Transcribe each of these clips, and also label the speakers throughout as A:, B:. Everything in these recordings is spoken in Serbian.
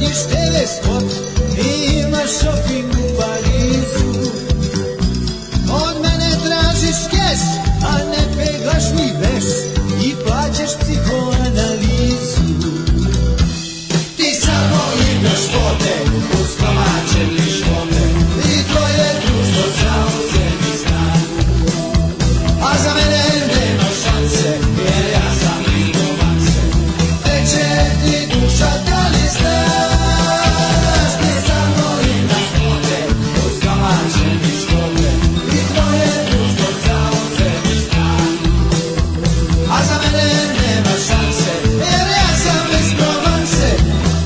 A: je spot i ima shopping u Parizu Od mene tražiš keš, a ne peglaš mi veš I plaćaš psihoanalizu Ti samo imaš vode, uz kamače lišote I to je društvo samo sebi stan A za mene nema šanse, jer ja sam likovance Teče ti duša, da li znaš Ti samo imaš vode, uz kamače lišote I to je društvo samo sebi stan a za mene nema šanse, jer ja sam bez provanse,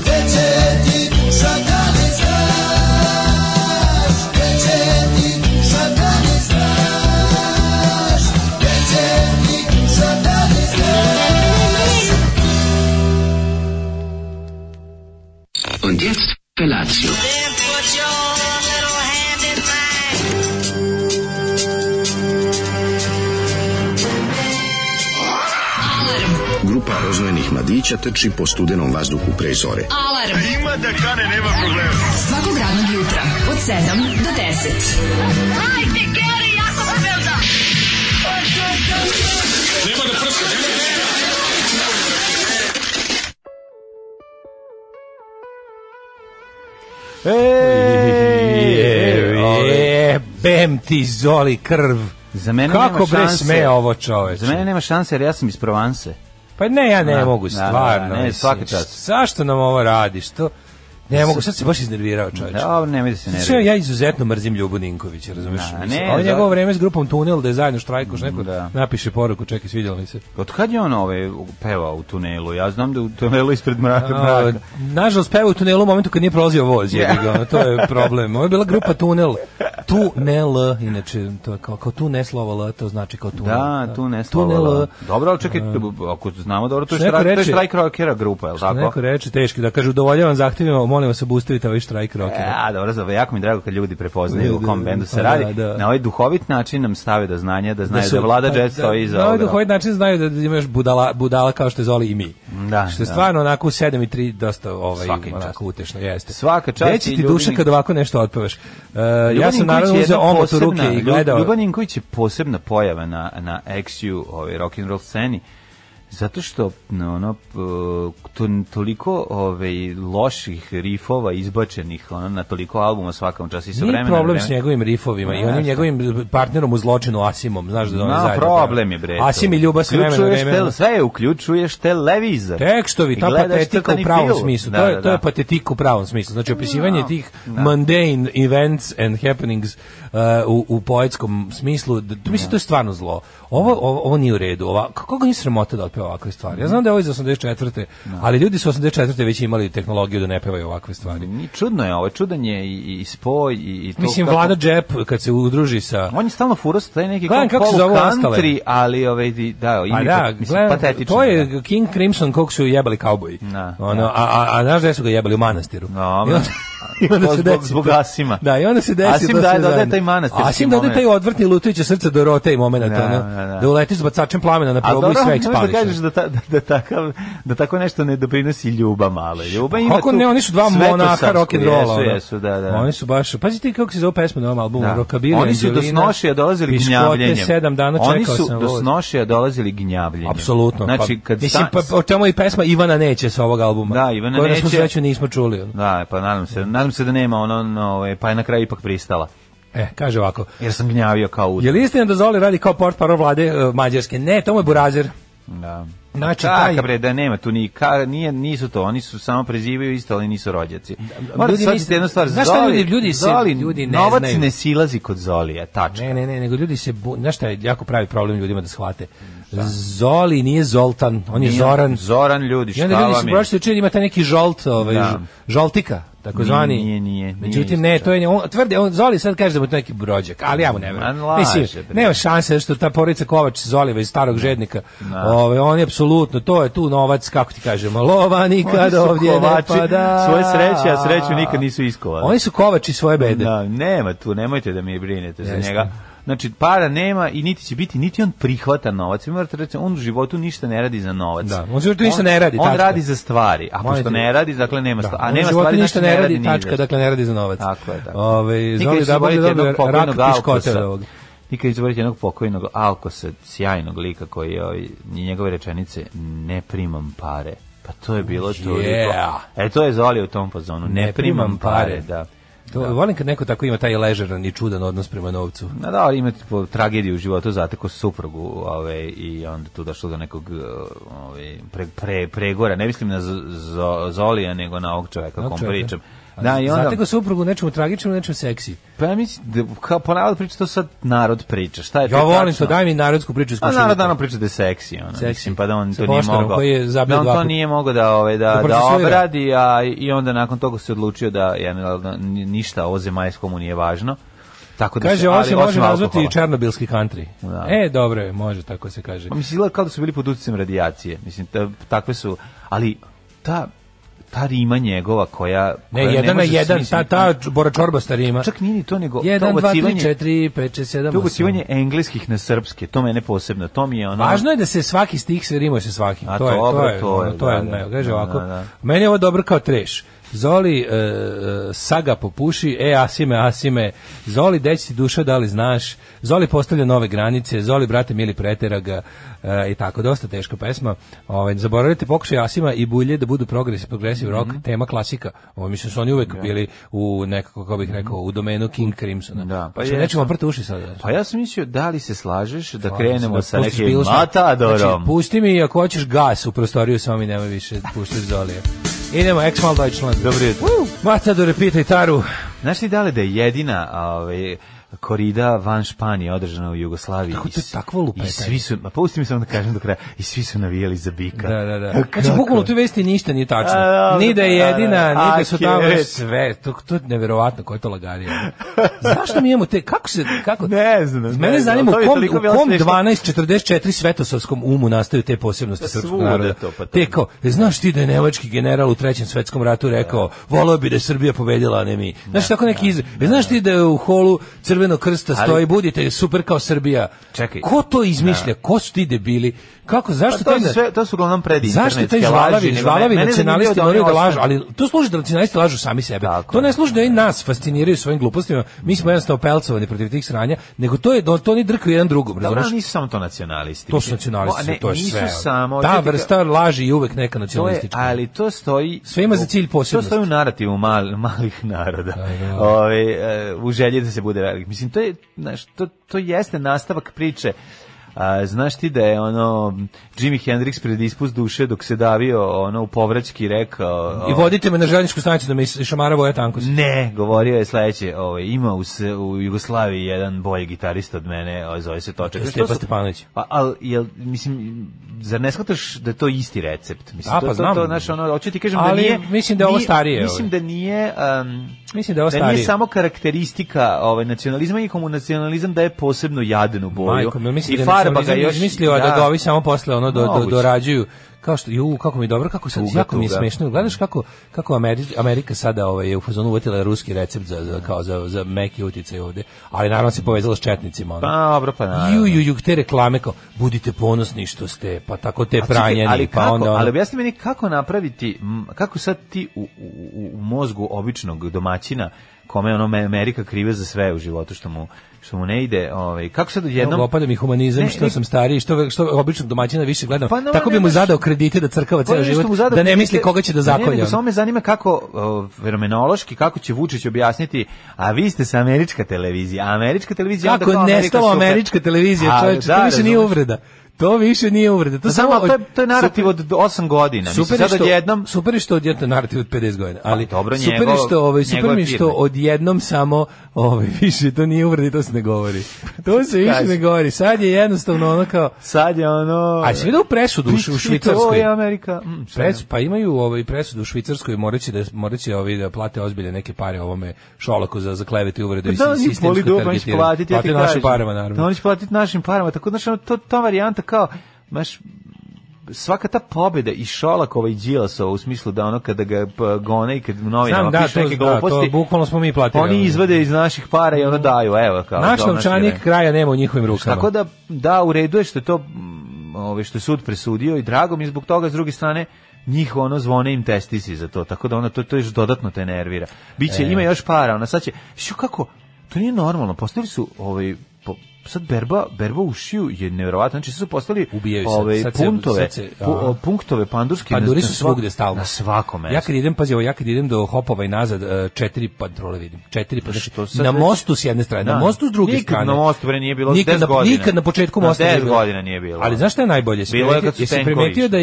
A: teče ti duša da li znaš, teče ti duša da li znaš, teče ti duša da li znaš.
B: Und jetzt Felatio.
C: Then put your little hand in mine.
D: Grupa roznojenih mladića trči po studenom vazduhu pre zore.
E: Alarm. Ima da kane, nema problema. Svakog radnog jutra, od 7 do 10.
C: Hajde, Geri, jako se velda.
F: E, bem ti zoli krv.
G: Za mene
F: Kako
G: nema
F: bre
G: šanse.
F: sme ovo čoveče?
G: Za mene nema šanse jer ja sam iz Provanse.
F: Pa ne, ja ne
G: Da,
F: mogu,
G: da,
F: stvarno.
G: da, ne,
F: mislim,
G: svaka čast.
F: Zašto nam ovo radiš? To, ne mogu, sad se baš iznervirao čoveče.
G: Da, nemoj da se
F: Sve
G: ne
F: Znači, ja izuzetno mrzik Ljubu Ninkovića, razumeš?
G: Da,
F: Mislim,
G: ne,
F: Ovo je
G: za-
F: njegovo vreme s grupom Tunel, da je zajedno štrajkoš, neko
G: Da.
F: napiše poruku, čekaj, svidjelo mi se.
G: Od kad je on ove, pevao u tunelu? Ja znam da je u tunelu ispred mraka.
F: A,
G: mraka.
F: Nažalost, peva u tunelu u momentu kad nije prolazio voz, jebi ga, ono, to je problem. Ovo je bila grupa Tunel. Tunel, inače, to je kao, kao tu ne slovo L, to znači kao tunel.
G: Da, tu ne
F: Tunel,
G: slovala. Dobro, ali čekaj, ako znamo dobro, to je
F: Što neko
G: štrajk, to je
F: reče-
G: štrajk rockera grupa, je li
F: Što
G: tako?
F: neko reče, teški, da kaže, udovoljavam zahtjevima, molim vas obustavite ovaj štrajk rockera.
G: E, A, dobro, zove, jako mi je drago kad ljudi prepoznaju o
F: Da,
G: kom
F: da,
G: bendu se
F: pa
G: radi.
F: da, da.
G: Na ovaj duhovit način nam stave do znanja da znaju da,
F: su-
G: vlada
F: pa,
G: Jet stoji iza
F: Na ovaj
G: ovoga.
F: duhovit način znaju da, da imaš budala, budala kao što je Zoli i mi.
G: Da,
F: što je
G: da.
F: stvarno onako u 7 i 3 dosta ovaj,
G: Svaka im čast.
F: onako utešno. Jeste.
G: Svaka čast
F: Gde će
G: i
F: ti
G: ljudi
F: duša
G: mi-
F: kad ovako nešto otpevaš? Uh, ja
G: Ljuban
F: sam
G: Ninković
F: naravno
G: je jedna
F: uzeo omot u ruke
G: posebna-
F: i
G: Lju-
F: gledao.
G: Ljuban Ninković je posebna pojava na, na XU ovaj, rock'n'roll sceni. Zato što no, ono, p- to, toliko ovaj, loših rifova izbačenih ono, na toliko albuma svakom času i sa
F: Nije
G: vremena.
F: problem s njegovim rifovima i
G: Ne,
F: onim
G: šta?
F: njegovim partnerom u zločinu Asimom, znaš da oni
G: No,
F: zajedno.
G: problem je bre. to.
F: Asim i Ljuba s vremena na
G: Uključuješ
F: vreme.
G: tel- sve je uključuješ televizor.
F: Tekstovi,
G: I
F: ta
G: gledaš
F: patetika
G: crtani
F: u pravom
G: film.
F: smislu.
G: Da,
F: to, je,
G: da,
F: to je pa-
G: da.
F: patetika u pravom smislu. Znači, opisivanje
G: Da.
F: tih mundane events and happenings uh, u, u poetskom smislu, d- mislim, to je stvarno zlo. Ovo, ovo, ovo nije u redu. Ova, kako ga nije sramota da otpeva ovakve stvari? Ja znam da je ovo iz 84. Ali ljudi su 84. već imali tehnologiju da ne pevaju ovakve stvari.
G: I čudno je ovo, čudan je i, i spoj i, i to
F: Mislim,
G: kako-
F: Vlada Džep, kad se udruži sa...
G: On je stalno furao sa taj neki
F: Gledam
G: kao
F: kako se
G: polu
F: zovu ostale.
G: country, ali ovaj, di- da,
F: Pa
G: ime
F: da,
G: mislim,
F: gledam,
G: patetično.
F: to
G: da.
F: je King Crimson kog su jebali kauboji.
G: Da,
F: ono, a, a, a znaš gde su ga jebali u manastiru?
G: Dobro.
F: I onda- I onda
G: To
F: se
G: zbog-
F: desi
G: zbog
F: to.
G: Asima.
F: Da, i onda se desi
G: Asim
F: to
G: daje-
F: sve
G: dodaje
F: zajedno.
G: taj manastirski
F: Asim dodaje
G: moment.
F: taj odvrtni lutajuće srce do rote i moment,
G: Da,
F: ono,
G: da, da.
F: da uletiš s bacačem plamena na
G: A
F: probu i
G: dobro,
F: sve
G: ne možeš da
F: ekspališ.
G: kažeš da, ta, da, da, takav, da tako nešto ne doprinosi ljuba malo. Ljuba ima
F: pa Kako
G: tu
F: ne, oni su dva
G: svetosavsku,
F: monaha rock and rolla. ono.
G: Jesu, jesu, da, da.
F: Oni su baš, pazite kako se zove pesma na ovom albumu,
G: Da.
F: Rockabilly,
G: Oni su do
F: Angelina,
G: snošija dolazili
F: Piškote,
G: gnjavljenjem.
F: sedam dana
G: Oni
F: čekao
G: su
F: sam
G: do
F: ovo.
G: snošija dolazili gnjavljenjem.
F: Apsolutno.
G: Znači,
F: pa,
G: kad
F: mislim,
G: sta-
F: pa, o čemu je i pesma Ivana neće sa ovog albuma.
G: Da, Ivana
F: Koju na svu
G: neće.
F: sreću nismo čuli. ono.
G: Da, pa nadam se, nadam se da nema ono, no, ovaj, pa je na kraju ipak pristala.
F: E, kaže ovako.
G: Jer sam gnjavio kao u.
F: Je li istina da Zoli radi kao port vlade e, Mađarske? Ne, to mu je burazer.
G: Da.
F: Znači,
G: Čaka,
F: taj,
G: bre, da nema tu ni, ka, nije, nisu to, oni su samo prezivaju isto, ali nisu rođaci. Moram
F: ljudi
G: ljudi
F: misle-
G: jednu stvar,
F: Znaš šta
G: Zoli,
F: ljudi- ljudi se-
G: Zoli,
F: ljudi ne
G: novac
F: znaju.
G: ne silazi kod Zolija, tačno.
F: ne, ne, ne, nego ljudi se, bu... znaš šta je jako pravi problem ljudima da shvate? Zoli nije Zoltan, on je
G: Nije-
F: Zoran.
G: Zoran, ljudi,
F: I
G: šta
F: onda ljudi se
G: vam je?
F: prošli učili, ima taj neki žolt, ovaj,
G: Da.
F: ž- žoltika, takozvani.
G: Nije, nije, nije,
F: Međutim,
G: nije
F: ne,
G: isto
F: to je, on, tvrde, on, Zoli sad kaže da mu je to neki brođak, ali ja mu ne verujem.
G: Ma, laže,
F: Mislim,
G: bre.
F: nema šanse, što ta porodica Kovač Zolijeva iz starog žednika, ovaj, on je apsolutno, to je tu novac, kako ti kažemo, lova
G: Oni
F: nikad
G: su
F: ovdje ne
G: kovači
F: pada.
G: Svoje sreće, a sreću nikad nisu iskovali.
F: Oni su kovači svoje bede.
G: Da, nema tu, nemojte da mi brinete za
F: Jeste.
G: njega. Znači, para nema i niti će biti, niti on prihvata novac. Vi morate reći, on u životu ništa ne radi za novac.
F: Da, on u životu ništa ne radi,
G: On,
F: tačka.
G: radi za stvari, a pošto
F: Moje-
G: ne radi, dakle nema stvari. A
F: on u
G: nema
F: životu
G: stvari,
F: ništa
G: znači
F: ne radi,
G: ni za
F: tačka,
G: šta.
F: dakle ne radi za novac.
G: Tako je, tako.
F: Ove,
G: Nikad
F: zoli
G: neću zaboraviti jednog
F: da
G: pokojnog
F: rak piškote
G: Alkosa.
F: ovog.
G: Nikad neću zaboraviti jednog pokojnog Alkosa, sjajnog lika koji je ovaj, i njegove rečenice ne primam pare. Pa to je bilo to.
F: Yeah.
G: E to je Zoli u tom pozonu. Ne, primam pare, da.
F: To, Volim kad neko tako ima taj ležeran i čudan odnos prema novcu.
G: Na da, ali imate po tragediju u životu, zateko suprugu, ovaj i onda tu došlo do nekog eh, ovaj pre, pre, pregora. Ne mislim na Z- Z- Zolija, nego na ovog čoveka o
F: Ovog
G: kom
F: čoveka.
G: pričam. Da, i ono- onda
F: Znate ga suprugu u nečemu tragičnom, u nečemu seksi.
G: pa ja mislim da kao ponavljam priča to sad narod priča. Šta je
F: Ja
G: to
F: volim
G: tačno?
F: to, daj mi narodsku priču iz
G: A
F: Košarika.
G: narod danas priča da je seksi, ono,
F: Seksi.
G: mislim, pa da on
F: Sa
G: to nije
F: poštarom
G: mogao.
F: koji je zabio
G: da on
F: dva
G: to
F: puta.
G: nije mogao da, ovaj,
F: Da
G: da, da
F: procesuira.
G: obradi, a i onda nakon toga se odlučio da ja, ništa ovo zemaljsko mu nije važno. Tako da se,
F: Kaže,
G: ali
F: ovo se može
G: osim
F: nazvati
G: alkohola.
F: i černobilski country.
G: Da.
F: E, dobro je, može, tako se kaže.
G: Pa mislim, izgleda kao da su bili pod utjecem radijacije. Mislim, ta, takve su, ali ta, ta rima njegova koja...
F: Ne,
G: koja
F: jedan na
G: može se
F: jedan, ta,
G: smisliti-
F: ta č- Bora Čorba starima.
G: Čak nije ni to, nego
F: Jedan,
G: to
F: dva, tri,
G: ubacivanje-
F: četiri, pet, šest, sedam,
G: to
F: osam.
G: ubacivanje engleskih na srpske, to mene posebno, to mi je ono...
F: Važno je da se svaki stih se rimuje sa svakim.
G: A,
F: to, je, to
G: dobro,
F: je, ono,
G: to je,
F: to je,
G: da,
F: ne,
G: da.
F: kaže
G: Da,
F: ovako.
G: da, da.
F: Meni je ovo dobro kao treš. Zoli, e, e, saga popuši, e, asime, asime, Zoli, deci ti duša, da li znaš, Zoli postavlja nove granice, Zoli, brate, mili pretera ga, e, i tako, dosta teška pesma. Ovaj, zaboravite pokušaj Asima i Bulje da budu progres, progresiv rock,
G: Mhm.
F: tema klasika. Ovo, mislim, su oni uvek bili u nekako, kako bih rekao, u domenu King Crimsona.
G: Da, pa
F: pa
G: jesu.
F: nećemo prti uši sad.
G: Pa ja sam mislio, da li se slažeš da
F: Slažem se,
G: krenemo
F: da
G: sa
F: pustiš
G: nekim
F: bilo šta.
G: matadorom?
F: Znači, pusti mi ako hoćeš gas u prostoriju samo mi nemoj više puštati Zolija. Idemo, Ex-Mal Deutschland.
G: Dobro jutro.
F: Matadore, pitaj Taru.
G: Znaš li da li da je jedina ovaj, korida van Španije održana u Jugoslaviji?
F: Kako
G: i
F: to je
G: s-
F: takvo lupetanje?
G: I svi su, ma pusti mi samo da kažem do kraja, i svi su navijali za bika.
F: Da, da, da.
G: Kako?
F: Znači, bukvalno u toj vesti ništa nije tačno.
G: A, dobro,
F: ni da je
G: da, da.
F: jedina, ni da su
G: Aki,
F: tamo
G: rec.
F: sve. To, to je neverovatno, koje to lagarije. Zašto mi imamo te, kako se, kako...
G: Ne znam, ne
F: Mene
G: znam,
F: zanima u
G: to je
F: kom,
G: toliko
F: u
G: bilo
F: kom
G: smešno.
F: 1244 svetosavskom umu nastaju te posebnosti srpskog
G: svuda
F: naroda.
G: to, pa to-
F: Te kao, e, znaš ti da je nemački general u trećem svetskom ratu rekao, voleo bi da je Srbija pobedila, a ne mi. Znaš tako neki iz... E, znaš ti da je u holu Crvenog krsta
G: Ali-
F: stoji, budite super kao Srbija.
G: Čekaj.
F: Ko to izmišlja? Ko su ti debili? Kako, zašto
G: Pa to,
F: taj
G: su
F: na-
G: sve, to su uglavnom predi
F: Zašto
G: internetske
F: taj žvalavi,
G: laži, nego
F: žvalavi
G: mene- mene zanimljivo
F: nacionalisti
G: da oni
F: moraju da
G: ostanu-
F: lažu, ali to služi da nacionalisti lažu sami sebe.
G: Tako
F: to
G: je.
F: ne služi da i nas fasciniraju svojim glupostima. Mi smo jednostavno pelcovani protiv tih sranja, nego to je to oni drkaju jedan drugom,
G: Dobro, ali
F: razumeš?
G: nisu samo to nacionalisti.
F: To su
G: Mislim,
F: nacionalisti,
G: o, ne,
F: to je
G: nisu
F: sve.
G: Samo,
F: Ta
G: Znači, ka-
F: vrsta laži je uvek neka
G: To je,
F: nacionalistička.
G: ali to stoji...
F: Sve ima za cilj
G: To
F: posebnost.
G: stoji u narativu mal, malih naroda.
F: da.
G: Ove, e, u želji da se bude velik. Mislim, to, je, znaš, to, to jeste nastavak priče. A, znaš ti da je ono Jimi Hendrix pred ispust duše dok se davio ono u povraćki rekao
F: I vodite me na željezničku stanicu da me is- išamara Voja Tankos.
G: ne, govorio je sledeće, ovaj ima u, s- u Jugoslaviji jedan bolji gitarista od mene, ovaj, zove se Točak.
F: Stepa
G: To su-
F: Stepanović.
G: Pa al jel mislim zar ne shvataš da je to isti recept? Mislim
F: A,
G: to
F: pa
G: to,
F: znam.
G: to znaš, ono hoću ti kažem
F: Ali
G: da nije
F: mislim da je ovo
G: nije-
F: starije,
G: Mislim
F: ovaj.
G: da nije um,
F: Mislim da je ovo
G: da nije
F: starije.
G: samo karakteristika ovaj nacionalizma i komu nacionalizam daje posebno jadnu boju.
F: Majko, mi mislim
G: I
F: da
G: farba ga
F: nacionalizam
G: još
F: izmislio da, da ga ovi samo posle ono do, do,
G: Moguće.
F: dorađuju kao što ju kako mi je dobro kako sad
G: Tuga,
F: jako mi je
G: tuga.
F: smešno gledaš kako kako Amerika, Amerika sada ovaj je u fazonu uvatila ruski recept za, za kao za za meki uticaj ovde ali naravno se povezala s četnicima ono.
G: Pa, dobro, pa naravno.
F: ju ju ju te reklame kao budite ponosni što ste pa tako te
G: A čekaj,
F: pranjeni
G: ali
F: pa
G: kako,
F: onda ono-
G: ali objasni meni kako napraviti m, kako sad ti u, u, u mozgu običnog domaćina kome je ono Me- Amerika krive za sve u životu što mu što mu ne ide, ovaj kako sad
F: jednom
G: odjednom
F: opada mi humanizam
G: Ne,
F: što
G: ne.
F: sam stariji što što običnog domaćina više gledam
G: Pa, no,
F: tako bi mu
G: nemaš-
F: zadao kredite da crkava
G: Pa
F: ceo
G: nešto
F: život
G: mu zadao
F: da ne
G: pitanje-
F: misli koga će da
G: Ne,
F: zakolje
G: nego
F: ono.
G: samo me zanima kako o, fenomenološki kako će Vučić objasniti, a vi ste sa američka televizija, a američka televizija onda
F: Kako
G: kao
F: je
G: Amerika
F: nestala
G: super.
F: američka televizija,
G: A,
F: čoveče,
G: da,
F: to više nije
G: razumeš.
F: uvreda. To više nije uvreda. To
G: Pa
F: samo
G: samo to je, to je narativ od 8 godina. Super
F: Super je
G: Mislim, sad
F: što
G: odjednom
F: super je što odjednom narativ od 50 godina, ali
G: Pa, dobro,
F: super
G: njegov-
F: je što ovaj super
G: njegove
F: mi je što
G: firme.
F: odjednom samo ovaj više to nije uvreda, i to se ne govori. To se više
G: Kaži.
F: ne govori. Sad je jednostavno ono kao
G: sad je ono
F: A si vidio presudu u Š- u
G: To
F: Švicarskoj?
G: je Amerika. Mm, šta je?
F: Pres, pa imaju ovaj presudu u Švicarskoj moraće da moraće ovi da plate ozbiljne neke pare ovome Šolaku za za klevete i uvrede i
G: Pa Da, oni
F: sistemsko
G: boli dupe, oni će
F: targetiranje.
G: platiti, ja ti
F: Plate našim
G: kažem.
F: parama naravno.
G: Da, Oni će platiti našim parama, tako znaš, ono, to, ta varijanta kao, maš, svaka ta pobjeda i Šolakova i Đilasova u smislu da ono kada ga p- gone i kad novina
F: Znam, da,
G: napiše
F: to-
G: neke
F: da,
G: gluposti,
F: to bukvalno smo mi platili. ono.
G: Oni izvade iz naših para i ono daju, evo kao.
F: Naš
G: kao
F: novčanik
G: naš
F: kraja nema u njihovim rukama.
G: Tako da, da, u redu je što je to mm, ovaj, što je sud presudio i drago mi je zbog toga, s druge strane, njih ono zvone im testisi za to, tako da ona to, to još dodatno te nervira. Biće,
F: E.
G: ima još para, ona sad će, što kako, to nije normalno, postali su, ovaj, po- sad berba, berba u šiju je nevjerovatno, znači sad su postali
F: Ubijaju se, sad se-
G: puntove,
F: sad se-
G: pu-
F: aha.
G: o, punktove pandurske. na-
F: Panduri
G: na
F: su
G: svak-
F: Pa svugde stalno.
G: Na svakom
F: Ja
G: mestu.
F: kad idem, pazi, ovo, ja kad idem do Hopova i nazad, e, četiri patrole vidim. Četiri patrole.
G: Što sad
F: na
G: već-
F: mostu s jedne strane, na
G: Da.
F: mostu s druge
G: Nikad
F: strane.
G: na mostu, bre, nije bilo
F: nikad
G: 10
F: na,
G: godina.
F: Nikad na početku
G: Na
F: mosta nije
G: 10
F: bilo.
G: godina nije bilo.
F: Ali znaš šta je najbolje? Jesi
G: Bilo je kad
F: primetio-
G: su
F: jesi
G: tenkovi
F: primetio
G: išli.
F: da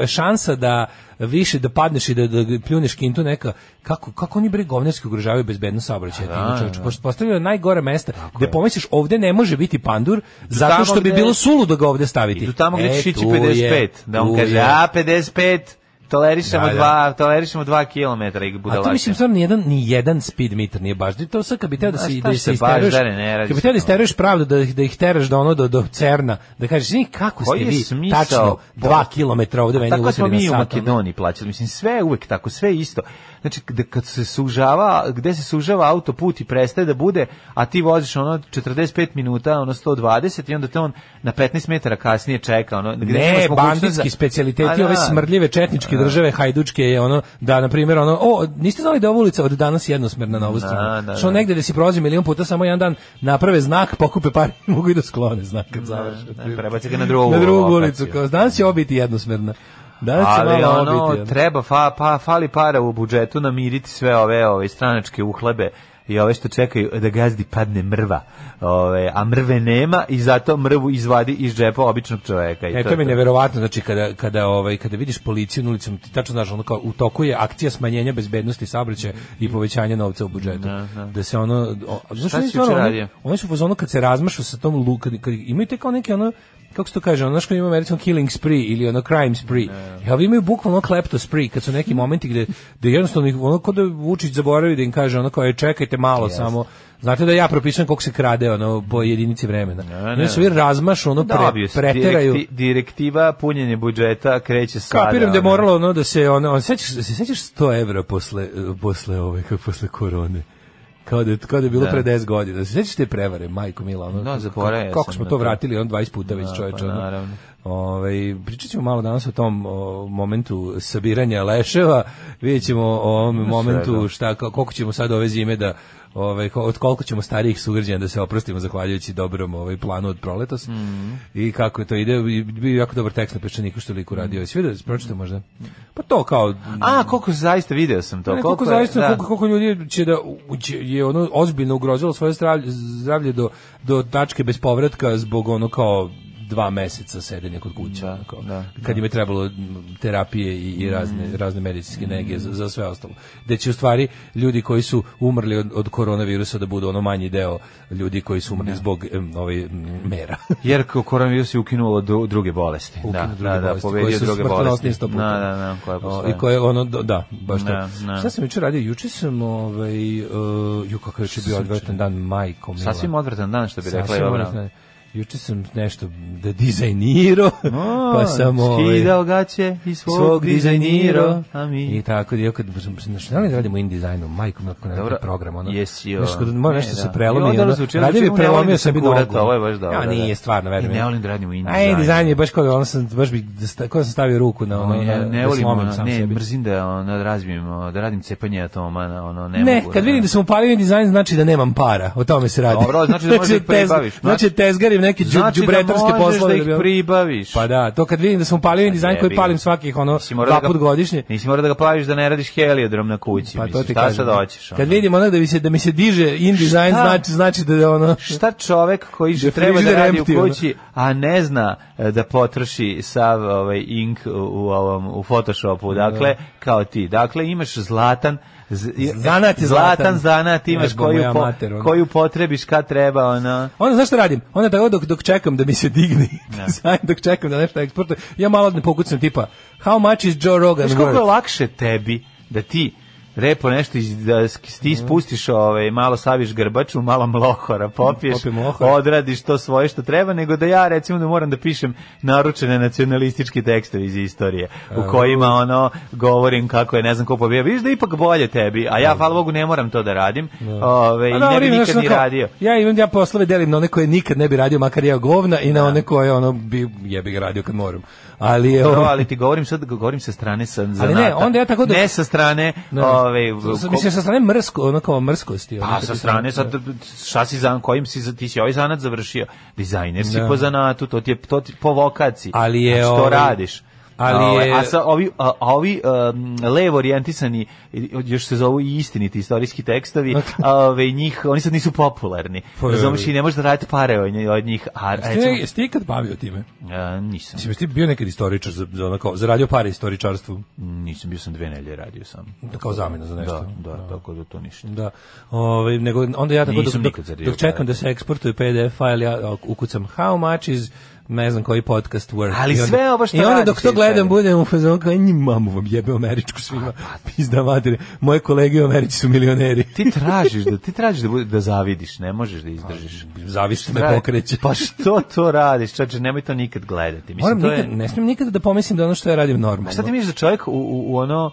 F: je šansa da više da padneš i da, da pljuneš kintu neka kako kako oni bre govnarski ugrožavaju bezbednost saobraćaja da, čovječe pošto postavljaju najgore mesta gde pomisliš ovde ne može biti pandur zato
G: tamo
F: što bi
G: gde-
F: bilo suludo ga ovde staviti
G: Idu tamo gdje
F: E,
G: e, šići
F: tu je,
G: 55, da on
F: tu
G: kaže,
F: je.
G: a 55, tolerišemo,
F: Da, da.
G: Dva, tolerišemo dva kilometra i budalače.
F: A to mislim stvarno ni jedan ni jedan speed meter nije baš. To sad kad bi teo da
G: Ma
F: se
G: šta
F: da se
G: se baš,
F: isteruješ,
G: Dare, ne radi
F: kad bi
G: se
F: teo da
G: to.
F: isteruješ pravdu da ih da ih teraš do ono do do Cerna, da kažeš ni kako ste
G: Koji je
F: vi
G: smisao
F: tačno
G: po-
F: 2 km ovde meni
G: Tako smo
F: uletili na
G: mi u
F: sat. ono.
G: Makedoniji plaćali, mislim sve je uvek tako, sve je isto. Znači kada- kad se sužava, gde se sužava autoput i prestaje da bude, a ti voziš ono 45 minuta, ono 120 i onda te on na 15 metara kasnije čeka, ono gde
F: Ne,
G: nemaš mogućnost
F: banditski
G: za- A
F: specijaliteti
G: da.
F: ove smrdljive četničke države hajdučke je ono da na primjer ono o niste znali da je ova ulica od danas jednosmerna na ovu stranu.
G: da,
F: Što
G: da.
F: negde da si prolazi milion puta samo jedan dan naprave znak, pokupe pare i mogu i da sklone znak kad završe.
G: Da, prebaci ga na drugu,
F: na drugu
G: lokaciju.
F: ulicu. Kao, danas će ovo biti jednosmerna. Danas će
G: Ali
F: malo ovo
G: ono,
F: biti, ono.
G: treba, fa, pa, fali para u budžetu namiriti sve ove, ove stranačke uhlebe i ove što čekaju da gazdi padne mrva. Ove, a mrve nema i zato mrvu izvadi iz džepa običnog čoveka. I
F: E, to mi je neverovatno, znači kada, kada, ovaj, kada vidiš policiju na ulicom, ti tačno znaš, ono kao, u toku je akcija smanjenja bezbednosti saobraćaja i povećanja novca u budžetu. Da se ono... O, znaš,
G: Šta
F: oni
G: si
F: stvarno,
G: juče
F: oni-
G: radio?
F: Oni su u fazonu kad se razmašu sa tom lu, kad, kad imaju te kao neke ono, kako se to kaže, ono što ima American Killing Spree ili ono Crime Spree. Ja, ovi imaju bukvalno ono klepto spree, kad su neki momenti gde, gde jednostavno ih, ono kod da Vučić zaboravi da im kaže ono kao, je, čekajte malo samo, Znate da ja propisujem koliko se krade ono po jedinici vremena. Ne,
G: ne.
F: se vi razmašu ono pre,
G: Dobio si.
F: preteraju.
G: Direkti- direktiva punjenje budžeta kreće sada.
F: Kapiram da je
G: ono.
F: moralo ono da se ono, on sećaš se sećaš 100 evra posle posle ove kako posle korone. Kao da, je- kao da je bilo
G: Da.
F: pre 10 godina. Se Sećaš te prevare, majko Mila, ono,
G: Da,
F: kako-
G: zaboravio
F: kako
G: sam
F: smo
G: na
F: to
G: to.
F: vratili, on 20 puta već čoveče.
G: pa
F: ono.
G: naravno.
F: Ovaj, pričat ćemo malo danas o tom o, momentu sabiranja leševa, vidjet ćemo o ovom momentu šta, ka- koliko ćemo sad ove zime da ovaj, ko- od koliko ćemo starijih sugrađana da se oprostimo zahvaljujući dobrom ovaj, planu od proletos i kako to ide, I bio je jako dobar tekst na peščaniku što je liku radio, svi da pročite možda pa to kao
G: A, koliko zaista video sam to.
F: ne, koliko,
G: je-
F: zaista,
G: da.
F: koliko, koliko ljudi će da u- će- je ono ozbiljno ugrozilo svoje zdravlje, zdravlje do, do tačke bez povratka zbog ono kao dva meseca sedenja kod kuće. ono kao, kad im je trebalo m, terapije i,
G: Mm.
F: i razne, razne medicinske nege za, za sve ostalo. Da će u stvari ljudi koji su umrli od, od koronavirusa da budu ono manji deo ljudi koji su umrli zbog em, ovaj, m, mera.
G: Jer ko- koronavirus je ukinulo dru- druge bolesti.
F: Ukinu
G: da,
F: druge
G: da, da,
F: bolesti, koje
G: povedio
F: su
G: druge
F: smrtonosnije
G: bolesti.
F: sto puta.
G: Da, da, da, koja
F: O,
G: postoje.
F: I koje ono, do- da, baš to.
G: Da, da.
F: Šta sam jučer radio? Juče sam, ovaj, uh, ju kakav je juče bio odvratan dan, majko mila.
G: Sasvim odvratan dan, što bi rekla
F: Sasvim
G: Jovana.
F: odvratan. Juče sam nešto da dizajnirao,
G: A,
F: pa sam ovaj,
G: skidao gaće i svog,
F: svog dizajnirao,
G: dizajnirao, a mi
F: i tako da kad sam sam- znaš, da li radimo in dizajnu, majko mila, kako ne
G: Dobro,
F: program, ono,
G: jesi,
F: znaš,
G: o,
F: kad mora
G: ne,
F: nešto se
G: da. I
F: prelomi,
G: onda
F: ono,
G: zvuči,
F: radio bi
G: zvuči, ne volim
F: prelomio
G: da sam
F: sebi
G: kurata,
F: nogu.
G: ovo je baš dobro,
F: Ja,
G: da,
F: nije,
G: da.
F: stvarno, verujem.
G: I ne volim da radimo in
F: A in
G: dizajn.
F: dizajn je baš kao da ono sam, baš bi, da sta- kao da sam stavio ruku na ono,
G: Ono, ja
F: na-
G: ne
F: da
G: volim,
F: slomim
G: ono,
F: sam
G: ne,
F: sebi.
G: mrzim da, ono, da razbijem, ono, da radim cepanje atoma, na- ono, ne,
F: Ne,
G: mogu.
F: kad vidim da sam upalio dizajn, znači da nemam para. O tome se radi.
G: Dobro, znači da možeš da ih pribaviš.
F: Znači, znači tezgarim neke džu,
G: znači da
F: džubretarske
G: možeš
F: poslove.
G: da ih
F: bi ono-
G: pribaviš.
F: Pa da, to kad vidim da sam upalio dizajn koji
G: jebi ga.
F: palim svakih ono
G: Nisi morao
F: dva
G: da ga-
F: put godišnje.
G: Nisi morao da ga plaviš da ne radiš heliodrom na kući,
F: Pa to
G: mislim,
F: ti
G: šta sad
F: kažem.
G: hoćeš?
F: Kad
G: ono?
F: vidim ono da mi se, da mi se diže in dizajn,
G: Šta?
F: znači, znači da je ono...
G: Šta čovek koji
F: Da
G: treba da
F: frižider
G: radi u
F: empty, ono.
G: kući, a ne zna e, da potroši sav ovaj ink u, u ovom u Photoshopu, dakle kao ti. Dakle imaš zlatan z- i-
F: Zanat je zlatan.
G: zanat imaš
F: Jebo
G: koju
F: moja
G: po-
F: mater, ono.
G: koju potrebiš kad treba ono. ona.
F: Onda Ono, znaš šta radim? Onda tako dok, dok čekam da mi se digne dizajn, dok čekam da nešto eksportujem, ja malo ne pokucam tipa, how much is Joe Rogan
G: Znaš koliko je
F: worth?
G: lakše tebi da ti e, repo nešto iz, da sk-
F: Mhm.
G: ti spustiš ovaj, malo saviš grbaču, malo mlohora popiješ,
F: Popijem mlohora.
G: odradiš to svoje što treba, nego da ja recimo da moram da pišem naručene nacionalističke tekstove iz istorije, u kojima ono govorim kako je, ne znam ko pobija, vidiš da je ipak bolje tebi, a ja, hvala Bogu, ne moram to da radim, ovaj, i
F: A
G: ne bi
F: Pa dobro, ima
G: nikad
F: nešto
G: ni
F: ono kao,
G: radio.
F: Ja imam ja poslove delim na one koje nikad ne bi radio, makar ja govna i na one koje ono bi jebi ga radio kad moram. Ali je ono-
G: Dobro,
F: ovo-
G: ali ti govorim sad govorim sa strane sa zanata.
F: ne, onda ja tako da-
G: ne sa strane,
F: Ne.
G: ovaj
F: S- Mislim sa strane mrsko, ono kao mrskosti, ono
G: A
F: kad
G: Pa, sa
F: bi-
G: strane sad šta si za kojim si za- ti si ovaj zanat završio? Dizajner si
F: Da.
G: po zanatu, to ti je to ti, po vokaciji.
F: Ali je,
G: znači, to
F: ovaj,
G: radiš.
F: ali
G: Ovaj,
F: je-
G: a sa ovi a, a ovi um, levo orijentisani još se zovu i istiniti istorijski tekstovi, a, ovaj njih oni sad nisu popularni.
F: Pa, je.
G: Razumeš i ne možeš da radite pare od nje- od njih, a
F: Jesi ti-
G: recimo,
F: jesi ti ikad bavio time?
G: a, nisam.
F: Mislim, jesi ti bio nekad istoričar za, za ono kao, zaradio pare istoričarstvu,
G: Nisam bio sam dve nedelje radio sam.
F: kao zamena za nešto.
G: Da, da, tako da to ništa.
F: Da. Ovaj nego onda ja tako dok,
G: Nisam
F: dok,
G: nikad zadio
F: dok čekam
G: pare.
F: da se eksportuje PDF file ja ukucam how much is ne znam koji podcast work.
G: Ali
F: I onda-
G: sve ovo što
F: I onda
G: radiš
F: dok to
G: je sve.
F: gledam budem u fazonu kao "Nji, mamu vam jebe američku
G: Pa,
F: svima. Pizda materija. Moje kolege u Americi su milioneri.
G: Ti tražiš da ti tražiš da bude da zavidiš, ne možeš da izdržiš.
F: Pa, Zavist me pokreće.
G: Pa što to radiš? Čače, nemoj to nikad gledati. Mislim,
F: Moram
G: to
F: nikad,
G: je...
F: ne smijem nikada da pomislim da ono što ja radim normalno.
G: Šta ti misliš da čovjek u, u, u ono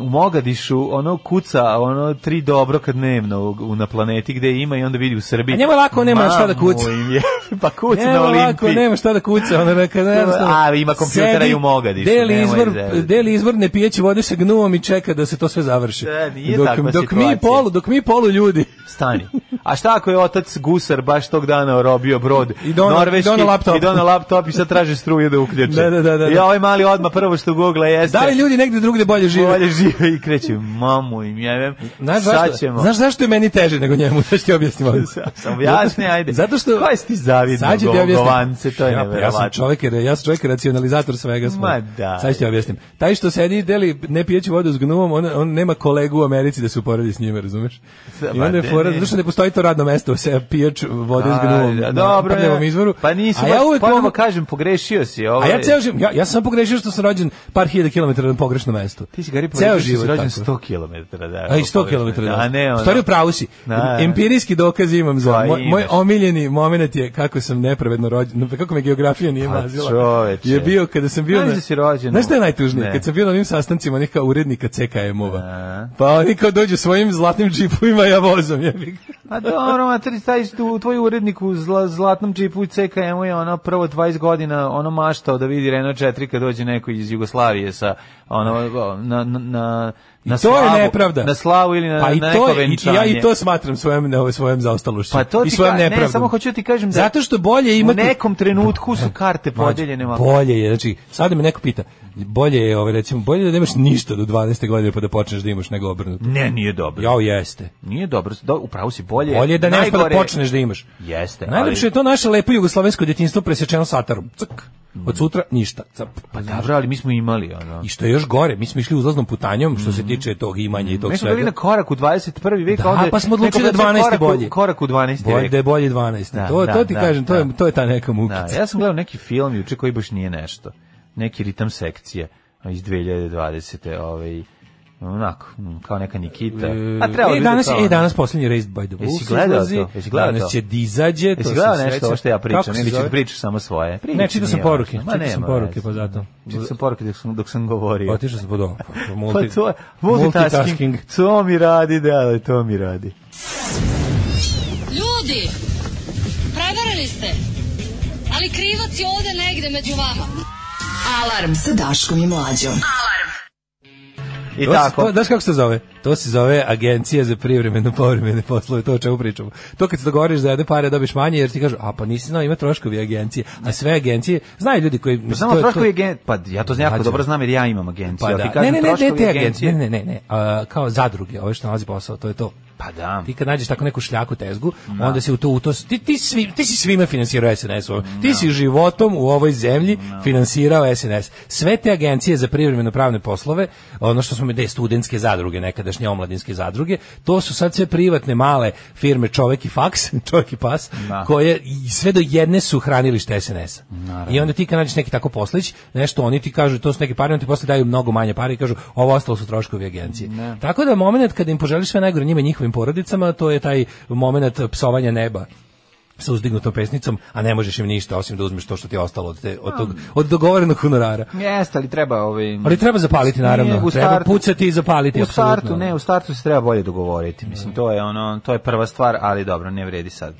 G: u Mogadišu ono kuca ono tri dobro kad dnevno u, u- na planeti gde ima i onda vidi u Srbiji.
F: A njemu je lako, on nema šta da kuca.
G: Mamu im je. pa kuca
F: Nema
G: na Olimpiji.
F: lako, nema šta da kuca, ona reka, ne, jednostavno,
G: A, ima kompjutera
F: sedi,
G: i u Mogadišu,
F: Deli
G: nemoj
F: izvor,
G: zezati.
F: deli izvor ne pijeći vode sa gnuom i čeka da se to sve završi.
G: Da, E, nije
F: dok,
G: takva
F: dok mi
G: situacija.
F: polu, dok mi polu ljudi
G: Stani. A šta ako je otac gusar baš tog dana robio brod?
F: I doneo-
G: norveški,
F: i doneo laptop.
G: I doneo laptop i sad traži struju da uključe.
F: Da, da, da, da.
G: I ovaj mali odmah prvo što googla jeste...
F: Da li ljudi negde drugde bolje žive?
G: Bolje žive i kreće, mamu im jevem,
F: Znaš zašto,
G: sad ćemo.
F: znaš zašto je meni teže nego njemu, da ti objasnim odmah.
G: Sam objasni, ajde.
F: Zato što...
G: Koji si ti zavidno,
F: Sad ću ti objasnim.
G: govance, to je
F: ja, pa ja sam
G: nevjerovatno.
F: čovjek, jer ja sam čovjek racionalizator svega. Smo.
G: Ma da.
F: Sad ću ti objasnim. Taj što sedi i deli ne pijeći vodu s gnuvom, on, on nema kolegu u Americi da se uporedi s njime, razumeš?
G: Sa-
F: I
G: ma
F: onda je
G: ne,
F: fora,
G: ne.
F: zato što ne postoji to radno mesto, se pijač vode s
G: A,
F: gnuvom.
G: da,
F: na
G: dobro,
F: prljavom
G: ne.
F: izvoru.
G: Pa nisi,
F: a ja uvek
G: ponovo
F: ono-
G: kažem, pogrešio si. ovaj- Ovo,
F: A ja ceo život, ja, ja sam pogrešio što sam rođen par hiljada kilometara na pogrešnom mestu.
G: Ti si gari
F: Ceo
G: pogrešio, si
F: život
G: rođen
F: tako.
G: 100 km. Da,
F: A i 100
G: pogrešno.
F: km.
G: A ne, ono.
F: Stvari u pravu si.
G: Da, da.
F: Empirijski dokaz imam za
G: Pa
F: moj, moj
G: imaš.
F: omiljeni moment je kako sam nepravedno rođen, kako me geografija nije
G: Pa,
F: mazila.
G: čoveče.
F: Je bio kada sam bio
G: Znaš da si rođen
F: Znaš šta je
G: u-
F: najtužnije?
G: Ne.
F: Kad sam bio na ovim sastancima onih kao urednika CKM-ova.
G: A.
F: Pa oni kao dođu svojim zlatnim džipovima ja vozom. Ja bih.
G: A dobro, mater, taj tu, tvoj urednik u zla, zlatnom džipu CKM-u je ono prvo 20 godina ono maštao da vidi Renault 4 kad dođe neko iz Jugoslavije sa ono na na na
F: I
G: na
F: to
G: slavu,
F: je nepravda.
G: na slavu ili na,
F: pa i
G: na
F: to
G: neko
F: je- i-
G: venčanje.
F: Ja i to smatram svojom, ne, svojom zaostalošću.
G: Pa to
F: I
G: ti
F: svojom
G: ka- ne,
F: nepravdom.
G: samo hoću ti kažem da-
F: Zato što bolje
G: u
F: imati...
G: nekom trenutku su karte podeljene malo.
F: Bolje je, znači, sad me neko pita, bolje je, ovaj, recimo, bolje je da nemaš ništa do 12. godine pa da počneš da imaš nego obrnuto.
G: Ne, nije dobro.
F: Jao, jeste.
G: Nije dobro. Da, upravo si bolje.
F: Bolje je da nemaš pa da
G: najgore-
F: počneš da imaš.
G: Jeste,
F: Najlepše
G: ali-
F: je to naše lepo jugoslovensko djetinjstvo presečeno satarom. Cuk.
G: Mm.
F: Od sutra ništa. Cap.
G: Pa dobro, ali mi smo imali ono.
F: I što je još gore, mi smo išli uzlaznom putanjom što se tiče tog imanja i tog
G: Mm. Mi smo bili na
F: svega.
G: korak u 21. vek,
F: Da,
G: a onda
F: pa smo odlučili
G: neko
F: da
G: kaže
F: 12.
G: korak u-
F: bolje.
G: Korak u 12.
F: Bolje,
G: vek.
F: da je bolje 12.
G: Da,
F: to,
G: da,
F: to ti
G: da,
F: kažem, to, je,
G: da.
F: to je ta neka mukica.
G: Da, ja sam gledao neki film juče koji baš nije nešto. Neki ritam sekcije iz 2020. Ovaj, onako, mm, kao neka Nikita. A trebalo
F: e,
G: bi
F: danas,
G: da kao...
F: e, danas poslednji Raised by the Wolves.
G: ono. Jesi gledao
F: izlazi,
G: to? Jesi gledao
F: danas
G: to?
F: će dizađe. to
G: ono- Jesi
F: se
G: gledao
F: sreće.
G: nešto ovo što ja
F: Kako
G: pričam
F: se
G: ili ćeš
F: zove?
G: pričaš samo svoje? Priča,
F: Ne, čitao sam
G: nije
F: poruke,
G: važno. Ma,
F: čitao sam
G: nema
F: poruke,
G: veze.
F: pa zato.
G: Čitao sam poruke dok sam, dok sam govorio.
F: Otišao sam pod ovo.
G: Pa
F: Multi,
G: to je multitasking. To mi radi, da, ali to mi radi.
H: Ljudi, prevarili ste. Ali krivac je ovde negde među vama.
E: Alarm sa Daškom i Mlađom.
G: I
F: To se-
G: tako.
F: to- Znaš kako se zove? To se zove agencija za privremeno povremene poslove, to o čemu pričamo. To kad se dogovoriš za jedne pare dobiš manje jer ti kažu, a pa nisi znao, ima troškovi agencije. A sve agencije, znaju ljudi koji... mislim,
G: Znamo
F: to je- to-
G: Pa troškovi agencije, pa ja to jako
F: Mlađe.
G: dobro znam jer ja imam agenciju.
F: Pa
G: ali
F: da.
G: Znači, ti kažem
F: ne, ne, ne, ne,
G: troškovi
F: te
G: agencije.
F: agencije. Ne, ne, ne, ne. A, kao zadruge, ove što nalazi posao, to je to.
G: Pa da.
F: Ti kad nađeš tako neku šljaku tezgu, onda se u to, u to ti, ti, svi, ti si svima finansirao SNS. ovo. Ti si životom u ovoj zemlji finansirao SNS. Sve te agencije za privremeno pravne poslove, ono što smo mi de studentske zadruge, nekadašnje omladinske zadruge, to su sad sve privatne male firme Čovek i faks, Čovek i pas,
G: Da.
F: koje i sve do jedne su hranilište SNS-a. I onda ti kad nađeš neki tako poslić, nešto oni ti kažu, to su neke pare, oni ti posle daju mnogo manje pare i kažu, ovo ostalo su troškovi agencije. Tako da moment kada im poželiš sve najgore njima i njihovim porodicama, to je taj moment psovanja neba sa uzdignutom pesnicom, a ne možeš im ništa osim da uzmeš to što ti je ostalo od, te, od, tog, od dogovorenog honorara.
G: Jeste, ali treba ovaj
F: Ali treba zapaliti, naravno.
G: Nije, u
F: Treba
G: startu-
F: pucati i zapaliti,
G: U startu,
F: apsolutno.
G: ne, u startu se treba bolje dogovoriti. Mislim to je ono, to je prva stvar, ali dobro, ne vredi sad.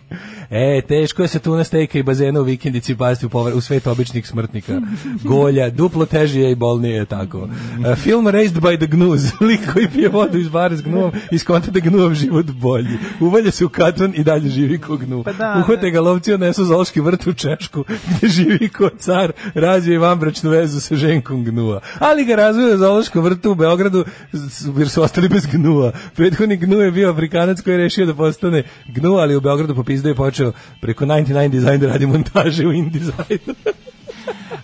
F: E, teško je se tuna stejka i bazena u vikendici pasti u, povar, u svet običnih smrtnika. Golja, duplo težije i bolnije je tako. E, Film Raised by the Gnus, lik koji pije vodu iz bare s gnuom i skonta da gnuom život bolji. Uvalja se u katon i dalje živi ko gnu.
G: Pa da,
F: Uhvate ga lovci odnesu zološki vrt u Češku gde živi ko car, razvije i vanbračnu vezu sa ženkom gnua. Ali ga razvije u zološkom vrtu u Beogradu s- jer su ostali bez gnua. Prethodni gnu je bio Afrikanac koji je rešio da postane gnu, ali u Beogradu popizdeo je počeo preko 99 Design da radi montaže u InDesignu.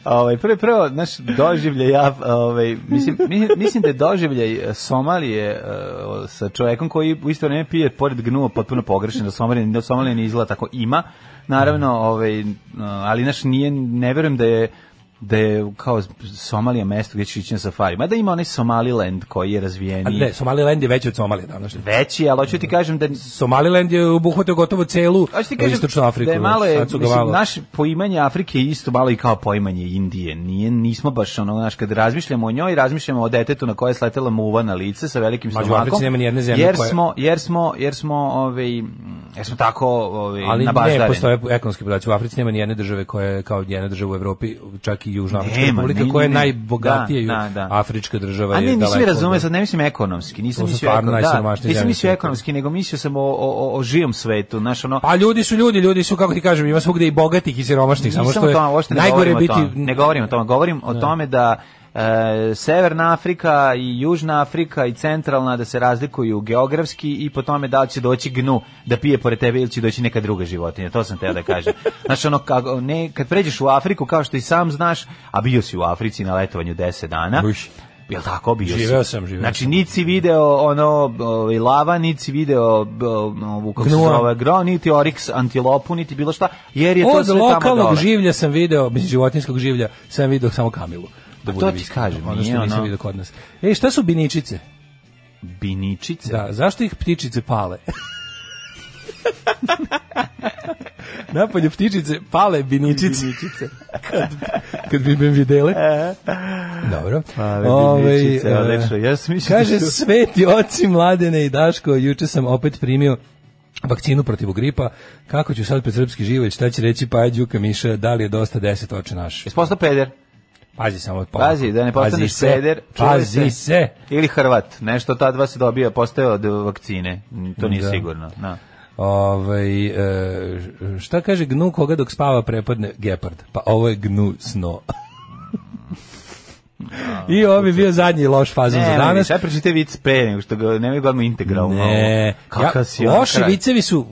G: Ovaj prvo prvo naš doživljaj ja ovaj mislim mi- mislim da je doživljaj e, Somalije e, o, sa čovjekom koji u isto vrijeme pije pored gnuo potpuno pogrešan da Somalija da Somalija ne izgleda tako ima. Naravno, ovaj e, ali naš nije ne vjerujem da je da je kao Somalija mesto gdje ćeš ići na safari. Mada ima onaj Somaliland koji je
F: A
G: razvijeniji.
F: ne, Somaliland je veći od Somalije današnje.
G: Veći, ali hoću ti kažem da
F: Somaliland je obuhvatio gotovo celu
G: Hoću ti kažem
F: Pa istočnu Afriku.
G: da je malo je,
F: Sad su ga
G: mislim,
F: malo-
G: naš poimanje Afrike je isto malo i kao poimanje Indije. Nije, nismo baš ono, znaš, kad razmišljamo o njoj, razmišljamo o detetu na koje je sletela muva na lice sa velikim
F: Mađo, u
G: stomakom.
F: Africi nema ni jedne zemlje
G: jer
F: koja-
G: smo, jer smo, jer smo, ovaj, mm, jer smo tako ovaj,
F: ali ne
G: nabaždareni.
F: postoje ekonomski podaci. U Africi nema ni jedne države koja je kao jedna država u Evropi, čak i Južnoafrička
G: Nema,
F: republika
G: ne,
F: koja je
G: ne, ne.
F: najbogatija
G: Da,
F: ju-
G: da, da.
F: afrička država.
G: A
F: je
G: ne, nisam mi
F: ovaj daleko od-
G: razumeo, sad ne mislim ekonomski, nisam
F: To su
G: mislio,
F: stvarno
G: ekonomski, da,
F: najsiromašnije
G: nisam
F: zemlje
G: mislio
F: svijeta.
G: ekonomski, nego mislio sam o, o, o, o živom svetu, znaš, ono,
F: Pa ljudi su ljudi, ljudi su, kako ti kažem, ima svugde i bogatih i siromašnih, samo
G: Nisam
F: što je
G: o tome, uopšte ne
F: najgore
G: govorim o
F: biti...
G: tome. Ne govorim o tome, govorim o tome da e, Severna Afrika i Južna Afrika i Centralna da se razlikuju geografski i po tome da li će doći gnu da pije pored tebe ili će doći neka druga životinja. To sam teo da kažem. Znaš, ono, kako- ne, kad pređeš u Afriku, kao što i sam znaš, a bio si u Africi na letovanju 10 dana,
F: Uš.
G: Jel tako bio si?
F: Živeo sam, živeo
G: Znači, niti si video ono, ovaj, lava, niti si video b- ovu, kako se
F: Gnua.
G: zove, gro, niti oriks, antilopu, niti bilo šta, jer je to
F: Od
G: sve tamo
F: lokalnog
G: dole.
F: življa sam video, mislim životinskog življa, sam video samo kamilu. Da
G: Pa
F: budem
G: to ti
F: iskren,
G: kažem,
F: ono
G: nije
F: što nisam
G: ono-
F: video kod nas. E, šta su biničice?
G: Biničice?
F: Da, zašto ih ptičice pale? Napolje ptičice pale biničice. kad, kad bi me videle. Dobro.
G: Pale
F: Ovaj,
G: biničice,
F: e,
G: odlično. Ja sam mislio
F: Kaže,
G: da su-
F: sveti oci mladene i Daško, juče sam opet primio vakcinu protiv gripa, kako ću sad pred srpski život, šta će reći Paja Đuka Miša, da li je dosta deset oče naš?
G: Jesi postao peder?
F: Pazi samo. polako.
G: Pazi, da ne
F: Pazi
G: postaneš
F: se,
G: peder. čuvaj
F: Pazi se.
G: Ili Hrvat, nešto ta dva se dobija, postaje od vakcine. Mm, To nije
F: Da.
G: sigurno. Da.
F: Ovaj e, šta kaže gnu koga dok spava prepadne gepard? Pa ovo je gnu sno. I ovo bi bio zadnji loš fazon za
G: Ne, ne, ne,
F: danas.
G: sad pročitaj vic pre, nego što ga, nemoj ga odmah integralno.
F: Ne,
G: Kakav
F: ja-
G: si ono
F: loši
G: kralj.
F: vicevi su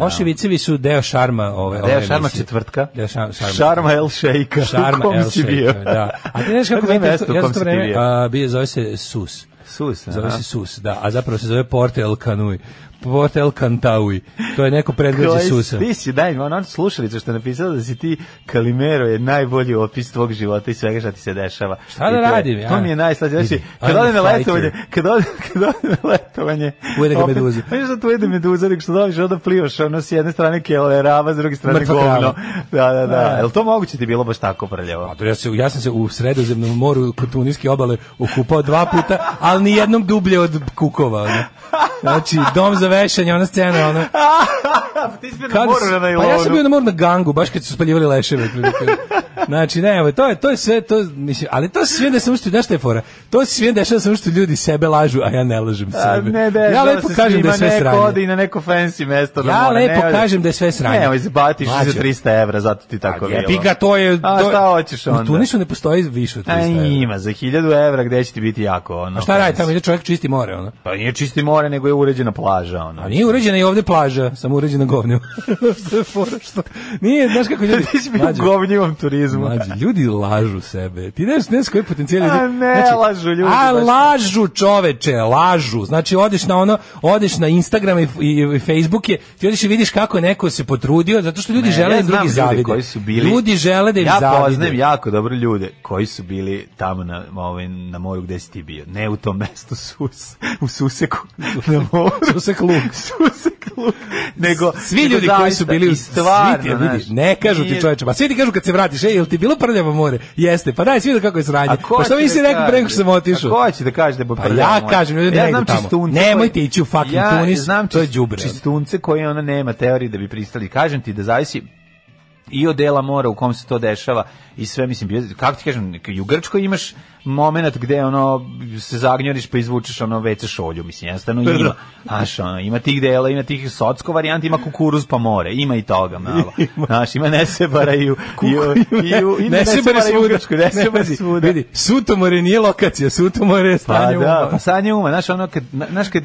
F: Loši vicevi su deo šarma ove ove
G: Deo Šarma
F: emisije.
G: četvrtka.
F: Deo šar- šarma.
G: Šarma El Šejka.
F: Šarma
G: U kom
F: El
G: si
F: Šejka,
G: bio?
F: da. A ti znaš kako
G: Kako je
F: meni to-
G: mesto u
F: ja sam
G: kom
F: to
G: si ti
F: vreme,
G: bio?
F: a, bio zove se Sus.
G: Sus,
F: Zove
G: aha.
F: se Sus, da, a zapravo se zove Port El Canui. Port El Cantaui. To je neko
G: Koji
F: predgrađe
G: si-
F: Susa.
G: Ti si, daj mi, ona slušalica što je napisala da si ti Kalimero je najbolji opis tvog života i svega što ti se dešava.
F: Šta
G: I
F: da
G: to je-
F: radim, ja?
G: To mi je najslađe. Znači,
F: Vidi,
G: kad
F: I'm
G: ode na
F: a fighter.
G: letovanje, kad ode, kad ode na letovanje...
F: Ujede ga
G: opet-
F: meduza.
G: Pa nešto tu ujede meduza, nego što dobiš, onda plivaš, ono s jedne strane kjelo je rava, s druge strane
F: Mrtva krava.
G: govno. Da, da, da. Jel to moguće ti bilo baš tako prljavo?
F: Pa to ja, se, ja sam se u sredozemnom moru kod Tuniske obale okupao dva puta, ali ni jednom dublje od kukova. ono. Znači, dom za vešanje, ona scena, ona...
G: Pa ti si bio na moru na
F: pa ja sam
G: nailonu.
F: bio na moru na gangu, baš kad su spaljivali leševe. otprilike. Znači, ne, evo, to je, to je sve, to, mislim, ali to se sve da sam ušto, znaš šta je fora? To se sve dešava samo što ljudi sebe lažu, a ja ne lažem
G: A,
F: sebe.
G: Ne, ne,
F: ja lepo kažem da je sve
G: Neko ode
F: sranje.
G: i na neko fancy mesto. na
F: Ja
G: more,
F: lepo
G: ne ode.
F: kažem da je sve sranje.
G: Nemoj se batiš
F: Mlađo.
G: za 300 evra, zato ti tako bilo.
F: Pa Jebi ga, to je...
G: A
F: to-
G: šta hoćeš onda?
F: U Tunisu ne postoji više od 300
G: A
F: evra.
G: ima, za 1000 evra gde će ti biti jako ono.
F: Šta radi
G: fancy.
F: tamo, ide čovjek čisti more, ono?
G: Pa nije čisti more, nego nego je uređena plaža. Ono.
F: A Pa nije uređena i ovde plaža, samo uređena govnima. što je fora, što... Nije, znaš kako ljudi...
G: Ti si bio
F: Mlađe,
G: u govnjivom turizmu.
F: Mlađi, ljudi lažu sebe. Ti ne znaš, ne znaš koji potencijal ljudi. Znači,
G: A ne, lažu ljudi,
F: A
G: baš.
F: lažu čoveče, lažu. Znači, odeš na ono, odeš na Instagram i, i, i Facebook je, ti odeš i vidiš kako je neko se potrudio, zato što ljudi
G: Ne,
F: žele da
G: ja
F: im
G: znam
F: drugi
G: ljude
F: zavide.
G: koji su bili-
F: Ljudi žele da im
G: ja
F: zavide.
G: poznajem jako dobro ljude koji su bili tamo na, ovaj, na moru gde si ti bio. Ne u tom mestu sus, u Suseku. Na moru.
F: Susek luk.
G: Susek luk. Nego,
F: svi
G: nego
F: ljudi koji su
G: zaista,
F: bili
G: i
F: u
G: stvarno,
F: svi ti ljudi,
G: znaš,
F: ne kažu ti
G: nije-
F: čoveče, pa svi ti kažu kad se vratiš, ej, jel ti bilo prljavo more? Jeste, pa daj svi da kako je sranje.
G: A
F: Pa
G: ko
F: što
G: će
F: mi si
G: da
F: rekao
G: kaže?
F: pre nego što sam otišao?
G: A ko će da kaže da bo
F: Pa ja kažem, ljudi ne idu tamo. Nemojte ići u fucking Tunis, to je đubre.
G: Čistunce koje ona nema teorije da bi pristali. Kažem ti da zavisi i od dela mora u kom se to dešava i sve mislim bio- kako ti kažem i u Grčkoj imaš momenat gde ono se zagnjoriš pa izvučeš ono WC šolju mislim jednostavno ima znaš ono ima tih dela ima tih socko varijanti ima kukuruz pa more ima i toga malo znaš ima nesebara i u, i u, i u, ima
F: ne se bare
G: nesebara i u
F: svuda.
G: Grčkoj nesebara
F: vidi,
G: svuda
F: Vidi, Sutomore nije lokacija, Sutomore je
G: pa
F: stanje
G: da,
F: uma.
G: pa sanje uma, znaš, ono kad, na- znaš kad,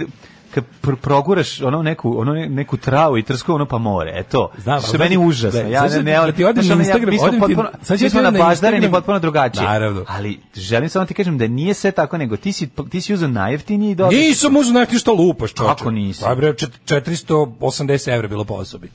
G: kad pr proguraš ono neku, ono ne- neku travu i trsku ono pa more, e to.
F: Znam,
G: što
F: ali
G: je meni
F: znači,
G: užasno.
F: da,
G: ja
F: sad
G: ne,
F: ću-
G: ne,
F: da ti odem
G: znaš,
F: na
G: ono,
F: Instagram,
G: mi smo
F: odem ti-
G: potpuno, ono
F: sad ću
G: mi
F: ja
G: smo
F: ti
G: na
F: odem na
G: baždareni
F: Instagram.
G: potpuno drugačije.
F: Naravno.
G: Ali želim samo ti kažem da nije sve tako, nego ti si, ti si uzeo najjeftiniji i dobio.
F: Nisam uzeo nešto što lupaš, čoče.
G: Kako nisi?
F: Pa bre, čet- 480 evra bilo po osobi.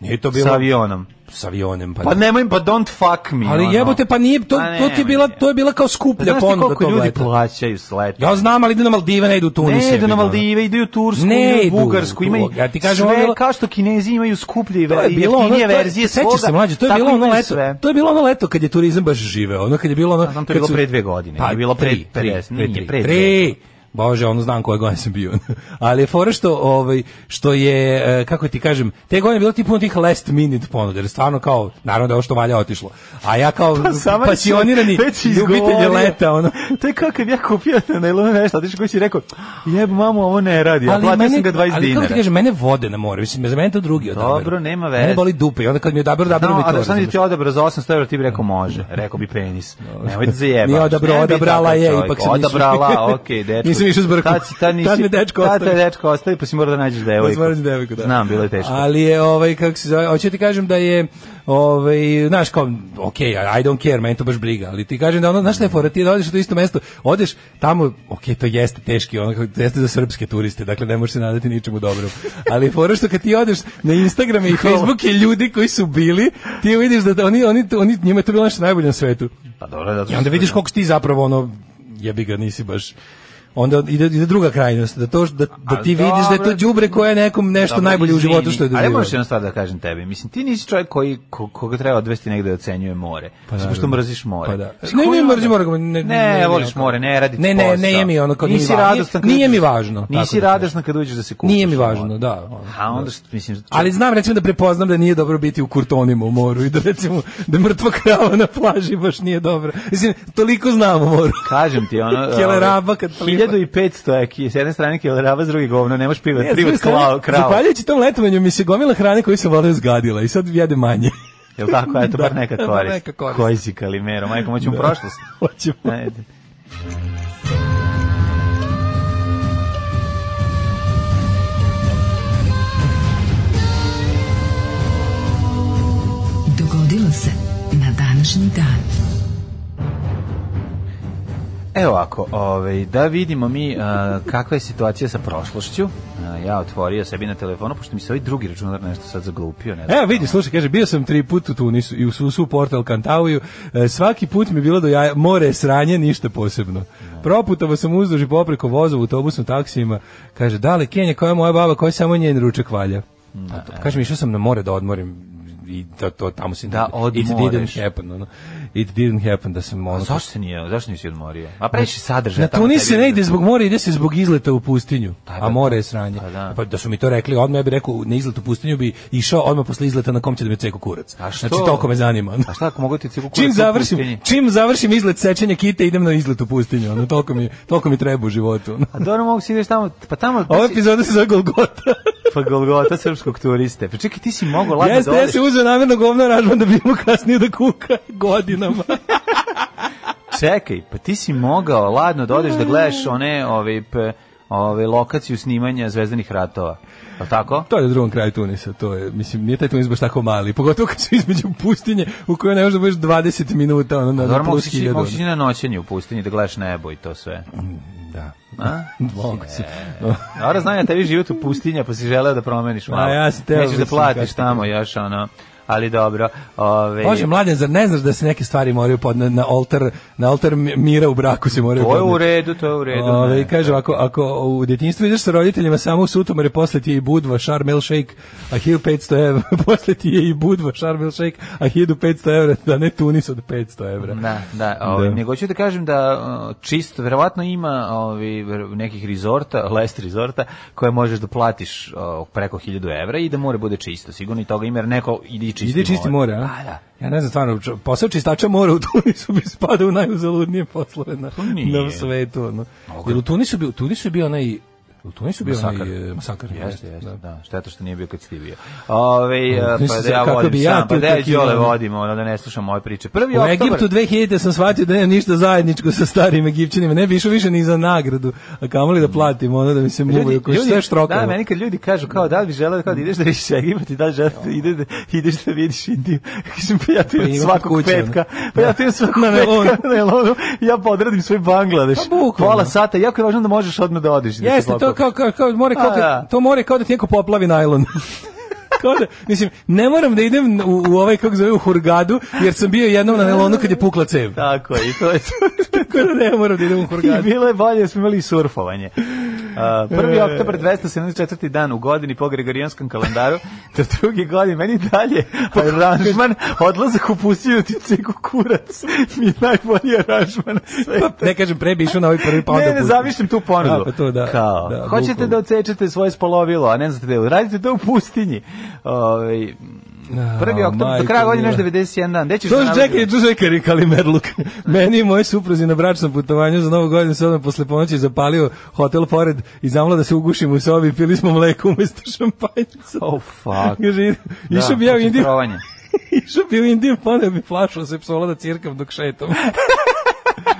F: Nije to bilo
G: Sa avionom.
F: s avionem, pa,
G: Pa nemoj, pa don't fuck me. ono.
F: Ali jebote, pa nije, to,
G: Pa
F: to ti je
G: nemoj,
F: bila,
G: ne.
F: to je bila kao
G: Pa
F: skuplja
G: Znaš ti
F: ponuda
G: koliko
F: tog
G: ljudi
F: leta.
G: plaćaju s leta?
F: Ja znam, ali idu na Maldive, ne idu u Tunis.
G: Ne idu na
F: jebiga, ono.
G: Maldive, idu u Tursku,
F: Ne
G: ne
F: idu
G: u
F: u
G: Bugarsku, imaju
F: Turku. Ja ti kažem,
G: sve
F: ono bilo-
G: kao što Kinezi imaju skuplje i
F: To je bilo ono,
G: jeftinije
F: to je-
G: verzije
F: sećaš
G: svoga.
F: se mlađe, to je
G: tako
F: bilo ono
G: imaju
F: leto.
G: sve.
F: To je bilo ono leto kad je turizam baš živeo, ono kad je bilo ono
G: Ja znam, to je
F: kad
G: bilo
F: su- Pa,
G: pre dve godine, je bilo pre-
F: tri,
G: pre-
F: tri,
G: nije,
F: tri,
G: pre
F: tri.
G: dve.
F: Bože, ono znam koje godine sam bio. Ali je fora što, ovaj, što je, e, kako ti kažem, te godine je bilo ti puno tih last minute ponude, jer stvarno kao, naravno da je ovo što valja otišlo. A ja kao
G: Pa sama
F: pasionirani
G: sam već
F: ljubitelj
G: izgovorio.
F: ono leta, ono.
G: to je kakav ja kupio na najlonu nešto, otišao kući i rekao, jeb mamu, ovo ne radi, a platio sam ga 20
F: ali kako ti
G: dinara.
F: kažem, mene vode na more, mislim, za mene je to drugi odabir.
G: Dobro, nema
F: Mene
G: veze.
F: boli dupe i onda kad mi je odabir, odabir
G: No,
F: mi to.
G: a da sam
F: razumeš?
G: ti odabra za 800 evra, ti bi rekao može. Rekao bi penis. Nemoj da zajebaš.
F: Nije odabrao,
G: Nemoj biti
F: odabrala
G: takav
F: je,
G: čovjek.
F: ipak sam išao.
G: Odabrala, okej, dečko.
F: Nisam išao s brkom.
G: Tad, si, tad, nisi,
F: Tad me dečko
G: Tad te
F: ostavi.
G: dečko ostavi, pa si morao da nađeš devojku.
F: Da smrdi devojku, da.
G: Znam, bilo je teško.
F: Ali je, ovaj, kako se zove, hoću ti kažem da je, ovaj, znaš, kao, ok, I don't care, meni to baš briga, ali ti kažem da ono, znaš šta je fora, ti da odeš u to isto mesto, odeš tamo, ok, to jeste teški, ono, kako- to jeste za srpske turiste, dakle ne možeš se nadati ničemu dobrom, ali je fora što kad ti odeš na Instagram i Facebook je ljudi koji su bili, ti vidiš da oni, oni, oni njima je to bilo nešto najbolje na svetu.
G: Pa dobro, zato
F: I
G: što-
F: onda vidiš koliko si ti zapravo ono jebi ga nisi baš onda ide, ide druga krajnost da to da, da ti
G: A,
F: vidiš da je to
G: dobro.
F: đubre koje je nekom nešto
G: Dobro,
F: najbolje u
G: izvini,
F: životu što je
G: Ali
F: doživio.
G: možeš jednu stvar da kažem tebi. Mislim, ti nisi čovjek koji, ko, koga treba odvesti negde da ocenjuje more. Pa Zato što mrziš more.
F: Pa da.
G: Mislim,
F: Ne,
G: koji
F: ne
G: onda-
F: mrzim more, ne- ne-
G: ne,
F: ne,
G: voliš
F: onako.
G: more, ne radi ti
F: Ne, ne,
G: posao.
F: ne je mi ono kao-
G: nisi
F: nije-
G: radostan. kad
F: nije mi
G: uđeš-
F: važno, tako
G: Nisi
F: da kažem.
G: radostan kad uđeš da se kupaš.
F: Nije mi
G: u
F: važno,
G: moru.
F: da. ono.
G: A onda što, mislim,
F: Ali znam recimo da prepoznam da nije dobro biti u kurtonima u moru i da recimo da mrtva krava na plaži baš nije dobro. Mislim, toliko znam o moru.
G: kažem ti ono
F: Kjeleraba kad pliva.
G: 1500 je ki- s jedne strane keleraba s druge govno nemaš privat
F: Ne, s druge
G: privat
F: strane,
G: krao krao
F: Zahvaljujući tom letovanju mi se gomila hrane koju sam volio zgadila i sad jede manje.
G: jel tako eto bar
F: Da,
G: neka
F: bar
G: korist,
F: neka korist.
G: koji si kalimero majko moću u prošlost
F: Hoćemo.
G: Ajde.
E: Dogodilo se na današnji dan.
G: Evo ovako, ovaj, da vidimo mi a, kakva je situacija sa prošlošću. A, ja otvorio sebi na telefonu, pošto mi se ovaj drugi računar nešto sad zaglupio. Ne znam.
F: Evo vidi, slušaj, kaže, bio sam tri put u Tunisu i u Susu, Portal Kantauju. E, svaki put mi je bilo do jaja, more je sranje, ništa posebno. Proputovo sam uzduž i popreko vozova, autobusom, taksijima. Kaže, da li Kenja, koja je moja baba, koja samo njen ručak valja? A to- Kaže mi, išao sam na more da odmorim i to, to tamo si
G: Da
F: it
G: odmoreš.
F: didn't happen ono. it didn't happen da sam ono
G: Zašto se nije, zašto nisi odmorio? A previše sadržaja.
F: Znači, Na
G: tamo
F: Tunis se
G: tebi-
F: ne ide zbog mora, ide se zbog izleta u pustinju,
G: da.
F: a more je sranje.
G: Pa da.
F: Pa da su mi to rekli, odmah ja bih rekao, na izlet u pustinju bi išao odmah posle izleta na kom će da me ceku kurac.
G: A što?
F: Znači, toliko me zanima.
G: A šta ako mogu ti cijeku
F: Čim završim, čim završim izlet sečenja kite, idem na izlet u pustinju. Ono, toliko, mi, toliko mi treba u životu. ono.
G: A dobro mogu si ideš tamo, pa tamo...
F: Ova epizoda se zove Golgota.
G: Pa Golgota srpskog turiste. Pa čekaj, ti si mogao ladno
F: Jeste,
G: da
F: ja
G: odeš.
F: se uzeo namjerno govno ražban da bi imao kasnije da kuka godinama. Mm.
G: Čekaj, pa ti si mogao ladno da odeš da gledaš one, ove, p, ove, lokaciju snimanja Zvezdanih ratova. Je li tako?
F: To je na drugom kraju Tunisa, to je, mislim, nije taj Tunis baš tako mali, pogotovo kad su između pustinje u kojoj ne možeš da budeš 20 minuta, ono, na,
G: Dobro,
F: na
G: Pa mogu
F: plus
G: si ići-
F: hiljadu. ono.
G: mogu si ići na noćenje u pustinji da gledaš nebo i to sve.
F: Da.
G: A?
F: Mogu si.
G: Dobro, znam ja tebi život u pustinja, pa si želeo da promeniš malo.
F: ja sam teo,
G: Nećeš da
F: mislim,
G: platiš
F: kako-
G: tamo još, ono, ali dobro. Ove,
F: Bože, mladen, zar ne znaš da se neke stvari moraju pod na, na oltar, na oltar mi- mira u braku se moraju
G: To je u
F: podneti?
G: redu, to je u redu.
F: Ove,
G: ne.
F: kaže, ako, ako u djetinjstvu ideš sa roditeljima samo u sutomare, posle ti je i budva, šar milkshake, a 1500 evra, posle ti je i budva, šar milkshake, a 1500 evra, da ne Tunis od 500 evra.
G: Da, da, ovaj,
F: Da.
G: nego ću da kažem da uh, čisto, verovatno ima ovi, nekih rezorta, last rezorta, koje možeš da platiš uh, preko 1000 evra i da more bude čisto, sigurno i toga ima, jer neko ide i čisti
F: Ide čisti more, a?
G: Pa da.
F: Ja ne znam stvarno, čo- posao čistača mora u Tunisu bi spada u najuzaludnije poslove na,
G: nije.
F: na svetu. Ono. Jer u Tunisu bi, u Tunisu bi onaj U Tunisu bi
G: Masakar.
F: onaj e, masakar.
G: Jeste, jeste, da. Šteta što nije bio kad si ti bio. Ove,
F: Mislim
G: pa
F: se,
G: da ja
F: kako
G: vodim
F: bi ja
G: sam, pa
F: tu
G: da ja
F: tako
G: Đole
F: imao.
G: vodim, ono, da ne slušam moje priče. Prvi
F: U
G: oktobar,
F: Egiptu 2000 sam shvatio da nema ništa zajedničko sa starim Egipćanima. Ne bi išao više ni za nagradu, a kamoli da platim ono da mi se muvaju koji sve štrokalo.
G: Mm. Da, meni kad ljudi kažu kao da li bi želeo kao da ideš da vidiš Egipat i da li želeo da ide, da, ideš da vidiš Indiju. Kažem, pa ja tu
F: Pa
G: imam
F: imam
G: svakog
F: kuću,
G: petka. Pa ja tu imam svakog
F: Na nelonu.
G: petka na nelonu. Ja podradim svoj Bangladeš.
F: Pa bukvalno.
G: Pola sata, jako je važno da možeš odmah da odeš. da se
F: Jeste, to
G: poklopiš.
F: kao, kao, kao, more, kao,
G: A,
F: kad-
G: da.
F: to more kao da ti neko poplavi najlon. kao da, mislim, ne moram da idem u, u ovaj, kako zove, u Hurgadu, jer sam bio jednom na nelonu kad je pukla cev.
G: Tako je, i to je to.
F: Tako da ne moram da idem u
G: I
F: Hurgadu.
G: bilo je bolje da smo imali i surfovanje. Uh, A,
F: E.
G: 1. oktober, 274. dan u godini po Gregorijanskom kalendaru, do drugi godin, meni dalje aranžman, odlazak u pustinju ti ceku kurac, mi je najbolji aranžman. na svetu.
F: Pa, ne kažem, pre bi išao na ovaj prvi pa onda
G: ne, ne,
F: pusti.
G: zamišljam tu ponudu.
F: A, pa to da.
G: Kao,
F: Da,
G: hoćete
F: bukvalno.
G: da odsečete svoje spolovilo, a ne znate da je- radite to u pustinji. Ove, prvi
F: A,
G: oktober, do
F: majko
G: kraja godine
F: mila.
G: još 91 dan. Gde ćeš
F: To
G: da
F: je
G: nađeš-
F: čekaj, to je čekaj, Kalimerluk. Meni i moji supruzi na bračnom putovanju za novu godinu se odmah posle ponoći zapalio hotel pored i zamla da se ugušimo u sobi, pili smo mleko umesto šampanjca.
G: Oh, fuck.
F: Kaže, išao bi ja u Indiju,
G: koncentrovanje.
F: išao bi u Indiju, poneo bi flašu se psola da cirkam dok šetam.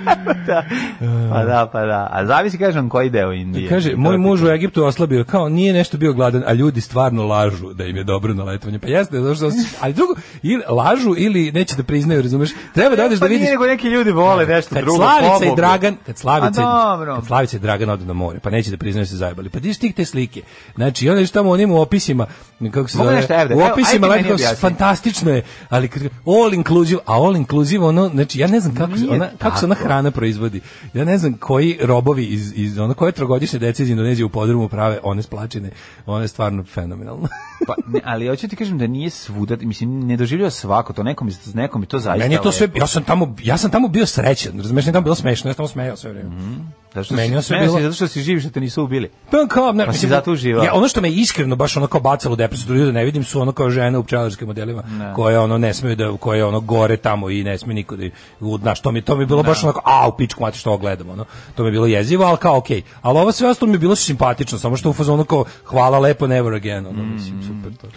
G: Pa da, pa da. A zavisi, kažem, koji deo Indije.
F: Kaže, moj muž u Egiptu je oslabio, kao nije nešto bio gladan, a ljudi stvarno lažu da im je dobro na letovanje. Pa jeste, zato što osjećaš- ali drugo, ili lažu ili neće da priznaju, razumeš? Treba da odeš da
G: Pa
F: vidiš.
G: nije nego neki ljudi vole nešto
F: Kad
G: drugo.
F: Slavica i
G: pobogu.
F: Dragan, kad Slavica,
G: A
F: i-
G: dobro.
F: kad Slavica i Dragan odu na more, pa neće da priznaju da se zajebali. Pa diš tih te slike. Znači, onda što tamo onim u opisima, kako se
G: Mogu
F: zove,
G: nešto, evo da-
F: u
G: evo,
F: opisima,
G: ajde
F: like,
G: meni
F: kao,
G: objasni.
F: fantastično je, ali kad- all inclusive, a all inclusive, ono, znači, ja ne znam kako, se
G: Nije
F: ona, kako se ona hrana proizvodi. Ja ne znam koji robovi iz, iz ono, koje trogodišnje dece iz Indonezije u podrumu prave one splačine, one stvarno fenomenalno.
G: Pa, ne, ali hoću ti kažem da nije svuda, mislim, ne doživljava svako to, nekom, iz- nekom je to zaista.
F: Meni je to sve,
G: lepo.
F: ja sam tamo, ja sam tamo bio srećan, razumeš, nije tamo bilo smešno, ja sam tamo smejao sve vreme.
G: Mhm. Zato što
F: meni je
G: si,
F: to sve
G: meni
F: bilo-
G: si- Zato što si živ, što te nisu ubili.
F: Pa kao, ne,
G: Pa si
F: mislim,
G: zato uživao.
F: Ja, ono što me iskreno baš ono kao bacalo u depresiju, drugo da ne vidim su ono kao žene u pčelarskim modelima koje ono ne smeju da koje ono gore tamo i ne sme niko da u znaš, to mi to mi je bilo baš onako a u pičku mati što ovo gledam ono. To mi je bilo jezivo, al kao okej. Ali ovo sve ostalo mi je bilo simpatično, samo što u fazonu kao hvala lepo never again, ono, mislim super to.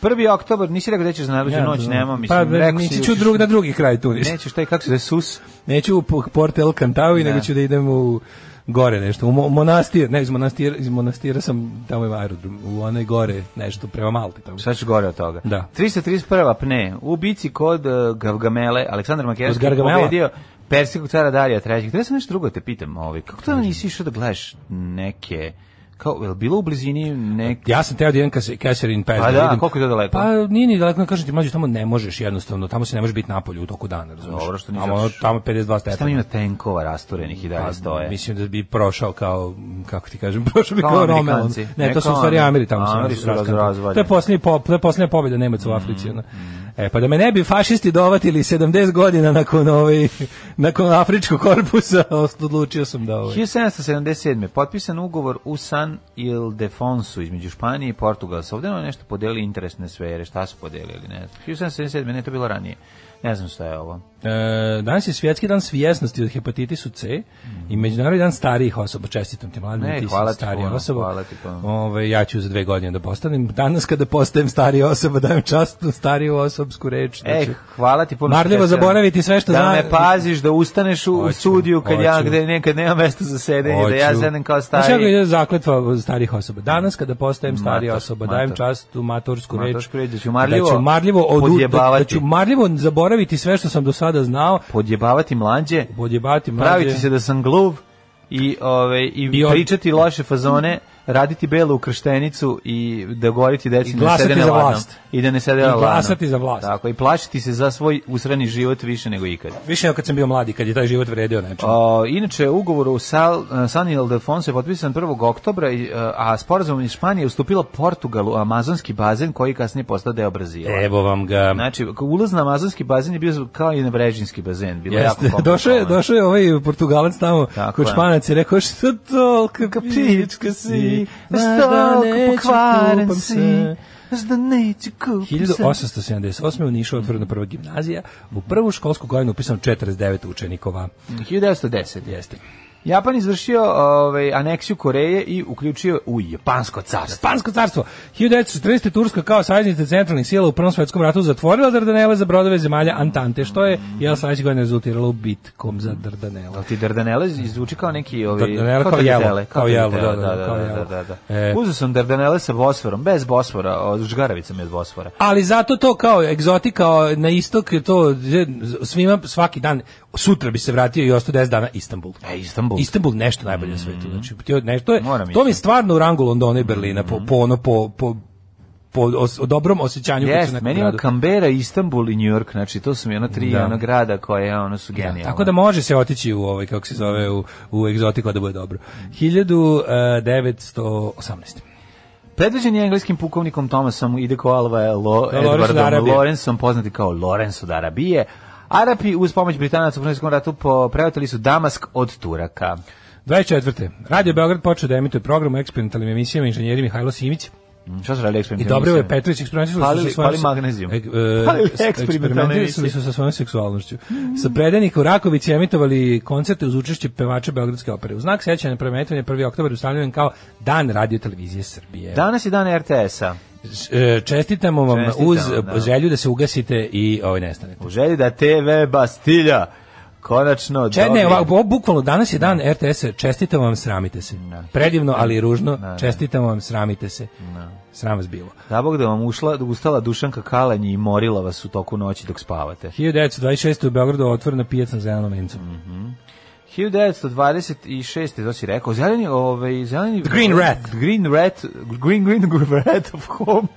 G: Prvi oktober, nisi rekao da ćeš na ja, Mm. noć, nema, mislim,
F: pa,
G: rekao si...
F: nisi ću drug na drugi kraj tu.
G: Nećeš taj, kako se da sus?
F: Neću u P- Port El Kantawi, nego ću da idem u gore nešto, u mo- monastir, ne, iz monastira, iz monastira sam, tamo je aerodrom, u onaj gore, nešto, prema Malti tamo.
G: Šta ćeš gore od toga?
F: Da.
G: 331. pne. U bici kod uh, Gavgamele, Aleksandar Makedonski
F: Kod
G: je
F: Gargamela?
G: pobedio Persijskog cara Darija III. Treba sam nešto drugo da te pitam. Ovaj, kako to da nisi išao da gledaš neke... Kao, je li bilo u blizini neke...
F: Ja sam teo da idem ka Keserin Pes.
G: Pa da,
F: vidim.
G: koliko je to daleko?
F: Pa nije ni daleko, kažem ti, mlađe, tamo ne možeš jednostavno, tamo se ne može biti napolju u toku dana, razumiješ?
G: Dobro, što nisi
F: tamo,
G: otišao.
F: tamo 52 stepena.
G: Šta ima tenkova rasturenih i dalje
F: Pa,
G: stoje?
F: Mislim da bi prošao kao, m, kako ti kažem, prošao bi
G: Kao
F: kao, Romel.
G: Amerikanci.
F: Ne,
G: Ne,
F: to su
G: kao
F: u stvari
G: Ameri-
F: Ameri tamo. se
G: Ameri su Mm,
F: raskantali.
G: razvaljeni.
F: To je posljednja po, to je posljednja pobjeda Nemaca u Africi. ono. E, pa da me ne bi fašisti dovatili 70 godina nakon, ovaj, nakon afričkog korpusa, odlučio sam da ovaj...
G: 1777. potpisan ugovor u San Ildefonsu između Španije i Portugala. Ovdje ono nešto podeli interesne sfere, šta su podelili, ne znam. 1777. ne, to je bilo ranije. Ne znam šta je ovo.
F: E, danas je svjetski dan svjesnosti od hepatitisu C i međunarodni dan starijih osoba. Čestitam ti mladen,
G: Ne,
F: ti si
G: hvala ti
F: starija
G: puno,
F: osoba.
G: hvala ti puno.
F: Ove, ja ću za dve godine da postanem. Danas kada postajem starija osoba, dajem častnu stariju osobsku reč. da
G: E,
F: ću-
G: hvala ti puno. što
F: Znači, Marljivo
G: si-
F: zaboraviti sve što
G: da
F: zna-
G: me pa, paziš, da ustaneš u, u
F: Hoću,
G: studiju kad ja
F: hoću.
G: gde nekad nema mesta za sedenje, da ja
F: Hoću.
G: sedem kao
F: Znaš kako
G: stari.
F: je zakletva starih osoba? Danas kada postajem starija
G: Mator,
F: osoba, dajem
G: mator.
F: čast u matorsku reč.
G: Matorsku reč, da ću marljivo
F: da ću marljivo, odu- da, da
G: podjebavati.
F: ću marljivo zaboraviti sve što sam do sada znao,
G: Podjebavati mlađe,
F: podjebati mlađe.
G: praviti se da sam gluv i, ove, i,
F: I od-
G: pričati loše fazone, raditi belu ukrštenicu i da govoriti deci
F: I
G: da ne
F: glasati
G: sede na
F: za
G: ladnom.
F: vlast.
G: I da ne sede
F: I
G: na ladnom.
F: glasati za vlast.
G: Tako, i plašiti se za svoj usrani život više nego ikad.
F: Više nego kad sam bio mladi, kad je taj život vredio znači. nečem.
G: O, inače, ugovor u Sal, e, San Ildefonso je potpisan 1. oktobra, i, e, a sporazum iz Španije je ustupila Portugalu, amazonski bazen koji je kasnije postao deo Brazila.
F: Evo vam ga.
G: Znači, k- ulaz na amazonski bazen je bio kao i na brežinski bazen. Bilo je jako
F: Jeste,
G: komplikovano.
F: došao je, došao je ovaj Portugalac tamo
G: Tako
F: kod
G: je.
F: Španac i rekao što tolika pička si,
G: Znaš
F: znaš
G: da
F: da
G: neću,
F: neću,
G: pokvaren
F: kupam
G: si,
F: se.
G: znaš da neću, kupam se.
F: 1878. u Nišu otvorena prva gimnazija, u prvu školsku godinu upisano 49 učenikova.
G: 1910 je.
F: Jeste.
G: Japan izvršio ovaj, aneksiju Koreje i uključio u Japansko carstvo.
F: Špansko carstvo. 1914. Turska kao saveznica centralnih sila u Prvom svjetskom ratu zatvorila Dardanele za brodove zemalja Antante, što je, jel, sledeće godine rezultiralo bitkom za Dardanele.
G: Ali ti Dardanele zvuči kao neki ovi
F: Dardanele kao jelo,
G: traditele,
F: kao jelo,
G: traditele,
F: da, da,
G: da,
F: kao
G: da,
F: jelo.
G: da, da, da.
F: E.
G: Uzeo sam Dardanele sa Bosforom, bez Bosfora, od žgaravica mi je od Bosfora.
F: Ali zato to kao egzotika na istok je to je, svima svaki dan sutra bi se vratio i ostao 10 dana Istanbul.
G: E, Istanbul. Mm.
F: Istanbul nešto najbolje na svetu. Znači, to je nešto je,
G: Moram
F: to mi je
G: ići. Mm.
F: stvarno u rangu Londona i Berlina po po ono po po po os- o dobrom osjećanju kad
G: Jes,
F: su na
G: meni je
F: gradu.
G: Kambera, Istanbul i New York, znači to su mi ono tri
F: Da.
G: ono grada koje ono su
F: Da,
G: genijalne.
F: tako da može se otići u ovaj kako se zove u, u egzotiku a da bude dobro.
G: Mm.
F: e, 1918.
G: Predviđen je engleskim pukovnikom Thomasom Ideko Alva e, Lo,
F: Da, Lawrence od
G: Edwardom
F: Arabije.
G: Lorenzom, poznati kao Lorenz od Arabije. Arapi uz pomoć Britanaca u Francuskom ratu po- preoteli su Damask od Turaka.
F: 24. Radio Beograd počeo da emituje program u eksperimentalnim emisijama inženjeri Mihajlo Simić.
G: Mm, Šta su radili
F: I
G: eksperimentalni
F: dobro je
G: misije?
F: Petrović eksperimentirali
G: Palili-
F: su sa svojom...
G: pali magnezijum.
F: E,
G: Palili
F: e,
G: eksperimentalne
F: eksperimentirali su sa svojom seksualnošću. Sa predenika u Rakovici emitovali koncerte uz učešće pevača Beogradske opere. U znak sećanja na premetanje 1. oktobar ustavljen kao Dan radio televizije Srbije.
G: Danas je dan RTS-a.
F: E, Čestitamo vam
G: Čestitamo,
F: uz
G: da.
F: želju da se ugasite i ovaj nestanete.
G: U želji da TV Bastilja konačno
F: Če, ne,
G: dobije-
F: ovako, ovo bukvalno danas je dan RTS-a, čestitamo vam, sramite se. Predivno, ali i ružno, čestitamo vam, sramite se. Sram vas bilo.
G: Da bog da vam ušla, ustala Dušanka Kalanj i morila vas u toku noći dok spavate.
F: 1926. u Beogradu otvorena pijaca na zelenom vencu.
G: 1926. to si rekao, zeleni, ovaj, zeleni...
F: The Green Rat.
G: Green Rat, Green, Green Rat of Home.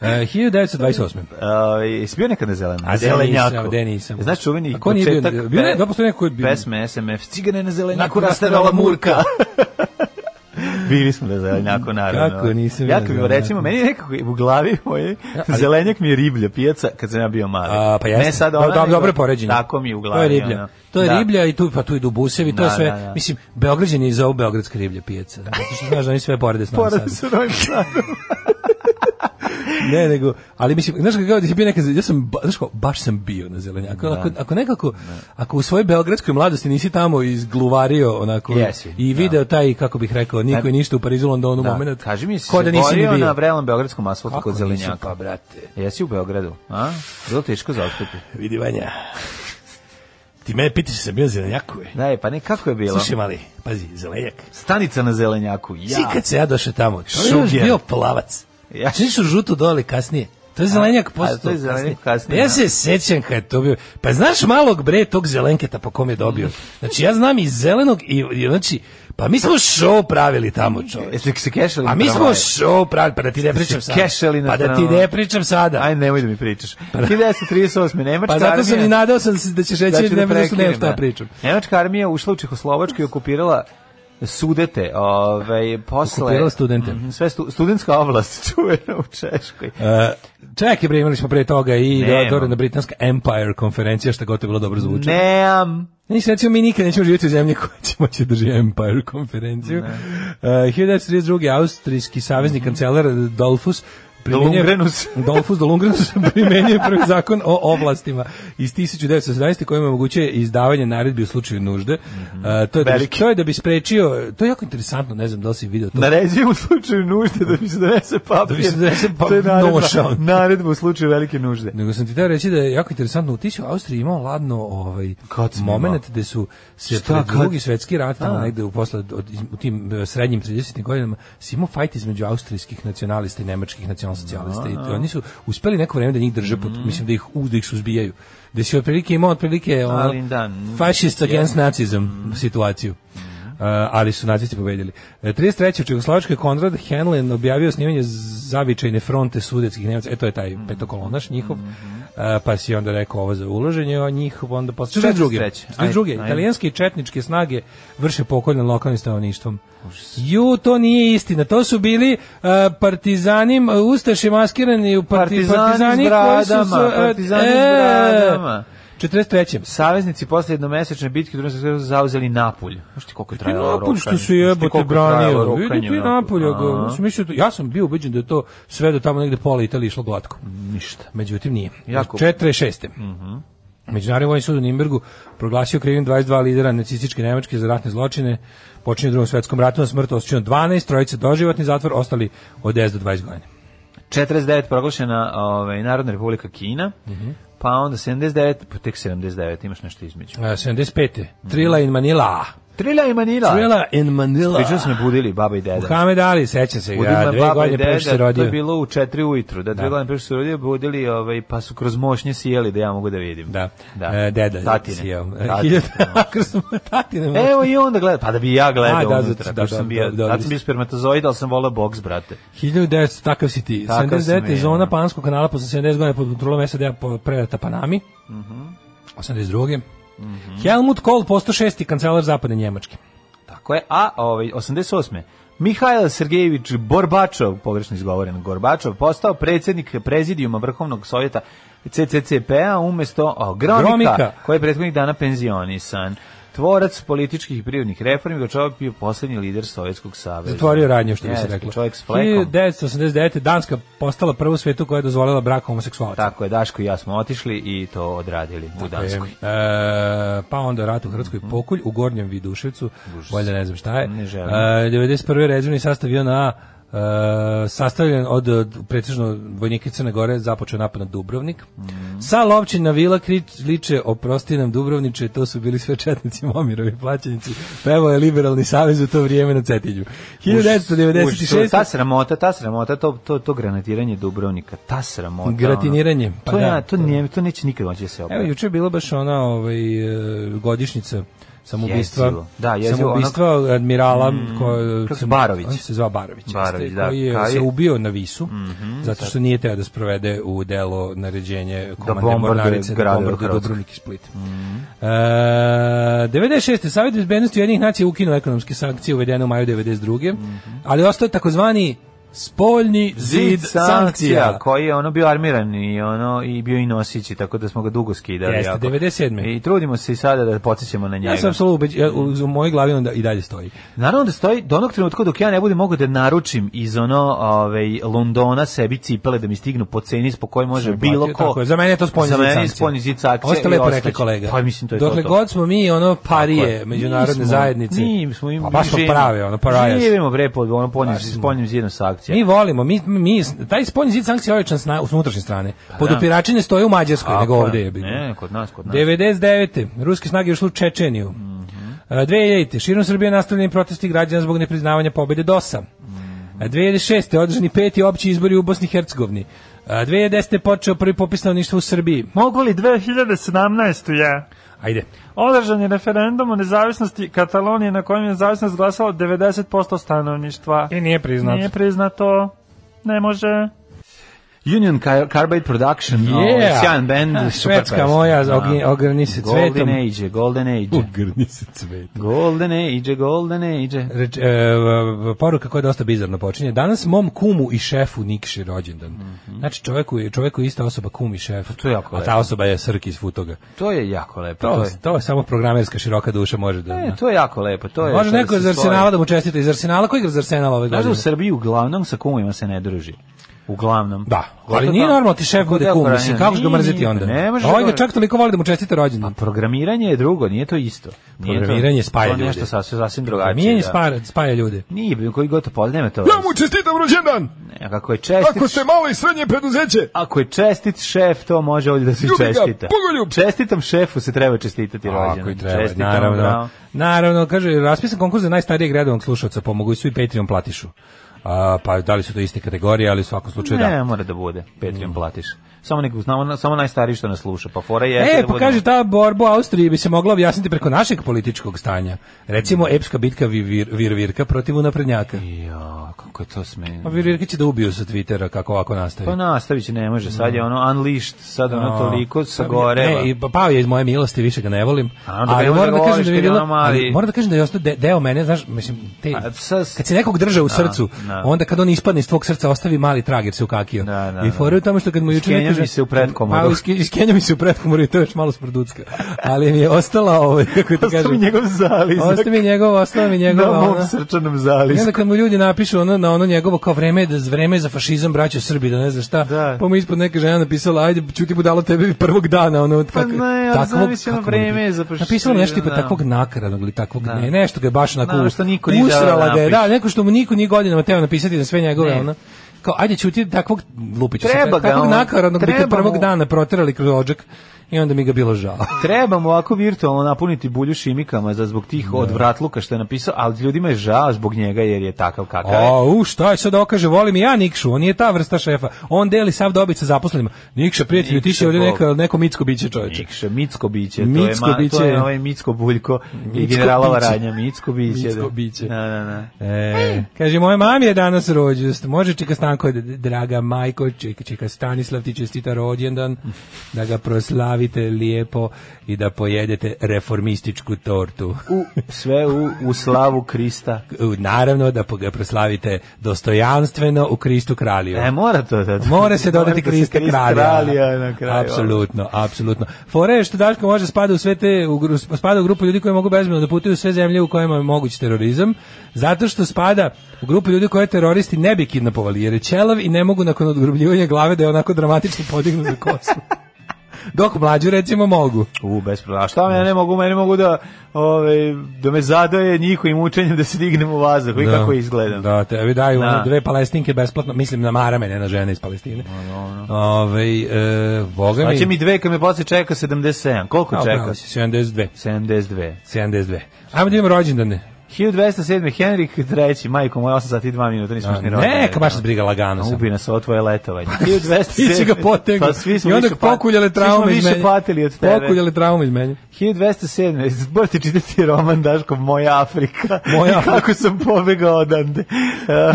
F: E, 1928.
G: Uh, jesi bio nekad na zelenom?
F: A
G: Zelenjaku.
F: nisam, gde nisam.
G: Znaš čuveni
F: A ko nije bio na-
G: početak
F: bio je-
G: pe-
F: da, postoji neko ko je bio-
G: Pesme SMF, cigane na zelenjaku,
F: Nakon
G: rastavala
F: rastavala
G: murka. Bili smo na zelenjaku, naravno.
F: Kako nisam bio
G: Jako
F: na
G: bi, recimo,
F: zelenjaku?
G: meni je nekako u glavi moje, zelenjak mi je riblja pijaca kad sam ja bio mali.
F: A, pa jeste.
G: Ne sad
F: Do-
G: ona,
F: do-
G: nego
F: dobro je poređenje.
G: Tako mi je u glavi.
F: To je riblja.
G: ono.
F: To je
G: Da.
F: riblja i tu pa tu idu busevi, to
G: Da,
F: je sve.
G: da, da.
F: Mislim Beograđani zovu beogradska riblja pijaca. Zato što znaš da oni sve porede s nama
G: Porad
F: sad.
G: sa Novim Sadom.
F: Ne, nego, ali mislim, znaš kako je bio nekad, ja sam, ba- znaš kako, baš sam bio na zelenjaku. Ako, ako nekako, ako u svojoj beogradskoj mladosti nisi tamo izgluvario onako
G: Jesi,
F: i
G: da.
F: video taj, kako bih rekao, niko i ništa u Parizu, Londonu
G: Da,
F: moment.
G: Kaži mi, si
F: ko
G: se
F: da nisi ni
G: borio
F: bio.
G: na vrelom beogradskom asfaltu
F: Kako
G: kod
F: nisam,
G: zelenjaka?
F: Pa, brate,
G: Jesi u Beogradu, a? Bilo teško za otkupi.
F: vidi Vanja. Ti mene pitaš da sam bio na zelenjaku, je.
G: Da, pa ne, kako je bilo?
F: Slušaj mali, pazi, zelenjak.
G: Stanica na zelenjaku, ja.
F: Svi kad se ja došao tamo, to je još
G: Šuger.
F: bio plavac.
G: Ja.
F: Ja. Svi su žuto dole kasnije. To je zelenjak
G: a,
F: posle.
G: to je zelenjak kasnije,
F: Pa
G: da.
F: ja se sećam kad je to bio. Pa znaš malog bre tog zelenketa po kom je dobio. Znači ja znam i zelenog i, i znači pa mi smo show pravili tamo, čoveče.
G: Jeste E, se kešali na
F: A mi smo
G: tramvaju?
F: show pravili, pa da ti ne pričam sada.
G: kešali na
F: Pa da ti
G: tramvaju?
F: ne pričam sada.
G: Aj, nemoj da mi pričaš. 1938. Nemačka
F: Pa zato sam
G: armija-
F: i nadao sam se da ćeš reći
G: Da ću
F: da ne da
G: prekinem,
F: nemam šta
G: da.
F: pričam.
G: Nemačka armija ušla u Čehoslovačku i okupirala sudete, ovaj, posle...
F: Okupirala studente.
G: Mhm, sve stu, studentska oblast čuvena u Češkoj.
F: E, čekaj, bre, imali smo pre toga i
G: Nemam.
F: Dorana britanska Empire konferencija, što gotovo bilo dobro zvuči.
G: Neam.
F: Nisi recimo mi nikad nećemo živjeti u zemlji koja će moći drži Empire E, konferenciju. Uh, 1932. austrijski savezni kancelar Dolfus primenjuje-
G: Mhm. Lungrenus.
F: Dolfus Dolungrenus primenjuje prvi zakon o oblastima iz 1917. kojim omogućuje izdavanje naredbi u slučaju nužde. E, to, je da bi,
G: Mhm. Veliki.
F: to je da bi sprečio, to je jako interesantno, ne znam da li si video to.
G: Naređuje u slučaju nužde da mi se donese
F: Da
G: papir.
F: mi se donese pa-
G: To je naredba,
F: nož, ono.
G: naredba u slučaju velike nužde.
F: Nego sam ti teo reći da je jako interesantno, ti si u Austriji imao ladno ovaj
G: Kad sam
F: moment gde su se
G: Šta,
F: pred
G: kad?
F: drugi svetski rat, tamo negde u, posle, od, iz- u tim e, srednjim 30. godinama, si imao fajt između austrijskih nacionalista i nemačkih nacionalsocijalista i to- oni su uspeli neko vreme da njih drže,
G: Mhm.
F: pod, mislim da ih, u- da ih suzbijaju. Da si otprilike imao otprilike
G: Ali
F: ono,
G: da, Mhm.
F: fašist
G: je.
F: against nazism situaciju. Uh, ali su nacisti pobedili. E, 33. u Čegoslovačkoj Konrad Henlen objavio snimanje zavičajne fronte sudetskih Nemaca. E, to je taj
G: Mhm.
F: petokolonaš njihov. E, pa si onda rekao ovo za uloženje, a njihov onda posle... Sve
G: 43..
F: druge, sve
G: Ajde,
F: druge
G: ajde.
F: italijanske i četničke snage vrše pokolj nad lokalnim stanovništvom. Ju, to nije istina. To su bili uh, partizani, m, ustaše maskirani u parti,
G: Partizani s
F: koji su
G: bradama,
F: se, e,
G: partizani s
F: e,
G: bradama.
F: 43.
G: Saveznici posle jednomesečne bitke u drugom svetskom ratu zauzeli Napulj. Znaš ti koliko je
F: Ti
G: trajalo
F: napolj
G: rokanje?
F: što se
G: Znaš ti
F: jebote
G: koliko je trajalo
F: branio. Vidi
G: rokanje
F: ti
G: u Napulju?
F: napolj.
G: A,
F: ja sam mislio da- Ja sam bio ubeđen da je to sve do tamo negde pola Italije išlo glatko.
G: Ništa.
F: Međutim, nije.
G: Jako. Mhm.
F: 46. Međunarodni vojni sud u Nimbergu proglasio krivim 22 lidera nacističke Nemačke za ratne zločine, počinje u drugom svetskom ratu na smrt, osuđeno 12, trojica doživotni zatvor, ostali od 10 do 20 godina.
G: 49 proglašena ovaj, Narodna republika Kina,
F: Mhm.
G: pa onda 79, pa tek 79, imaš nešto između.
F: E, 75. Trila in Manila.
G: Trila i Manila.
F: Trila in Manila.
G: Pričali smo je budili baba i deda.
F: Muhammed Ali, sećam se
G: Budili
F: ga,
G: me
F: dve
G: baba i
F: godine pre što se
G: deda, to je
F: rodio.
G: bilo u 4 ujutru, da, dve godine pre što se rodio, budili, ovaj, pa su kroz mošnje sjeli da ja mogu da vidim.
F: Da. E, deda.
G: Tatine.
F: Sijao. E,
G: Tatine. ono. E,
F: hiljada- Ako smo tatine, možda.
G: Evo i onda gleda, pa da bi ja gledao
F: A, da,
G: unutra,
F: zato- da,
G: pošto
F: da,
G: sam
F: da,
G: bio,
F: da,
G: tad
F: da.
G: sam bio spermatozoid, ali sam volao boks, brate.
F: 1900, takav si ti.
G: Takav sam
F: 79.
G: ja.
F: zona Panskog kanala posle 70 godina pod kontrolom SAD-a po- predata Panami.
G: Mhm.
F: 82. Helmut Kohl postao šesti kancelar zapadne Njemačke.
G: Tako je. A ovaj 88. Mihajl Sergejević Borbačov, pogrešno izgovoren Gorbačov, postao predsjednik prezidijuma Vrhovnog sovjeta CCCP-a P-a umesto o, Gromika,
F: Gromika.
G: koji je prethodnih dana penzionisan. Tvorac političkih i prirodnih reformi, Gorbačov je bio posljednji lider Sovjetskog saveza.
F: Zatvorio radnje, što bi se
G: Jeste,
F: reklo.
G: Čovjek s flekom.
F: 1989. Danska postala prvo svetu koja je dozvolila brak homoseksualaca.
G: Tako je, Daško i ja smo otišli i to odradili u Danskoj.
F: E, pa onda rat u Hrvatskoj pokolj u Gornjem Viduševcu, valjda ne znam šta je.
G: Mhm. Ne želim.
F: E, 91. rezervni sastav JNA e, sastavljen od, od pretežno vojnike Crne Gore započeo napad na Dubrovnik.
G: Mhm.
F: Sa Lovčina Vila krič, liče oprosti nam Dubrovniče, to su bili sve četnici Momirovi plaćenici. Pevao je Liberalni savez u to vrijeme na Cetinju.
G: Uš, ta
F: 1996.
G: sramota, ta sramota, to, to, to granatiranje Dubrovnika, ta sramota.
F: Gratiniranje,
G: ono.
F: pa
G: to,
F: da.
G: ja, to, nije, to neće nikad moći da se
F: Evo,
G: opraviti.
F: juče je bila baš ona ovaj, e, godišnjica samoubistva,
G: Jezivo. Da, jezivo, Mm,
F: samoubistva admirala ko,
G: kako se Barović?
F: On se zvao Barović, jeste,
G: Barović, da,
F: koji je
G: kaj
F: se
G: je- Mhm.
F: ubio na Visu, zato što nije teo da sprovede u delo naređenje komande
G: bombarduje
F: Mornarice da
G: gradove Mhm.
F: bombarduje
G: Hrvatske.
F: Dubrovnik i Split. E, 96. Savjet bezbednosti Ujedinjenih nacija ukinuo ekonomske sankcije uvedene u maju 92.
G: Mhm.
F: Ali ostao je takozvani spoljni zid, sankcija.
G: koji je ono bio armiran i ono i bio i nosići tako da smo ga dugo skidali
F: Jeste,
G: jako.
F: 97..
G: i trudimo se i sada da podsjećamo na njega
F: Ja sam apsolutno ubeđen, ja, u, u mojoj glavi onda i dalje stoji.
G: naravno da stoji do onog trenutka dok ja ne budem mogao da naručim iz ono ovaj Londona sebi cipele da mi stignu po ceni po kojoj može
F: Sam platio,
G: bilo ko
F: tako je. Za mene je to spoljni
G: Za
F: zid
G: mene je
F: sankcija.
G: spoljni zid sankcija
F: Ovo ste
G: i
F: lepo
G: ostaće.
F: rekli kolega.
G: pa mislim to je
F: Dokle
G: to, to.
F: god smo mi ono
G: Tako
F: parije
G: je.
F: međunarodne
G: Mi smo-
F: zajednice.
G: mi smo im
F: pa baš smo
G: živimo.
F: prave, ono parijas.
G: živimo bre pod ono pod spoljnim zidom sankcija
F: Mi volimo, mi, mi, taj spoljni zid sankcija je ojačan sna, s unutrašnje strane. Podupirači ne stoje u Mađarskoj,
G: Pa Tako
F: nego
G: je.
F: ovde je bilo.
G: ne kod nas kod nas
F: 99. Ruske snage ušle u Čečeniju. Mm
G: Mhm.
F: 2000. Širom Srbije nastavljeni protesti građana zbog nepriznavanja pobede DOS-a.
G: Mhm.
F: A 2006. održani peti opći izbori u Bosni i Hercegovini. A 2010. je počeo prvi popis stanovništva u Srbiji.
I: Mogu li 2017. ja?
F: Ajde.
I: Održan je referendum o nezavisnosti Katalonije na kojem je nezavisnost glasalo 90% stanovništva.
F: I nije priznat.
I: Nije priznato. Ne može.
G: Union Car Carbide Production,
F: Yeah.
G: ovaj, sjajan band,
F: Ha,
G: super
F: švedska
G: pesma.
F: moja,
G: Da.
F: ogni- ogrni se cvetom.
G: Golden Age, Golden Age.
F: Grni se cvet.
G: Golden Age, Golden Age.
F: Reč, e, v- v- poruka koja je dosta bizarno počinje. Danas mom kumu i šefu Nikši rođendan. Znači čoveku je, čoveku je ista osoba kum i šef.
G: Mhm. Pa to je jako
F: A ta
G: lepo.
F: osoba je Srki iz Futoga.
G: To je jako lepo.
F: To,
G: To
F: to, je samo programerska široka duša može da...
G: je, to je jako lepo. To je,
F: Može
G: to
F: neko
G: se
F: iz
G: stoji.
F: Arsenala da mu čestite. Iz Arsenala? Ko igra za Arsenal ove
G: Znaš da
F: godine?
G: u Srbiji uglavnom sa kumovima se ne druži. uglavnom.
F: Da, ali
G: Zato
F: nije
G: kao-
F: normalno ti šef
G: Tako
F: bude
G: da,
F: kum,
G: ako
F: mislim,
G: ranije-
F: kako ćeš ga
G: Nije,
F: mrziti
G: pa
F: onda?
G: Ne može.
F: A ovaj
G: da-
F: ga čak toliko voli da mu čestite rođendan.
G: Programiranje je drugo, nije to isto. Nije to-
F: Programiranje spaja
G: To je
F: ljude.
G: nešto sasvim, sasvim drugačije.
F: Mijenje
G: da.
F: spaja, spaja ljude.
G: Nije, koji god to pol, nema to.
F: mu čestitam rođendan!
G: Ne, Kako je čestit,
F: malo i srednje preduzeće,
G: ako je čestit šef, to može ovdje da se
F: Ljubi ga,
G: čestita.
F: bogoljub!
G: Čestitam šefu se treba čestitati rođendan.
F: Ako i treba,
G: Čestitam,
F: naravno.
G: bravo.
F: Naravno, kaže, raspisan konkurs za najstarijeg redovnog slušalca, pomogu i svi Patreon platišu. A, pa da li su to iste kategorije, ali u svakom slučaju da. Mm.
G: Ne, mora da bude. Patreon platiš. Samo nek znamo, samo najstariji što nas sluša. Pa fora je
F: E,
G: da
F: pa
G: budemo-
F: kaže, ta borba u Austriji bi se mogla objasniti preko našeg političkog stanja. Recimo, epska bitka Vir- Vir- Virvirka protiv unaprednjaka.
G: Ja, kako je to sme.
F: Pa Virvirka će da ubiju sa Twittera kako ovako nastavi.
G: Pa nastavit će, ne može.
F: Mm.
G: Sad je ono unleashed, sad ono toliko sagoreva.
F: Ne, i pa- pao je iz moje milosti, više ga ne volim.
G: A onda ga
F: ali
G: ne
F: moram da
G: voliš,
F: kažem da mi je
G: kad je
F: bilo,
G: ono mali.
F: ali moram da kažem da je ostao de- deo mene, znaš, mislim, te,
G: A sa-
F: kad se nekog drže u srcu,
G: da.
F: onda kad on ispadne iz tvog srca, ostavi mali trag jer se ukakio.
G: Da, da,
F: I
G: da.
F: fora je u tome što kad mu juče
G: Iskenja
F: neko kaže-
G: mi se u pretkomoru.
F: Pa, iske- iskenja mi se u pretkomoru i to je još malo sprducka. Ali mi je ostala, ovaj, kako ti
G: Ostavi
F: kažem,
G: njegov zalizak.
F: ostavi mi njegov, ostala mi njegov,
G: na
F: ona-
G: mom srčanom
F: I onda
G: zalizku.
F: kad mu ljudi napišu ono, na ono njegovo kao vreme je da vreme je za fašizam braćo Srbi da ne znaš šta,
G: Da.
F: pa mu ispod neka žena napisala ajde čuti budalo tebe prvog dana ono od
G: Pa
F: kako,
G: ne, ali zamisli, ono,
F: kako mu bi-
G: vreme je za fašizam,
F: Napisala mu nešto tipa
G: da.
F: takvog nakaradnog ili takvog
G: Da.
F: ne, nešto ga je baš onako
G: Da, što niko nije želeo
F: usrala
G: da
F: ga je, da,
G: napiše.
F: neko što mu niko nije godinama teo napisati na sve njegove
G: Ne.
F: ono kao ajde čuti takvog lupića
G: Treba ga
F: takvog
G: on,
F: nakaradnog bi te
G: treba
F: prvog
G: mu.
F: dana proterali kroz odžak i onda mi ga bilo žao.
G: Treba mu ovako virtualno napuniti bulju šimikama za zbog tih odvratluka što je napisao, ali ljudima je žao zbog njega jer je takav kakav je.
F: A, u, šta je sad okaže, volim i ja Nikšu, on nije ta vrsta šefa, on deli sav dobit sa zaposlenima. Nikša, prijatelju, ti si
G: Nikša,
F: ovdje
G: Bog.
F: neka, neko micko biće čoveče.
G: Nikša, Micko biće,
F: Micko
G: to je, ma,
F: biće.
G: to je ovaj Micko Buljko i
F: Micko
G: generalova
F: biće.
G: radnja, Micko biće. da.
F: Micko biće.
G: Da, da, da.
F: E, kaže, moja mami je danas rođust, može čeka Stanko, d- draga majko, čeka, čeka Stanislav, ti čestita rođendan, da ga proslavite lijepo i da pojedete reformističku tortu.
G: U, sve u, u slavu Krista.
F: U, Naravno da po- ga proslavite dostojanstveno u Kristu kralju.
G: E, mora to da.
F: Mora se dodati
G: Mora da se
F: Krista
G: Krist
F: kralja. ono.
G: kralja na kraju. ono.
F: Apsolutno, apsolutno. Fore je što Daško može spada u sve te u, gru- spada u grupu ljudi koji mogu bezbedno da putuju u sve zemlje u kojima je moguć terorizam, zato što spada u grupu ljudi koje teroristi ne bi kidnapovali, jer je ćelav i ne mogu nakon odgrubljivanja glave da je onako dramatično podignu za kosu. Dok mlađu recimo mogu.
G: U, bez problema. A Šta me ja ne mogu, meni mogu da, ovaj, da me zadoje njihovim učenjem da se dignem u vazduh i kako izgledam.
F: Da, tebi daju
G: Da.
F: ono dve palestinke besplatno, mislim na marame, ne na žene iz Palestine. Ovaj, e, boga mi...
G: Pa Ono, će mi dve kad me posle čeka 77. Koliko
F: A,
G: čeka?
F: pravo si, 72.
G: 72.
F: 72. Ajmo da imamo rođendane.
G: 1207. Henrik III. Majko moja 8 sati i 2 minuta, nismo još ni rođeni.
F: Neka baš nas briga lagano sam.
G: Ubi nas ovo tvoje letovanje. 1207.
F: Ti si ga potegao.
G: Pa svi smo
F: I onda
G: više pat-
F: pokuljale traume
G: Svi
F: iz
G: smo
F: mene.
G: više patili od tebe.
F: Pokuljale traume iz mene.
G: 1207. Morate čitati roman Daško Moja Afrika.
F: Moja
G: I
F: Afrika. Pa
G: Kako sam pobegao odande.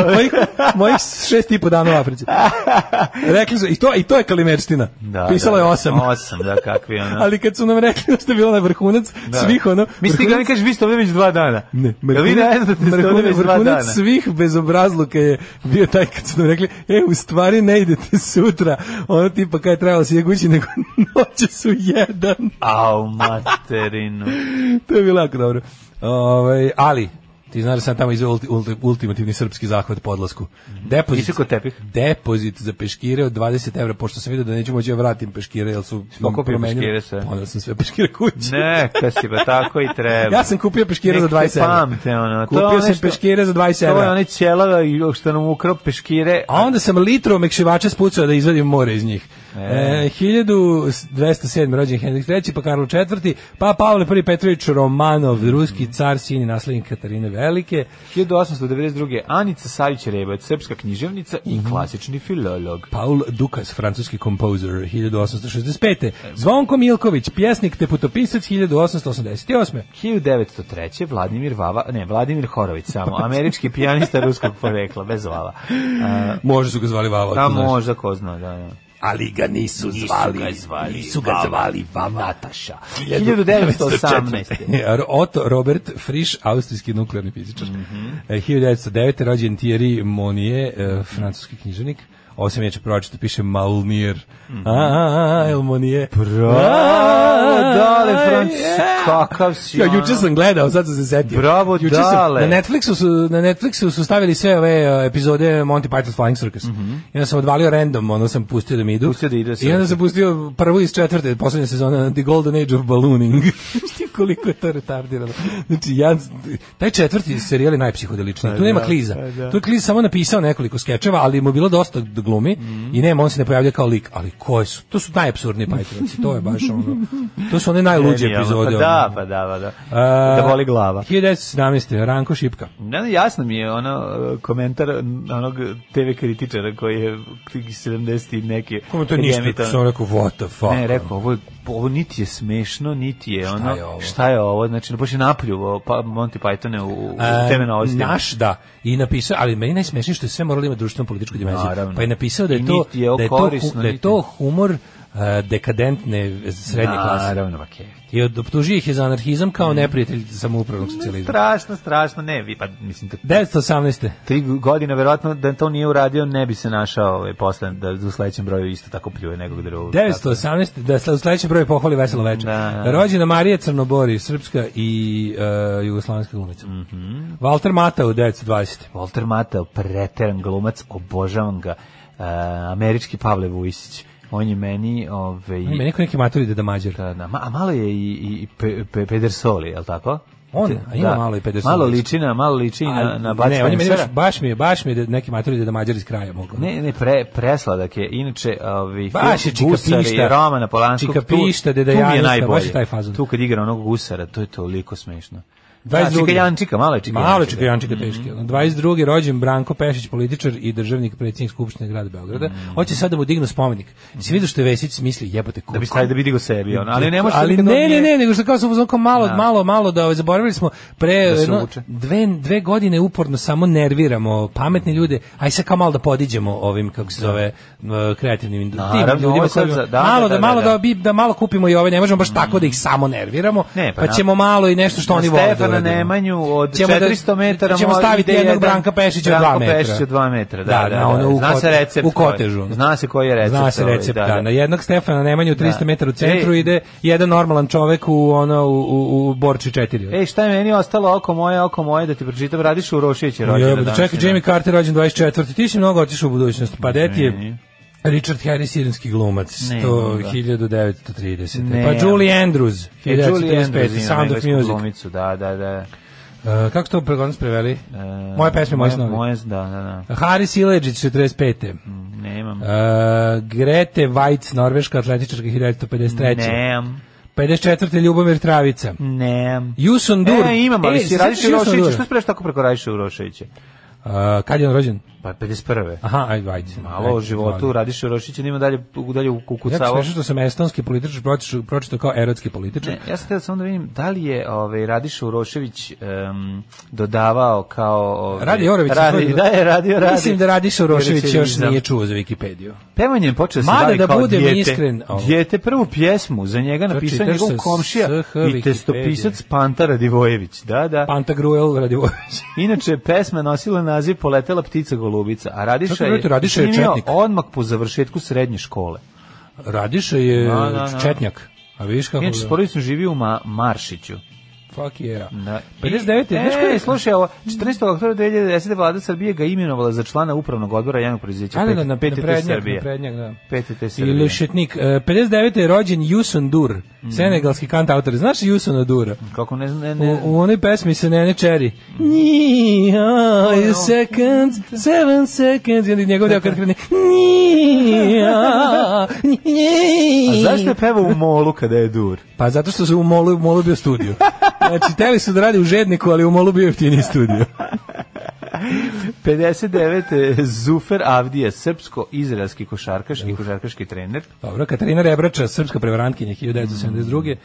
F: Mojih, mojih šest i po dana u Africi. Rekli su, i to, i to je kalimerština. Pisalo je osam.
G: Osam, da, kakvi ono.
F: Ali kad su nam rekli da ste bilo na vrhunac,
G: Da.
F: svih ono...
G: Mislim, kad mi
F: vrhunac-
G: kažeš, vi ste ovdje već dva dana.
F: Ne,
G: Jel vi ne znate, da ste ovdje već dva dana.
F: vrhunac svih bezobrazluka je bio taj kad su nam rekli, e, u stvari ne idete sutra, ono tipa kada je trebalo se je kući, nego noće su jedan.
G: Au, materinu.
F: to je bilo jako dobro. Ovaj, ali, ti znaš da sam tamo izveo ulti- ulti- ultimativni srpski zahvat po odlasku. Depozit,
G: Nisi kod tepih?
F: depozit za peškire od 20 evra, pošto sam vidio da neću moći da vratim peškire, jer su
G: pokupio
F: promenili.
G: peškire sve?
F: Poneo sam sve peškire kući.
G: Ne, kad si pa tako i treba.
F: Ja sam kupio peškire za
G: Nek te
F: 20 evra.
G: Pamte, ono. to je
F: Kupio
G: ono
F: sam
G: što-
F: peškire za 20
G: To je
F: evra.
G: onaj ćelava i što nam ukrao peškire.
F: A onda sam litru omekšivača spucao da izvadim more iz njih. E, 1207. rođen Henrik III, pa Karlo IV, pa Pavle I Petrović Romanov, ruski car, sin i naslednik Katarine Velike.
G: 1892. Anica Savić Rebac, srpska književnica i
F: Mhm.
G: klasični filolog.
F: Paul Dukas, francuski kompozer 1865. Zvonko Milković, pjesnik te putopisac 1888.
G: 1903. Vladimir Vava, ne, Vladimir Horović samo,
F: Pa-
G: američki pijanista ruskog porekla, bez vava. E,
F: Može su ga zvali Vava.
G: Da,
F: ako znaš.
G: možda, ko zna, da, da.
F: Ali ga nisu zvali. Nisu ga zvali, Vava. Nataša.
G: 1918.
F: Otto Robert Frisch, austrijski Mhm. Eh, nuklearni fizičar. E, 1909. rođen Thierry Monnier, e, eh, francuski književnik. Ovo sam ječe pročito, piše Malmir. A, a, a, El Monije.
G: Bravo, dale, Franc, kakav si.
F: Ja,
G: ono.
F: juče sam gledao, sad sam se setio.
G: Bravo,
F: juče sam, na,
G: dale.
F: Netflixu su, na Netflixu su stavili sve ove uh, epizode Monty Python's Flying Circus. I onda sam odvalio random, onda sam pustio da mi idu.
G: Mhm. Pustio da
F: I
G: ide
F: onda
G: cirkus.
F: sam pustio prvu iz četvrte, poslednje sezone, The Golden Age of Ballooning. Šti koliko je to retardirano. Znači, ja, taj četvrti serijal je najpsihodeličniji. Tu nema
G: da,
F: kliza.
G: pa da.
F: Tu je kliz samo napisao nekoliko skečeva, ali mu je bilo dosta da glumi
G: Mhm.
F: i nema, on se ne pojavlja kao lik. Ali koje su? To su najapsurdniji Pythonci. To je baš ono. To su one najluđe
G: Genijalno,
F: epizode.
G: Pa
F: ono.
G: da, pa da, pa da.
F: A,
G: da boli glava.
F: 1917. Ranko Šipka.
G: Ne, ne, jasno mi je ono e, komentar onog TV kritičara koji je 70 i neke.
F: Kome to ništa,
G: emitovao.
F: sam rekao, what the fuck.
G: Ne, rekao, ovo, je- ovo niti je smešno, niti je ono,
F: je ovo?
G: šta je ovo, znači, baš je napljuvo pa, Monty Pythone u, u
F: E,
G: teme novosti.
F: naš, da. I napisao, ali meni najsmešnije što je sve moralo imati društveno političku dimenziju.
G: Naravno.
F: Pa je napisao da
G: I
F: je to,
G: niti je ovo
F: da je to,
G: korisno,
F: hu- da je
G: niti-
F: to humor e, dekadentne srednje klase.
G: Naravno, pa kevin.
F: I od- optužio ih je za anarhizam kao neprijatelj samoupravnog socijalizma.
G: Mm. Strašno, strašno, ne, vi, pa mislim, da
F: 1918.
G: tri godine, verovatno, da to nije uradio, ne bi se našao ovaj, posle, da u sledećem broju isto tako pljuje nekog drugog.
F: 918. Da sle- u sledećem broju pohvali veselo večer.
G: Da, da.
F: Rođena Marija Crnobori, srpska i e, jugoslovenska glumica.
G: Mhm.
F: Walter Mata u 920.
G: Walter Matthau, preteran glumac, obožavam ga. E, američki Pavle Vujsić. On je meni, ovaj,
F: Meni neko neki matur ide da mađer.
G: Da, da, ma- a malo je i, i, i Pe- Pe- Pedersoli, je li tako?
F: On, a ima malo i Pedersoli.
G: Malo liči na, malo liči
F: A,
G: na, na
F: ne, on je meni
G: Bud
F: baš,
G: Spencera.
F: baš mi je, baš mi je da neki matur ide da mađer iz kraja mogu.
G: Ne, ne, pre, presladak je. Inače, ovi,
F: Baš je
G: film Gusari,
F: čikapišta.
G: Romana Polanskog,
F: Čikapišta,
G: tu,
F: Deda
G: tu mi je
F: Januška,
G: najbolje.
F: baš je taj fazon.
G: Tu kad igra onog gusara, to je toliko smešno. Da,
F: 22..
G: čikajančika, Mhm. malo je čikajančika.
F: Malo čeka Jančika teški. ono. 22. rođen Branko Pešić, političar i državnik predsjednik Skupštine grada Beograda.
G: Mhm.
F: Hoće sad da mu dignu spomenik. Si vidio što je Vesić smisli jebote
G: Da bi
F: koliko
G: stavio da vidi go sebi, ono. ali ne može
F: ali
G: nikad on
F: ne, ne,
G: nije-
F: ne, nego što kao sam uzmano malo, malo, malo da ovaj, zaboravili smo pre
G: Da se
F: jedno,
G: uvuče.
F: dve, dve godine uporno samo nerviramo pametne ljude, aj sad kao malo da podiđemo ovim, kako se zove, m, kreativnim indu- tim
G: Naravno, ovo
F: ljudima.
G: je sad
F: kojima-
G: za- da,
F: malo
G: da,
F: da,
G: da,
F: malo
G: da. Mm.
F: da, bi- da malo kupimo i ove, ne možemo baš tako da ih samo nerviramo,
G: Ne, pa
F: pa,
G: na-
F: ćemo malo i nešto što
G: Na
F: oni vole da
G: Stefana
F: uradimo.
G: Nemanju od
F: Ćemo da-
G: 400 metara
F: ćemo
G: mora-
F: staviti
G: ide
F: jednog
G: jedan
F: Branka Pešića od dva
G: Branko
F: metra.
G: Pešić od 2 metra, da, da, da,
F: na ono u
G: Zna se
F: kote-
G: recept.
F: U
G: koji-
F: kotežu.
G: Zna se koji je recept.
F: Zna se
G: ovaj,
F: recept, da, Na jednog Stefana Nemanju 300
G: Da.
F: metara u centru
G: E.
F: ide jedan normalan čovek u, ono, u, u, u Borči 4.
G: Ej, šta je meni ostalo oko moje, oko moje, da ti pročitam, radiš u Rošiće rođena
F: Jebo, da
G: danas,
F: čekaj,
G: ne?
F: Jimmy Carter rođen 24. Ti si mnogo otišao u budućnost. Pa det je Richard Harris, iranski glumac,
G: Ne,
F: 100,
G: da.
F: 1930.
G: Ne.
F: Pa Julie Andrews,
G: E,
F: 1935.
G: Julie Andrews ima
F: Sound of
G: englesku
F: Music.
G: glumicu, da, da, da.
F: Uh, kako ste ovo pregodnost preveli?
G: E,
F: moje pesme, moje snovi.
G: Moje, da, da, da.
F: Haris Ileđić, 45.
G: Nemam.
F: Uh, Grete Weitz, norveška atletičarka, 1953.
G: Nemam.
F: 54. Ljubomir Travica.
G: Nemam.
F: Jusun Dur.
G: E, imam, ali si
F: znaš
G: radiš u
F: Jusun
G: Rošiće,
F: Dur?
G: što spreš tako preko radiš u Rošiće?
F: Uh, kad je on rođen?
G: Pa 51.
F: Aha, ajde, ajde.
G: Malo o životu, radiš u Rošiće, nema dalje, dalje u
F: Ja
G: kukucavo.
F: sam što sam estonski političar pročitao, pročitao kao erotski političar.
G: Ne, ja sam htio samo da vidim da li je ovaj Radiša Urošević em, dodavao kao ovaj
F: Radi Jorović.
G: Radi, da je radio radi.
F: Mislim da Radiš Urošević još
G: Uroševićizam.
F: nije čuo za Wikipediju.
G: Pevanje je počeo se
F: Mada
G: bavi
F: da
G: kao
F: budem
G: dijete.
F: iskren, Znači, ovo.
G: Dijete prvu pjesmu za njega napisao
F: čitaš
G: njegov
F: sa
G: komšija
F: SH
G: i
F: Wikipedije.
G: testopisac Panta Radivojević. Da, da.
F: Panta Gruel Radivojević.
G: Inače, pesma je nosila naziv Poletela ptica golubica, a Radiša
F: Čekaj,
G: je,
F: brate, Radiša je
G: snimio
F: četnik.
G: odmah po završetku srednje škole.
F: Radiša je
G: Da, da, da.
F: četnjak. A vidiš kako...
G: Inače, s
F: ga-
G: porodicom živio u Ma- Maršiću.
F: Fuck yeah.
G: Da.
F: 59.
G: I-
F: znaš ko
G: E,
F: je-
G: slušaj, ovo, 14. oktobra 2010. vlada Srbije ga imenovala za člana upravnog odbora javnog preduzeća
F: Ajde da,
G: pet-
F: na
G: PTT
F: prednjak, na
G: Srbije.
F: prednjak, da.
G: PTT Srbije. Mm.
F: Ili šetnik. E, 59. je rođen Jusun Dur, senegalski kantautor. Znaš Jusuna Dura?
G: Kako ne znam, ne,
F: U,
G: ne.
F: u onoj pesmi se Nene Čeri. Nija, seconds, seven seconds. I onda njegov deo kad krene. Nija,
G: A
F: nija.
G: zašto je pevao u molu kada je dur?
F: Pa zato što su u Molu, u Molu bio studio. Znači, teli su da radi u Žedniku, ali u Molu bio jeftiniji studio.
G: 59. Zufer Avdija, srpsko-izraelski košarkaš i košarkaški trener.
F: Dobro, Katarina Rebrača, srpska prevarantkinja 1972.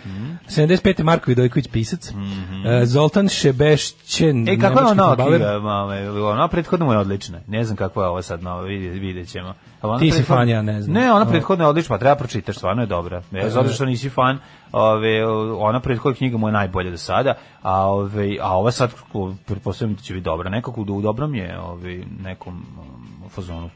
F: 75. Marko Vidojković, pisac. E, Zoltan Šebešćen,
G: E, kako je
F: nemački
G: ona
F: fudbaler.
G: knjiga? mame, Ona prethodno mu je odlična. Ne znam kako je ova sad nova, vidjet, vidjet ćemo. A ona
F: Ti si
G: prethodno-
F: fan, ja ne znam. Pa,
G: Ne, ona prethodno je odlična, pa treba pročitaš, stvarno je dobra. Bez obzira što nisi fan, ove, ona prethodna knjiga mu je najbolja do sada, a, ove, a ova sad, ko- pretpostavljam da će biti dobra. Nekako da u dobrom je ove, nekom um, fazonu.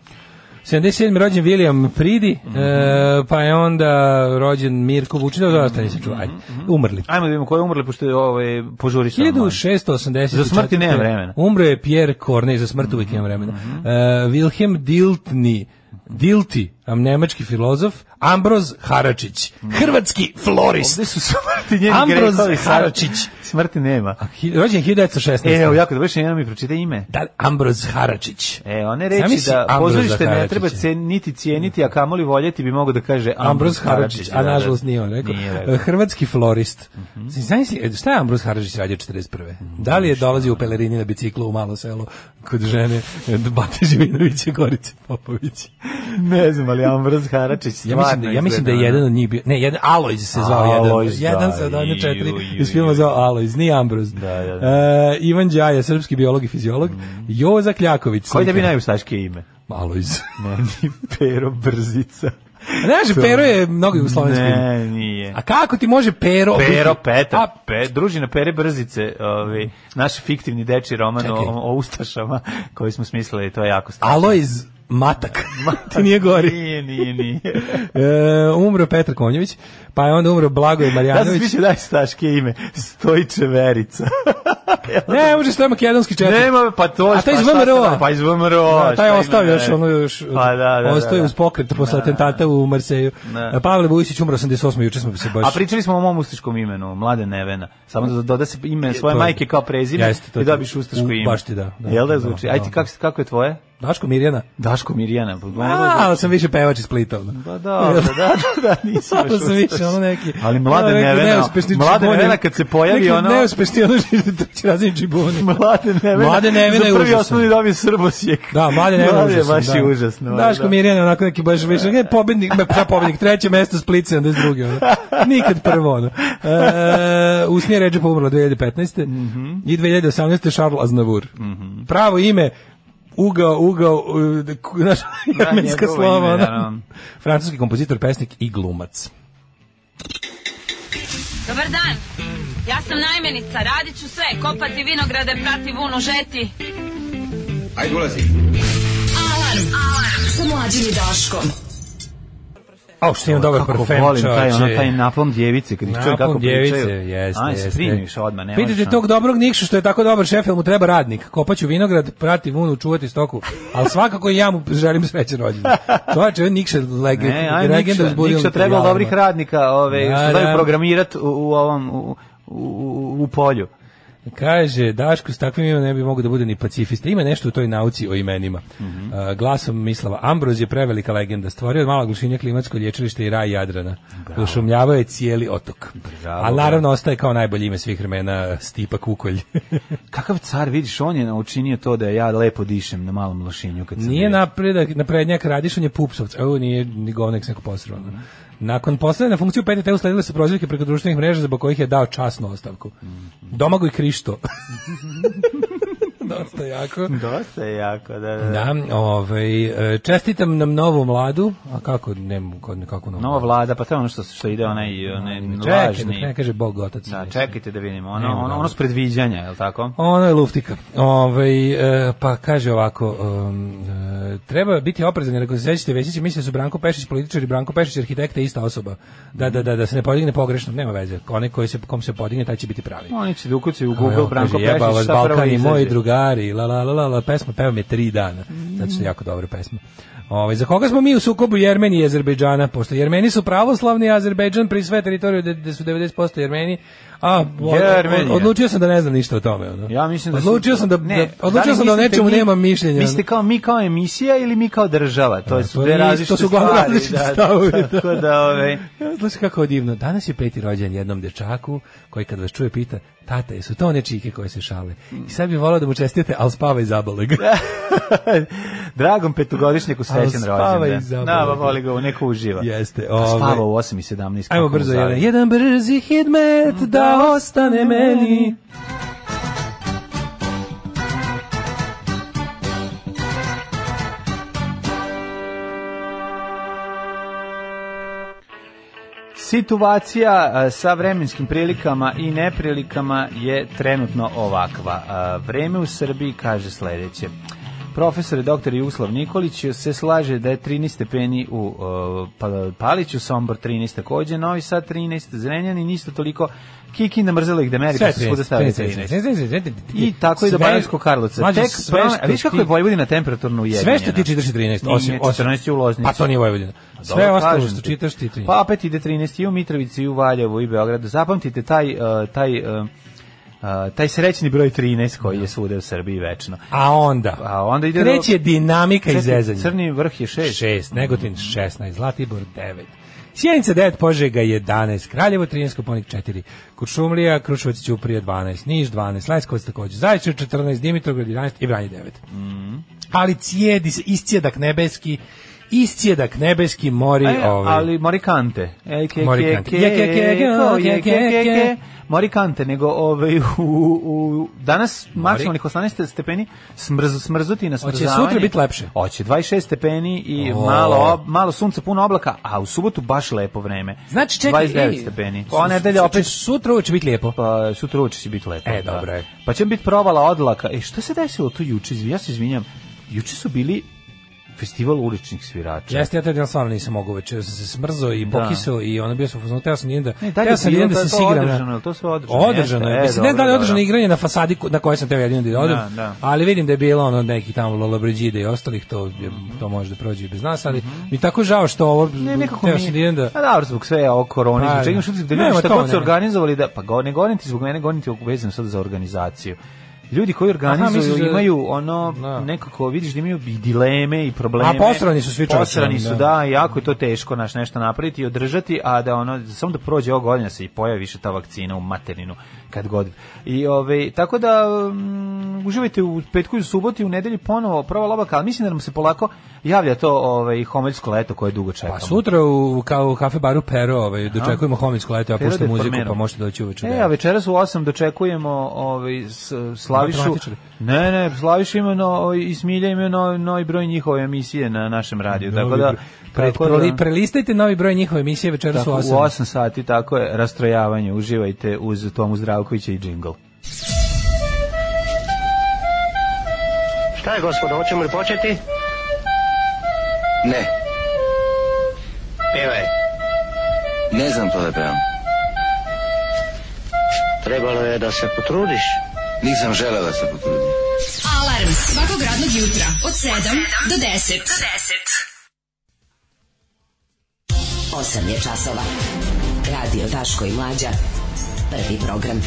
F: 77. rođen William Pridi,
G: Mhm.
F: e, pa je onda rođen Mirko Vučinov, da ostane se čuvaj.
G: Mhm,
F: Umrli.
G: Ajmo da vidimo ko je umrli, pošto je ovaj, požuri sa mnom.
F: 1684.
G: Za smrti nema vremena. Mhm,
F: Umro je Pierre Corneille, za smrt uvijek nema vremena. E, Wilhelm Diltni, Dilti, am- nemački filozof, Ambroz Haračić,
G: Mhm.
F: hrvatski florist.
G: Ovde su smrti njeni
F: Ambroz
G: grehovi, sad-
F: Haračić.
G: Smrti nema.
F: Hi- Rođen 1916.
G: E, Evo, jako dobro, što jedno mi pročita ime.
F: Da, Ambroz Haračić.
G: E, one
F: Zamisli
G: reči da
F: Ambroza
G: pozorište ne
F: Karadžića.
G: treba cen, niti cijeniti, a kamoli voljeti bi mogo da kaže
F: Ambroz Haradžić, a
G: da, da.
F: nažalost nije on rekao.
G: Nije rekao. Mhm.
F: Hrvatski florist. Znaš si, e, šta je Ambroz Haradžić radio 41. Da li je dolazio u pelerini na biciklu u malo selo kod žene e, Bate Živinovića Gorice Popović?
G: Ne znam, ali Ambroz Haračić
F: Ja
G: stvarno
F: mislim, da, ja mislim da je
G: izgleda, ono.
F: jedan od njih bio, ne, jedan Alojz se zvao
G: Alojz,
F: jedan, jedan
G: da,
F: se od one
G: ju,
F: četiri
G: ju,
F: iz
G: ju,
F: filma
G: ju.
F: zvao Alojz, nije Ambroz.
G: Da, da, da.
F: E, Ivan Đaja, srpski biolog i fiziolog, Joza Kljaković.
G: Koji da bi
F: slikar.
G: najustaškije ime?
F: Alojz.
G: Meni Pero Brzica.
F: Znaš, Pero je mnogo jugoslovenski. ime.
G: Ne, nije.
F: A kako ti može Pero?
G: Pero
F: biti-
G: Peta,
F: A,
G: pe, družina Pere Brzice, ovaj, naš fiktivni deči roman o,
F: Čekaj.
G: o Ustašama koji smo smislili, to je jako strašno.
F: Alojz Matak. Ti nije gori.
G: Nije, nije, nije.
F: E, umro Petar Konjević, pa je onda umro Blagoj
G: Ja sam
F: Marjanović.
G: smislio najstaškije ime, Stojče Verica.
F: ne, može što je makedonski četnik.
G: Nema, pa to
F: A taj iz
G: pa šta
F: VMRO-a?
G: sad, Pa iz VMRO.
F: Da, taj je ostao još, ono još,
G: Pa da, da, da,
F: ostao je
G: da.
F: uz pokret posle atentata u Marseju.
G: Da.
F: E, Pavle Vujsić umro 88. juče smo se baš...
G: A pričali smo o mom ustaškom imenu, Mlade Nevena. Samo da doda se ime svoje
F: to je-
G: majke kao prezime
F: Jeste, to
G: i
F: ti-
G: dobiš ustaško
F: u-
G: ime.
F: baš ti da, da,
G: Jel da
F: da,
G: zvuči?
F: da.
G: Ajde, kako, kako je tvoje?
F: Daško Mirjana.
G: Daško Mirjana. Pa,
F: A, ali sam više pevač iz Splita. ono.
G: Pa dobro, da, da, da, nisam
F: Sada
G: baš
F: sam
G: ustaš.
F: više, ono neki...
G: Ali mlade
F: ono neki
G: nevena,
F: neuspešni
G: mlade
F: čibuni.
G: nevena kad se pojavi,
F: Neki
G: ono-
F: Neuspešni, ono treći razin čibuni.
G: Mlade Nevena.
F: Mlade Nevena je
G: Za prvi
F: užasan.
G: osnovni dobio Srbosjek.
F: Da, mlade ne
G: Mlade je
F: užasno,
G: baš
F: da.
G: i užasno.
F: Daško
G: da.
F: Mirjan je onako neki baš više, ne, pobednik, ne, šta pobednik, treće mesto Split 72. Ono. Nikad prvo ono. E, Usnija Ređepa umrla 2015.
G: Mhm.
F: I 2018. Charles Aznavour. Pravo ime Ugao, ugao, e, ku- znaš, jemenska
G: njegovo
F: slova,
G: ime,
F: ono.
G: da.
F: Francuski kompozitor, pesnik i glumac.
H: Dobar dan. Ja sam najmenica, radit ću sve, kopati vinograde, prati vunu, žeti.
D: Ajde, ulazi.
E: Alarm. Alarm. Sa mlađim i Daškom.
F: A, što imam dobar
G: Kako
F: parfem,
G: volim taj, ono,
F: čovječe.
G: taj naplom djevice, kad ih čujem kako
F: Napom
G: pričaju.
F: djevice, jeste,
G: Aj, se
F: jeste.
G: primiš odmah, ne ono.
F: Pitajte tog dobrog Nikšu što je tako dobar šef, jel mu treba radnik. Kopaću vinograd, prati vunu, čuvati stoku. Ali svakako i ja mu želim sreće rođendan. Čovječe, on Nikša leg,
G: Ne, E, aj,
F: legenda
G: Nikša,
F: uzbudila.
G: Nikša treba dobrih radnika, ove,
F: Da,
G: što znaju
F: da.
G: programirat u, u ovom, u, u, u, u polju.
F: Kaže, Daško, s takvim imenom ne bi mogo da bude ni pacifista. Ima nešto u toj nauci o imenima.
G: Mhm.
F: A, glasom Mislava Ambroz je prevelika legenda. Stvorio od mala glušinja klimatsko lječilište i raj Jadrana. Ušumljavao je cijeli otok.
G: Bravo,
F: A naravno ostaje kao najbolje ime svih vremena Stipa Kukolj.
G: Kakav car, vidiš, on je naučinio to da ja lepo dišem na malom lošinju. Kad sam
F: Nije
G: bio.
F: napredak, naprednjak radiš, on je Pupsovac. Evo, nije ni govnek neko posrano. Nakon postavljanja na funkciju PTT usledile su prozivke preko društvenih mreža zbog kojih je dao časnu ostavku. Domagoj Krišto. Dosta jako.
G: Dosta je jako, da, da. da.
F: Da, ovaj, e, čestitam nam novu mladu, a kako, ne, kako novu
G: Nova
F: mladu?
G: vlada, pa to je ono što, što ide onaj, onaj
F: Čekaj, dok
G: lažni.
F: ne kaže Bog otac.
G: Da,
F: Mislim.
G: čekajte da vidimo. Ono,
F: Nema
G: ono, ono s predviđanja, je li tako?
F: Ono je luftika. Ovaj, e, pa kaže ovako, um, e, treba biti oprezan, jer ako se sećate Vesića, mislim da su Branko Pešić političar i Branko Pešić arhitekta ista osoba. Da, da, da, da se ne podigne pogrešno, nema veze. Onaj koji se, kom se podigne, taj će biti pravi.
G: Oni će da ukucaju u Google Branko
F: Kaže, jeba
G: Pešić,
F: vas
G: šta prvo
F: Balkan i moji
G: izađe. Mm.
F: drugari, la la la la, la pesma peva me tri dana. Zato što je jako dobra pesma. Ovaj za koga smo mi u sukobu Jermeni i Azerbejdžana, pošto Jermeni su pravoslavni, a Azerbejdžan pri sve teritoriju gde su 90% Jermeni, a od-
G: Jermeni, ja.
F: odlučio sam da ne znam ništa o tome. ono.
G: Ja mislim da su-
F: odlučio sam da,
G: Ne,
F: da- odlučio
G: li
F: sam da o
G: mislite
F: nečemu
G: mi-
F: nemam mišljenja. ono.
G: Mislite kao mi kao emisija ili mi kao država? To
F: Da,
G: su
F: to
G: dve
F: je isto,
G: različite
F: su uglavnom
G: stvari,
F: različiti
G: da,
F: stavovi, da.
G: Tako da, ovaj,
F: Ja, Slušaj kako je divno. Danas je peti rođen jednom dečaku koji kad vas čuje pita Tata, jesu to one čike koje se šale? I sad bi volao da mu čestite, ali spava i zabole ga.
G: Dragom petogodišnjaku srećen
F: Ali spava
G: rođendan.
F: i zabava.
G: Da, pa voli ga, neko uživa.
F: Jeste,
G: Pa
F: ovaj.
G: Spava u 8 i 17.
F: Ajmo
G: kako mu
F: brzo,
G: zavidi.
F: jedan, jedan brzi hidmet da ostane meni.
G: Situacija a, sa vremenskim prilikama i E, neprilikama je trenutno ovakva. A, Vreme u Srbiji kaže sledeće. Profesor doktor Jugoslav Nikolić se slaže da je 13 stepeni u uh, Pa- Paliću, Sombor 13 takođe, Novi Sad 13, Zrenjanin isto toliko, Kikinda mrzela ih da meri, pa su svuda stavili 13. I tako i do Banatskog Karlovca. Tek promena- a vidiš kako je Vojvodina temperaturno ujedinjena.
F: Sve što ti čitaš je 13, osim,
G: Nije,
F: osim
G: 14 je u Loznici.
F: Pa to nije Vojvodina. Sve
G: Dobro,
F: ostalo
G: kažem
F: što
G: ti.
F: čitaš ti je 13.
G: Pa opet ide 13 i u Mitrovici, i u Valjevu, i u Beogradu. Zapamtite taj, uh, taj, uh, uh, taj srećni broj 13 koji je svuda u Srbiji večno.
F: A onda?
G: A onda ide do-
F: Kreće dinamika i zezanje.
G: Crni vrh je 6.
F: 6, Negotin 16, Zlatibor 9. Sjenica 9, Požega 11, Kraljevo 13, Koponik 4, Kuršumlija, Krušovac Ćuprija 12, Niš 12, Leskovac takođe, Zaječar 14, Dimitrovgrad 11 i Vranje 9.
G: Mhm.
F: Ali cijedi se, iscijedak nebeski, iscijedak nebeski mori
G: E,
F: ovaj.
G: ali Morikante. E, ke,
F: Morikante.
G: Ke,
F: Je, ke, ke, ke,
G: ko, je,
F: ke,
G: ke,
F: ke,
G: ke,
F: ke.
G: ke. Morikante, nego ovaj, u, u, danas maksimalnih 18 stepeni smrzu, smrzuti na
F: Hoće
G: smrzavanje.
F: sutra biti lepše?
G: Hoće, 26 stepeni i
F: O.
G: malo, ob- malo sunca, puno oblaka, a u subotu baš lepo vreme.
F: Znači čekaj,
G: 29
F: ej,
G: stepeni.
F: su-
G: Ova nedelja
F: su-
G: opet
F: sutra uvek će biti lijepo.
G: pa sutra uče će biti lepo.
F: E, dobro je.
G: Pa će biti provala odlaka. E, šta se desilo tu juče? Izvi- Ja se izvinjam. Juče su bili festival uličnih svirača.
F: Jeste, ja taj dan stvarno nisam mogao večer, ja sam se smrzao i pokisao i ono bio sam u fazonu, teo sam jedan
G: Ne,
F: da,
G: tad je
F: teo sam
G: Pa bilo,
F: jedan da
G: to je
F: se
G: to
F: sigram. na-
G: održano, to sve održano,
F: Održano
G: jeste,
F: je,
G: e,
F: mislim, ne znam da li je
G: dobro,
F: održano
G: dobro.
F: igranje na fasadi ko- na kojoj sam teo jedino da odem,
G: Da, da.
F: ali vidim da je bilo ono neki tamo Lola Brigida i ostalih, to, je- to može da prođe i bez nas, ali mi je tako žao što ovo,
G: Mhm. Ne, nekako
F: teo
G: mi
F: sam jedan da...
G: A dobro, zbog sve ovo korone,
F: Pa,
G: zbog čega imaš utisak da
F: nema
G: ljudi šta
F: to,
G: god su
F: nema.
G: organizovali, da, pa go, ne govorim ti zbog mene, govorim ti vezano sad za organizaciju. Ljudi koji organizuju
F: misliš da-
G: imaju ono
F: Da.
G: nekako vidiš da imaju i dileme i probleme.
F: A posrani su svi čovječe,
G: Posrani su
F: da.
G: da, jako je to teško naš nešto napraviti i održati, a da ono samo da prođe ova godina se i pojavi više ta vakcina u materninu kad god. I ovaj tako da mm, uživajte u petku i u subotu i u nedelju ponovo prva lobaka, ali mislim da nam se polako javlja to ovaj homeljsko leto koje dugo čekamo.
F: Pa sutra u, kao u kafe baru Pero, ovaj, dočekujemo homiljsko leto, ja
G: Pero
F: puštam
G: de
F: muziku,
G: Formero.
F: pa možete doći uveče.
G: E, a večeras u 8 dočekujemo ovaj, s- Slavišu.
F: Matematičari.
G: Ne, ne, Slaviš ima no, i Smilja ima no, novi broj njihove emisije na našem radiju. Tako da,
F: Pre,
G: tako da-
F: proli- prelistajte novi broj njihove emisije večeras
G: tako,
F: u
G: u
F: 8.
G: 8 sati, tako je, rastrojavanje. Uživajte uz Tomu Zdravkovića i džingl.
B: Šta je, gospodo, hoćemo li početi? Ne. Pivaj. Ne znam to da pevam. Trebalo je da se potrudiš. Nisam želeo da se potrudim.
E: Alarm svakog radnog jutra od 7 do 10. Do 10. 8 je časova. Radio Daško i Mlađa. Prvi program.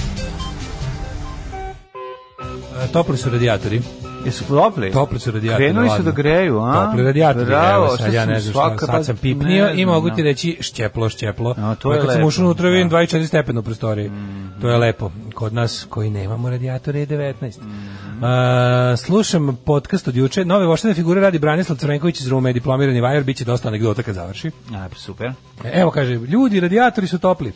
F: E, Topli su radijatori.
G: Jesu topli?
F: Topli su radijatori.
G: Krenuli su
F: ladno.
G: da greju, a?
F: Topli radijatori.
G: Bravo,
F: evo, sad ja
G: sam
F: ne znam
G: svaka-
F: šta, sad sam
G: pa,
F: pipnio
G: ne
F: i
G: znam,
F: mogu
G: da.
F: ti reći šćeplo, šćeplo.
G: A, to
F: Ovaj,
G: je
F: kad sam
G: lepo,
F: ušao unutra, vidim
G: da. Mhm.
F: 24 stepena u prostoriji. To je lepo. Kod nas koji nemamo radijatore je 19.
G: Mhm.
F: A, slušam podcast od juče. Nove voštene figure radi Branislav Crvenković iz Rume, diplomirani vajar, bit će dosta anegdota kad završi.
G: A, super.
F: Evo kaže, ljudi, radijatori su topli.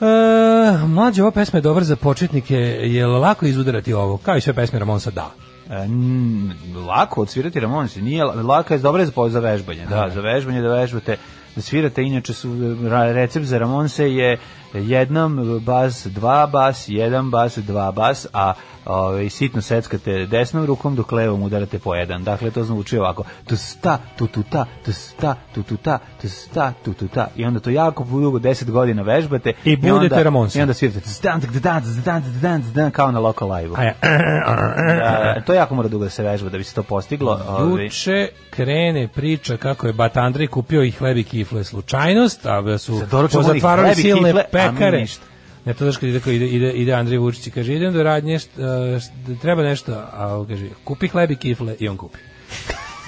F: E, mlađe, ova pesma je dobra za početnike, je lako izudarati ovo? Kao i sve pesme Ramonsa, da.
G: E, n- lako odsvirati Ramonsi, nije la- lako je dobro je za, za vežbanje, da, za vežbanje da vežbate, da svirate, inače su ra- recept za Ramonse je jednom bas, dva bas, jedan bas, dva bas, a ovaj sitno seckate desnom rukom dok levom udarate po jedan. Dakle to zvuči ovako: tusta, tututa, tusta, tututa, tusta, tututa. I onda to jako dugo 10 godina vežbate
F: I budete
G: onda-
F: Ramonsi.
G: I onda svirate tstan, tstan, tstan, tstan, tstan, tstan, kao na local live
F: A ja,
G: da, da, to jako mora dugo da se vežba da bi se to postiglo. Ovaj,
F: Juče krene priča kako je Bat Andrej kupio i hleb i kifle slučajnost, a da su
G: Za doručak onih
F: pozatvarali
G: hleb i
F: silne
G: kifle, a mi
F: pekare.
G: ništa.
F: Ne, to znaš kad ide, ide, ide, ide Andrej Vučić i kaže, idem do radnje, št- e, št- treba nešto, a on kaže, kupi hleb i kifle i on kupi.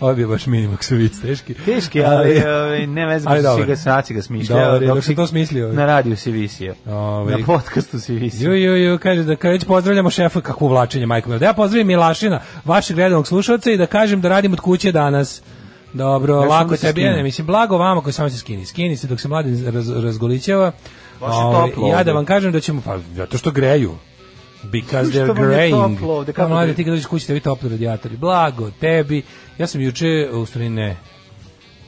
F: Ovo je bio baš minimum vic teški.
G: Teški, ali ovaj, ne veze,
F: Ali
G: ali si
F: dobro.
G: ga snaci ga smišljao.
F: Dobar je,
G: dok
F: dok sam
G: si-
F: to smislio.
G: Na radiju si visio.
F: Ovaj.
G: Na podcastu si
F: Ju,
G: visio.
F: ju, ju, kaže da kad već pozdravljamo šefa kako uvlačenje majkom. Da ja pozdravim Milašina, vašeg redovnog slušalca i da kažem da radim od kuće danas. Dobro,
G: Ja sam
F: lako
G: da se
F: tebi,
G: skinem.
F: ne, mislim, blago vama koji samo se skini. Skini se dok se mladi raz, razgolićava.
G: Baš je
F: Ovaj,
G: toplo
F: Ja da
G: ovde.
F: vam kažem da ćemo, pa, zato što greju. Because
G: Što
F: they're
G: vam je
F: graying.
G: toplo ovde,
F: Pa,
G: kako
F: mladi,
G: da-
F: ti kad dođeš kući, tebi topli radijatori. Blago tebi. Ja sam juče, u stvari ne,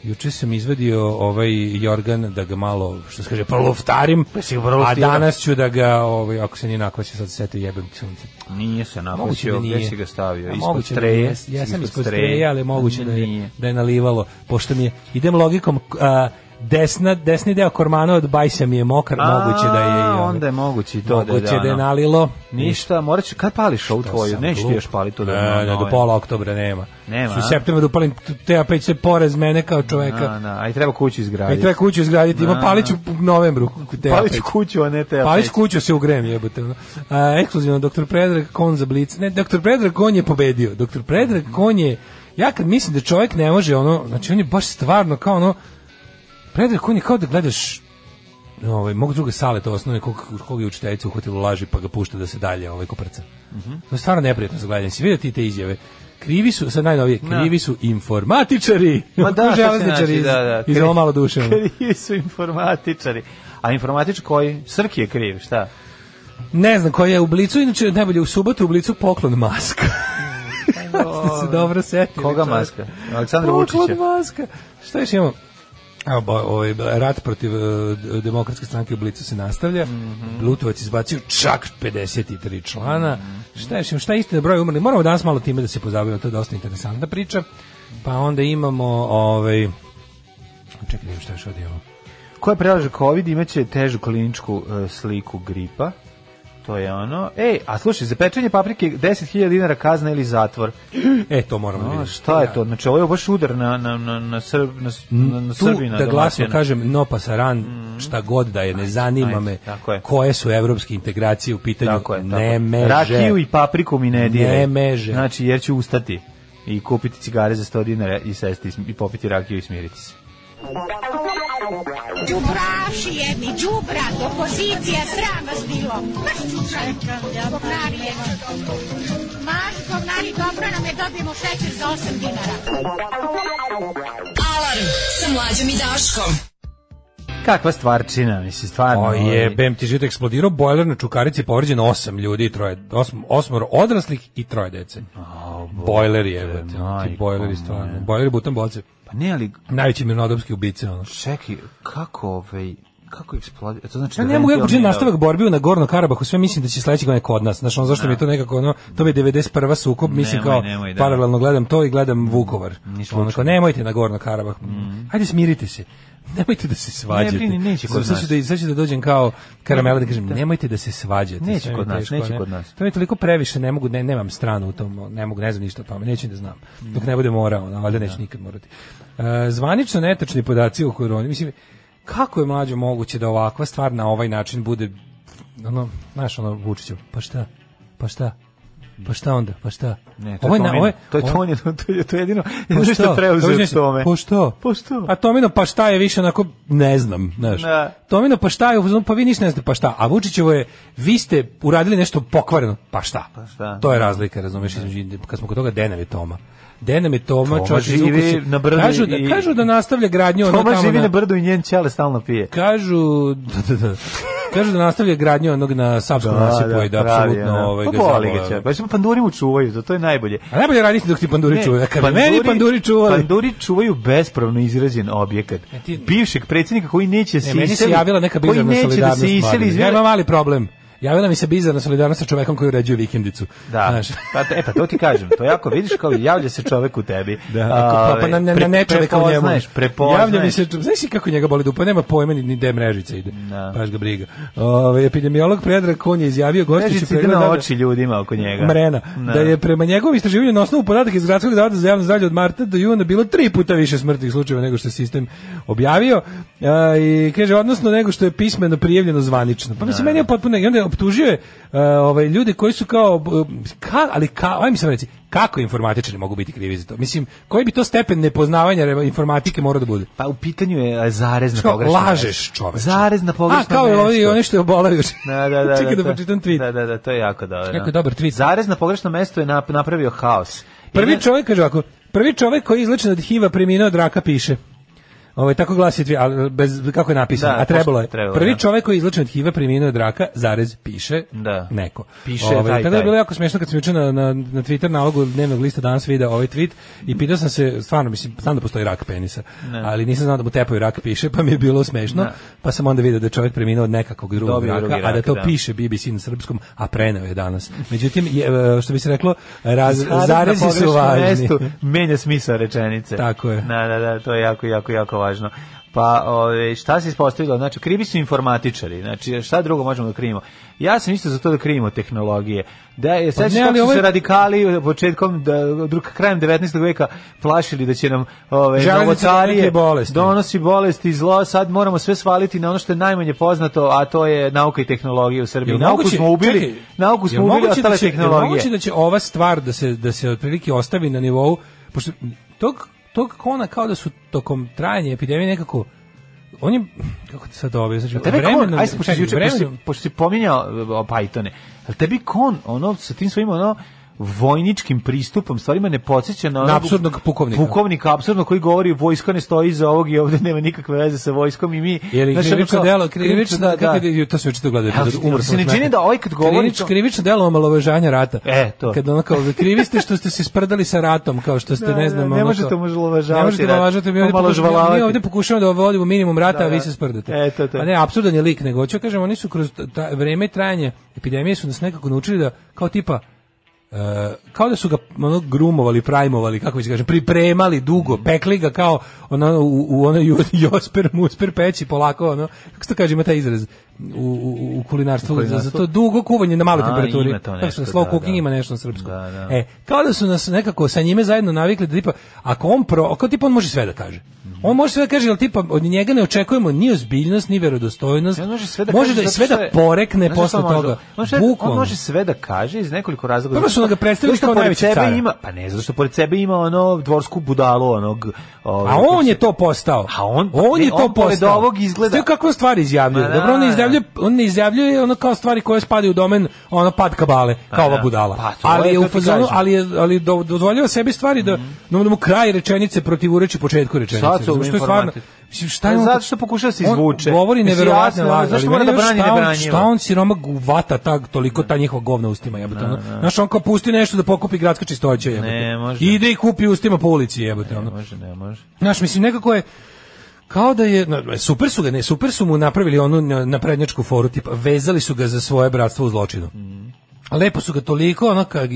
F: Juče sam izvadio ovaj jorgan da ga malo, što se kaže, proluftarim,
G: Pa
F: a danas ću da ga, ovaj, ako se nije nakvaće, sad se sete jebem ti sunce.
G: Nije se
F: Moguće da
G: napućio,
F: nije.
G: gde pa si ga stavio?
F: A
G: Ispod
F: moguće da
G: streje?
F: nije. Ja
G: Si
F: sam ispod
G: streje?
F: streje, ali moguće da je,
G: Nije.
F: da je nalivalo. Pošto mi je, idem logikom, a, desna, desni deo kormana od bajsa mi je mokar,
G: A,
F: moguće da je... i ono.
G: onda je moguće i to da je
F: moguće da je,
G: dano.
F: nalilo.
G: Ništa, morat ću, kad pališ ovu
F: Da
G: tvoju?
F: sam
G: Nećeš ti
F: glup.
G: još paliti to
F: Ne, ne, do
G: nove.
F: pola oktobra nema.
G: Nema,
F: Su
G: a?
F: septembra da upalim TA5 se porez mene kao čoveka.
G: Da, da, a i treba kuću
F: I
G: izgraditi.
F: treba kuću izgraditi, ima
G: Da,
F: palit ću u novembru.
G: Palit ću
F: TA5.
G: kuću, a ne te
F: Palić kuću se ugrem jebote. ono. A, ekskluzivno, doktor Predrag Kon za Blic. Ne, doktor Predrag Kon je pobedio. Doktor Predrag Kon je, ja kad mislim da čovjek ne može, ono, znači on je baš stvarno kao ono, Predrag Kon je kao da gledaš ovaj, mog druga sale to osnovne, kog, kog je učiteljica uhvatila u laži pa ga pušta da se dalje ovaj koprca.
G: Mhm.
F: To je stvarno neprijatno za gledanje. Si vidio ti te izjave? Krivi su, sad najnovije, krivi su informatičari.
G: Ma da,
F: Kao
G: šta će
F: železničari
G: naći,
F: iz,
G: da, da.
F: iz
G: Krivi-
F: ovo malo duše. ono.
G: Krivi su informatičari. A informatič koji? Srki je kriv, šta?
F: Ne znam koja je u Blicu, inače najbolje u subotu u Blicu poklon maska. Ste se dobro setili.
G: Koga
F: čoveče.
G: maska? Aleksandra
F: Pa,
G: Vučića.
F: Poklon maska. Šta još imamo? Evo, bo- ovaj, rat protiv eh, d- demokratske stranke u Blicu se nastavlja.
G: Mhm.
F: Lutovac izbacio čak 53 člana. Šta je, šta je istina broj umrli? Moramo danas malo time da se pozabavimo, to je dosta interesantna priča. Pa onda imamo, ovaj, čekaj, da vidim šta još ovdje imamo.
G: Ko je prelaže COVID imaće težu kliničku e, sliku gripa. To je ono. Ej, a slušaj, za pečenje paprike 10.000 dinara kazna ili zatvor.
F: E, to moramo da
G: A,
F: vidimo.
G: šta je to? Znači, ovo je baš udar na, na, na, na, Srb, na, na, na
F: Mm. tu
G: Srbina.
F: da glasno
G: domaćina.
F: kažem no pasaran šta god da je ne zanima
G: ajde,
F: me
G: tako je.
F: koje su evropske integracije u pitanju
G: Tako je, tako.
F: ne meže
G: Rakiju i papriku mi ne dire.
F: Ne meže.
G: Znači, jer ću ustati i kupiti cigare za 100 dinara i sesti i sm- i popiti rakiju i smiriti se.
C: Đubravši jedni, đubrat, opozicija, sram vas bilo. Maš čučaj, govnari jedno. Maš govnari, dobro nam je, dobijemo šećer za 8 dinara.
E: Alarm sa mlađom i Daškom.
G: Kakva stvarčina, mislim, stvarno.
F: O
G: ovaj.
F: jebem ti život eksplodirao, bojler na Čukarici je povređeno osam ljudi i troje, osm, osmoro odraslih i troje dece. bojler je, jebate, ti
G: majko
F: bojleri stvarno, bojleri butan boce.
G: Pa ne, ali,
F: Najveći mirnodopski ubice, ono.
G: čekaj, kako ovaj, kako eksplodira? To znači,
F: Ja
G: da
F: ne mogu
G: ventil
F: kako čini
G: nije
F: nastavak borbi na Gorno Karabahu, sve mislim da će sledeće godine kod nas. Znaš, ono zašto mi je to nekako ono, to bi 91. sukob, mislim
G: Nemoj,
F: kao
G: nemoj, da.
F: paralelno gledam to i gledam Vukovar.
G: slučajno.
F: Ono kao, nemojte na Gorno Karabah. Hajde smirite se. Nemojte da se svađate.
G: Mm. Ne brini, neće kod
F: Sad ću da,
G: nas.
F: sad ću da dođem kao karamela da kažem, nemojte da se svađate.
G: Neće
F: Sve mi je
G: kod nas,
F: teško,
G: neće
F: ne?
G: kod nas.
F: To mi je toliko previše, ne mogu, ne, nemam stranu u tom, ne mogu, ne znam ništa o tome, neću ni da znam.
G: Mm.
F: Dok ne bude morao, ono, valjda neću nikad morati. E, zvanično netačni podaci o koroni, mislim, kako je mlađo moguće da ovakva stvar na ovaj način bude, ono, znaš, ono, Vučiću, pa šta, pa šta, pa šta onda, pa šta?
G: Ne, to
F: Ovo
G: je
F: je na-
G: Tomino.
F: ovo je-
G: to je
F: ovo-
G: Tomino, to je, to je jedino,
F: Pa
G: jedino što
F: šta?
G: preuzeo
F: Ovo je
G: od
F: nešto,
G: tome.
F: Pa što?
G: Pa što?
F: A Tomino pa šta je više onako, ne znam, znaš.
G: Da.
F: Tomino pa šta je, u fazonu, pa vi ništa ne znate pa šta. A Vučićevo je, vi ste uradili nešto pokvareno, pa šta. Pa
G: šta?
F: To je razlika, razumeš, između, kad smo kod toga Denam je Toma. Denam je Toma,
G: Toma
F: čovječe, iz
G: živi
F: Vukusi-
G: na brdu
F: Kažu da,
G: i-
F: kažu da nastavlja gradnju. ono
G: Toma
F: tamo
G: živi
F: na-
G: na brdu i njen ćale stalno pije.
F: Kažu da, da, da. Kažu da nastavlja gradnju onog na Savskom nasipu i da
G: pravi,
F: apsolutno
G: ono.
F: ovaj
G: Pa
F: ga
G: boli ga
F: zabole.
G: će. Pa smo panduri mu čuvaju, to, to je najbolje.
F: A najbolje raditi dok ti panduri
G: Ne,
F: čuvaju. Kad bi meni panduri čuvali.
G: Panduri čuvaju bespravno izrađen objekat.
F: E, ti-
G: Bivšeg predsjednika koji neće se
F: Ne, E, meni se
G: iseli-
F: javila neka
G: koji
F: bizarna
G: neće da
F: solidarnost.
G: se iseli
F: mladine.
G: iz
F: ja imam mali problem. Javila mi se bizarna solidarnost sa čovekom koji uređuje vikendicu.
G: Da,
F: Znaš.
G: pa, te- e, pa to ti kažem, to jako vidiš kao javlja se čovek u tebi.
F: Da, ako- pa, pa na, na, na
G: ovaj, Pre-
F: ne čoveka u njemu.
G: Prepoznaješ, prepoznaješ.
F: Javlja mi se, čo- znaš li kako njega boli dupa, nema pojma ni, ni gde mrežica ide.
G: Da.
F: Baš ga briga. Ove, epidemiolog Predrag Kon je izjavio gostići
G: Režici ide na Znači, oči ljudima oko njega.
F: Mrena,
G: Da.
F: da je prema njegovom istraživanju na osnovu podataka iz Gradskog zavoda za javno zdravlje od marta do juna bilo tri puta više smrtnih slučajeva nego što je sistem objavio a, i kaže odnosno nego što je pismeno prijavljeno zvanično. Pa mislim meni je potpuno i onda je optužio je a, ovaj ljude koji su kao b- ka, ali ka, aj mi sam reći kako informatičari mogu biti krivi za to? Mislim, koji bi to stepen nepoznavanja re- informatike morao da bude?
G: Pa u pitanju je e, zarez na
F: Kao,
G: pogrešno
F: lažeš
G: mesto.
F: čoveče.
G: Zarez na pogrešno
F: A, kao i
G: mesto.
F: oni, oni što je obolao juče.
G: Da, da, da.
F: Čekaj da
G: to-
F: pročitam tweet.
G: Da, da, da, to je jako dobro.
F: Jako je dobar tweet.
G: Zarez na pogrešno mesto je nap- napravio haos.
F: Prvi
G: Jedna-
F: čovjek, kaže ovako, prvi čovjek koji je izlečen od HIV-a preminuo od raka piše. Ovaj tako glasi dvije, ali bez kako je napisano,
G: Da,
F: a trebalo je.
G: pošto- trebalo je,
F: Prvi
G: da.
F: čovjek koji je izlečen od HIV-a preminuo od raka, zarez piše
G: Da.
F: neko.
G: Piše
F: Ovaj,
G: taj,
F: tada je
G: taj.
F: bilo jako smiješno kad sam juče na, na, na Twitter nalogu dnevnog lista danas video ovaj tweet i pitao sam se, stvarno mislim, znam da postoji rak penisa, ali nisam znao da mu tepaju rak piše, pa mi je bilo smešno, pa sam onda video da je čovjek preminuo od nekakvog drugog
G: Dobio
F: raka,
G: drugi
F: a da
G: rak,
F: to
G: da.
F: piše BBC na srpskom, a preneo je danas. Međutim, je, e, što bi se reklo, raz,
G: Zarez na
F: zarezi su
G: pogrešnom
F: važni.
G: mestu menja smisao rečenice.
F: Tako je.
G: Da, da, da, to je jako, jako, jako važno. Pa, ove, šta se ispostavilo? Znači, krivi su informatičari. Znači, šta drugo možemo da krivimo? Ja sam isto za to da krivimo tehnologije. Da, je, sećaš
F: Pa ne,
G: kako
F: ali
G: su
F: ovo je-
G: se radikali početkom, da, drug, krajem 19. veka plašili da će nam ove,
F: Železnice
G: novotarije
F: neke bolesti.
G: donosi bolesti i zlo. Sad moramo sve svaliti na ono što je najmanje poznato, a to je nauka i tehnologija u Srbiji.
F: Jel
G: nauku
F: moguće-
G: smo ubili,
F: čekaj,
G: nauku smo
F: jel
G: ubili,
F: moguće
G: ostale
F: će- jel
G: tehnologije.
F: moguće da će ova stvar da se, da se otprilike ostavi na nivou, pošto tog, tog kona kao da su tokom trajanja epidemije nekako on je, kako ti sad ovo, znači,
G: Tebe kon,
F: vremenom,
G: aj se pošto si
F: čekaj,
G: juče, pošto si-
F: vremenom-
G: pošto si pominjao e, o Pythone, ali tebi kon, ono, sa tim svojim, ono, vojničkim pristupom stvarima ne podsjeća na,
F: Na
G: onog
F: apsurdnog pukovnika.
G: Pukovnika apsurdno koji govori vojska ne stoji iza ovog i ovdje nema nikakve veze sa vojskom i mi.
F: Jeli
G: znaš, ono
F: krivično
G: kao-
F: delo, krivično,
G: da, da.
F: kako je, to se očito gleda,
G: Ali,
F: umro
G: ali
F: sam
G: se ne
F: od
G: čini
F: smeha.
G: da ovaj kad govori
F: Krivič-
G: to-
F: krivično delo omalovažanja rata.
G: E, to.
F: Kad ono kao, krivi ste što ste se sprdali sa ratom, kao što ste,
G: Da,
F: ne
G: da,
F: znam,
G: ne
F: ono
G: možete
F: kao-
G: omalovažavati
F: Ne možete
G: rat.
F: omalovažavati, mi ovdje pokušavamo, mi
G: Omalovažavati.
F: ovdje pokušavamo da vodimo minimum rata,
G: Da,
F: a vi
G: da.
F: se sprdate.
G: E, to, to.
F: A ne, apsurdan je lik, nego hoću da kažem, oni su kroz ta, vreme i trajanje epidemije su nas nekako naučili da, kao tipa, E, kao da su ga ono grumovali, prajmovali, kako bi se kaže, pripremali dugo, pekli ga kao ono, u, u ono ju- josper, musper peći polako, ono, kako se to kaže, ima taj izraz u, u, u kulinarstvu, Za, za to dugo kuvanje na maloj
G: A,
F: temperaturi.
G: ima to
F: Kako se
G: nešto,
F: slow
G: da,
F: cooking
G: da.
F: ima nešto na srpskom.
G: Da, da.
F: E, kao da su nas nekako sa njime zajedno navikli da tipa, ako on pro, ako tipa on može sve da kaže. On može sve da kaže, ali tipa od njega ne očekujemo ni ozbiljnost, ni verodostojnost.
G: Ne, on može sve da kaže
F: i
G: zato
F: sve
G: što
F: da
G: je-
F: porekne
G: Znaš šta
F: posle
G: može?
F: toga.
G: On, sve- on
F: Bukvalno.
G: može sve da kaže iz nekoliko razloga.
F: Prvo
G: Zato
F: su
G: što-
F: ga predstavili
G: zato što
F: kao
G: pored
F: najvećeg
G: sebe
F: cara.
G: Ima, pa ne, zato što pored sebe ima ono dvorsku budalu onog... ovaj,
F: A on je to postao.
G: A on-
F: on je
G: ne,
F: to
G: on pored
F: postao.
G: ovog izgleda-
F: Ste kako stvari izjavljuje.
G: Ma da,
F: Dobro, on ne
G: da.
F: izjavljuje, on ne izjavljuje ono kao stvari koje spadaju u domen ono pad kabale, kao ova
G: da.
F: budala.
G: Pa, to
F: ali
G: je,
F: je
G: to
F: u
G: ti
F: fazonu,
G: kažem. Mhm.
F: ali je, ali do- dozvoljava sebi stvari da da mu kraj rečenice protivureči početku rečenice.
G: Sad su
F: Zato što je stvarno
G: informati-
F: Mislim, šta je on-
G: Zato što pokušava da se
F: on
G: izvuče.
F: Govori
G: Mislim,
F: neverovatne
G: jasno,
F: laži.
G: zašto
F: ali
G: mora
F: meni
G: da
F: je
G: brani
F: šta on-
G: nebranjivo?
F: Šta on siroma guvata tak, toliko ta njihova govna u ustima jebote. ono. Znaš, on kao pusti nešto da pokupi gradska čistoća jebote.
G: Ne, može.
F: Ide i kupi ustima po ulici jebote. ono.
G: Ne može, ne može.
F: Znaš, mislim, nekako je kao da je, na- super su ga, ne, super su mu napravili onu na- naprednjačku foru, tipa, vezali su ga za svoje bratstvo u zločinu. Lepo su ga toliko, ono, kak,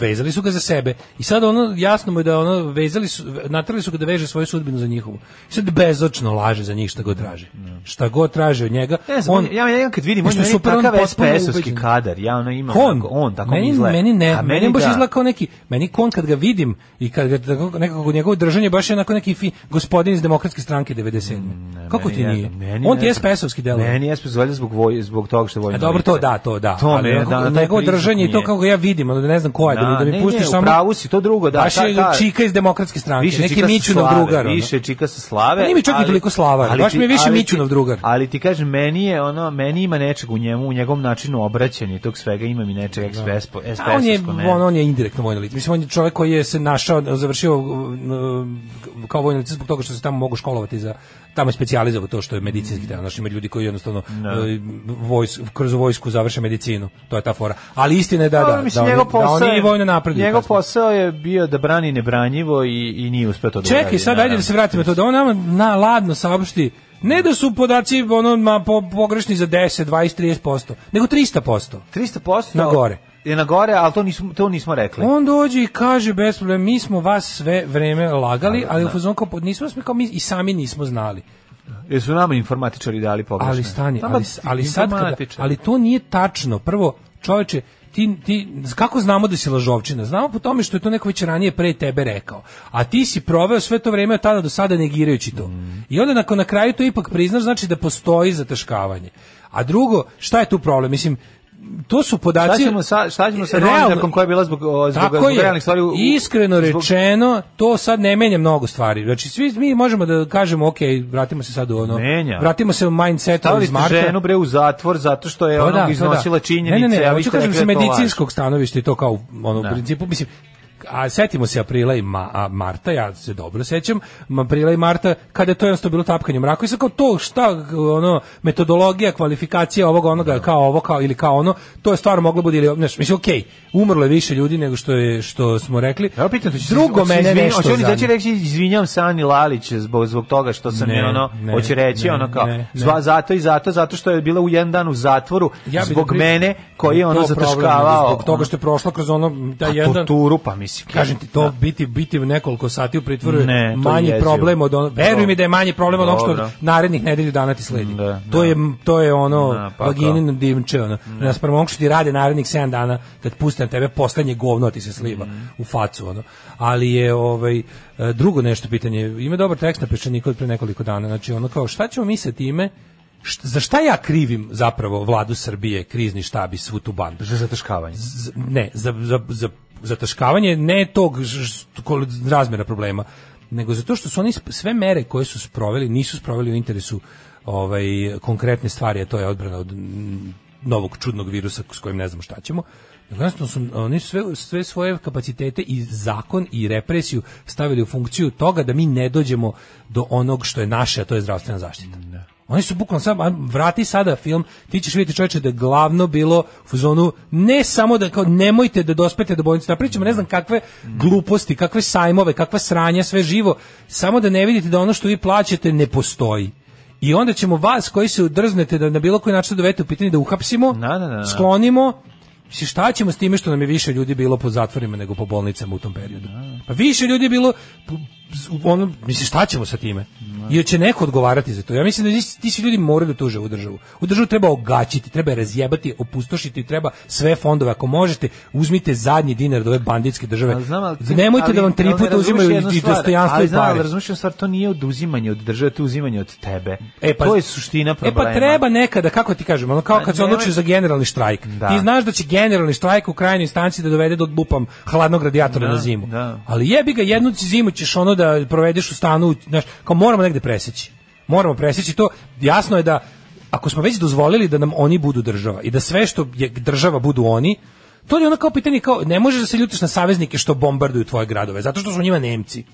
F: vezali su ga za sebe. I sad ono, jasno mu je da ono, vezali su, natrali su ga da veže svoju sudbinu za njihovu. I sad bezočno laže za njih šta god traži. Šta god traži od njega.
G: Ne znam, on, ja, ja kad vidim, on je
F: Pošto je
G: meni
F: super, on
G: takav
F: potpuno
G: SPS-ovski
F: ubeđen.
G: kadar, ja ono imam,
F: Kon,
G: onako, on tako
F: meni,
G: mi izgleda.
F: Meni ne,
G: A
F: meni, baš
G: da.
F: izgleda kao neki, meni kon kad ga vidim i kad ga tako- nekako njegovo držanje baš je onako neki fi, gospodin iz demokratske stranke 97. Kako
G: Meni
F: ti
G: Mm, ne
F: nije?
G: znam, meni
F: On
G: ne
F: ti je
G: znam.
F: SPS-ovski delo.
G: Meni je SPS valjda zbog, voj, zbog toga što je
F: A
G: vojno
F: E, dobro, to
G: lice.
F: da, to da.
G: To
F: ali
G: ne,
F: onako,
G: da, taj
F: njegovo
G: pristup
F: držanje i to
G: nije.
F: kako ga ja vidim, ono da ne znam ko je, da, mi-
G: Da,
F: da mi
G: ne,
F: pustiš
G: ne, u
F: samo...
G: pravu si, to drugo, da,
F: Baš
G: ta-
F: je
G: ta-
F: čika iz demokratske stranke,
G: Više
F: neki
G: čika sa
F: Mićunov
G: slave,
F: drugar. ono.
G: Više čika sa slave.
F: Pa nije mi čak i
G: ali-
F: toliko slavar,
G: ali
F: baš
G: ti-
F: mi je više
G: ali ti-
F: Mićunov drugar.
G: Ali ti kažem, meni je ono, meni ima nečeg u njemu, u njegovom načinu obraćanja i tog svega ima mi nečeg eksprespo,
F: A Pa, on je, ono,
G: espresovsko
F: on, on je indirektno vojno lice. Mislim, on je čovjek koji je se našao, završio um, kao vojno lice zbog toga što se tamo mogu školovati za, tamo je specijalizovao to što je medicinski deo. Znači, ima ljudi koji jednostavno e, vojs, kroz vojsku završe medicinu. To je ta fora. Ali istina je da, da,
G: Dobro, Pa mislim,
F: da,
G: njegov
F: on, je- da on
G: posao
F: je i
G: je-
F: vojno napredio.
G: Njegov
F: kasnije.
G: posao je bio da brani nebranjivo i, i nije uspeo to da
F: Čekaj,
G: uradi,
F: sad ajde
G: naravno.
F: da se vratimo to, da on nama na ladno saopšti Ne da su podaci ono, ma, po, pogrešni za 10, 20, 30%, nego 300%.
G: 300%
F: Na gore.
G: Je na gore, ali to nismo, to nismo rekli.
F: On dođe i kaže bez problema, mi smo vas sve vreme lagali, ali u fazonu kao pod- nismo smo kao mi i sami nismo znali.
G: Jer su nama informatičari dali pogrešne.
F: Ali stani,
G: Nama
F: ali, ali sad kada,
G: informatičari.
F: ali to nije tačno. Prvo, čoveče, ti, ti, kako znamo da si lažovčina? Znamo po tome što je to neko već ranije pre tebe rekao. A ti si proveo sve to vrijeme od tada do sada negirajući to.
G: Mm.
F: I onda nakon na kraju to ipak priznaš, znači da postoji zataškavanje. A drugo, šta je tu problem? Mislim, to su
G: Šta
F: podaci...
G: ćemo sa, šta ćemo sa
F: Realno-
G: novinarkom koja je bila zbog, o, zbog,
F: Tako
G: zbog
F: je.
G: realnih stvari? u-
F: Iskreno
G: zbog-
F: rečeno, to sad ne menja mnogo stvari. Znači, svi mi možemo da kažemo, ok, vratimo se sad u ono...
G: Menja.
F: Vratimo se u mindset
G: Stavili
F: iz
G: ste
F: marta.
G: ženu bre u zatvor zato što je
F: Pa
G: ona
F: to
G: iznosila ono,
F: Ne,
G: činjenice,
F: ne, ne,
G: a vi
F: hoću
G: ste
F: kažem
G: rekli
F: sa
G: da je to laž.
F: medicinskog stanovišta i to kao ono u principu mislim a setimo se aprila i ma, a, marta, ja se dobro sećam, ma- aprila i marta, kada je to jednostavno bilo tapkanje u mraku, i sad kao to šta, ono, metodologija, kvalifikacija ovog onoga, kao ovo, kao, ili kao ono, to je stvarno moglo bude, ili, znaš, mislim, okej, umrlo je više ljudi nego što je, što smo rekli.
G: Evo pitam te,
F: Drugo mene nešto
G: Hoće oni da će
F: zanima.
G: reći izvinjavam se Ani Lalić zbog, zbog toga što sam
F: Ne,
G: je ono,
F: ne,
G: hoće reći
F: ne,
G: ono kao,
F: ne, ne.
G: zva, zato i zato, zato što je bila u jedan dan u zatvoru
F: Ja bih da
G: zbog
F: pri-
G: mene koji je ono
F: To problem,
G: zataškavao.
F: Zbog toga što je prošla kroz ono, da jedan...
G: Torturu, pa mislim.
F: Kažem ti, to biti, biti nekoliko sati u pritvoru
G: Ne,
F: je
G: to je
F: manji
G: jezivo.
F: problem od ono, veruj mi da je manji problem od onog što
G: Dobro.
F: narednih nedelju dana ti sledi.
G: Da,
F: to,
G: da.
F: je, to je ono,
G: Da, pa
F: vaginin dimče, ono. Naspram onog što ti rade narednih 7 dana, kad puste na tebe, poslednje govno ti se sliva
G: Mhm.
F: u facu, ono. Ali je, ovaj, e, drugo nešto pitanje, ima dobar tekst na peščaniku od pre nekoliko dana, znači ono kao, šta ćemo mi sa time, Št- za šta ja krivim zapravo vladu Srbije, krizni štab i svu tu bandu?
G: Za zataškavanje.
F: z- ne, za, za, za, zataškavanje ne tog ž- ž- kol- razmera problema, nego zato što su oni sp- sve mere koje su sproveli nisu sproveli u interesu ovaj konkretne stvari, a to je odbrana od mm, novog čudnog virusa s kojim ne znamo šta ćemo. Nego Jednostavno su oni su sve, sve svoje kapacitete i zakon i represiju stavili u funkciju toga da mi ne dođemo do onog što je naše, a to je zdravstvena zaštita. Oni su bukvalno sad, a, vrati sada film, ti ćeš vidjeti čoveče da je glavno bilo u zonu, ne samo da kao nemojte da dospete do bolnice, napravit ćemo ne znam kakve gluposti, kakve sajmove, kakva sranja, sve živo, samo da ne vidite da ono što vi plaćate ne postoji. I onda ćemo vas koji se drznete da na bilo koji način dovedete u pitanje da uhapsimo,
G: Da, da, da, da.
F: sklonimo, Mislim, šta ćemo s time što nam je više ljudi bilo po zatvorima nego po bolnicama u tom periodu? Pa više ljudi je bilo, p- p- ono, mislim, šta ćemo sa time? Jer će neko odgovarati za to. Ja mislim da ti- ti svi ljudi moraju da tuže u državu. U državu treba ogaćiti, treba je razjebati, opustošiti, treba sve fondove. Ako možete, uzmite zadnji dinar od ove banditske države.
G: Ali znam, ali-
F: Nemojte da vam
G: ali-
F: tri
G: ali
F: puta
G: razumeš
F: uzimaju
G: jednu
F: i
G: stvar,
F: dostojanstvo
G: ali
F: i
G: znam,
F: pare.
G: Ali razumiješ stvar, to nije oduzimanje od države, to je uzimanje od tebe. to je suština problema.
F: pa, E pa treba nekada, kako ti kažem, ono kao
G: Pa
F: kad se
G: nemoj-
F: odlučiš za generalni štrajk.
G: Da.
F: Ti znaš da će generalni štrajk u krajnjoj instanci da dovede do bupam hladnog radijatora
G: Da,
F: na zimu.
G: da.
F: Ali jebi ga, jednu zimu ćeš ono da provedeš u stanu, znaš, kao moramo negde preseći. Moramo preseći to. Jasno je da ako smo već dozvolili da nam oni budu država i da sve što je država budu oni, to je ono kao pitanje kao ne možeš da se ljutiš na saveznike što bombarduju tvoje gradove zato što su njima Nemci.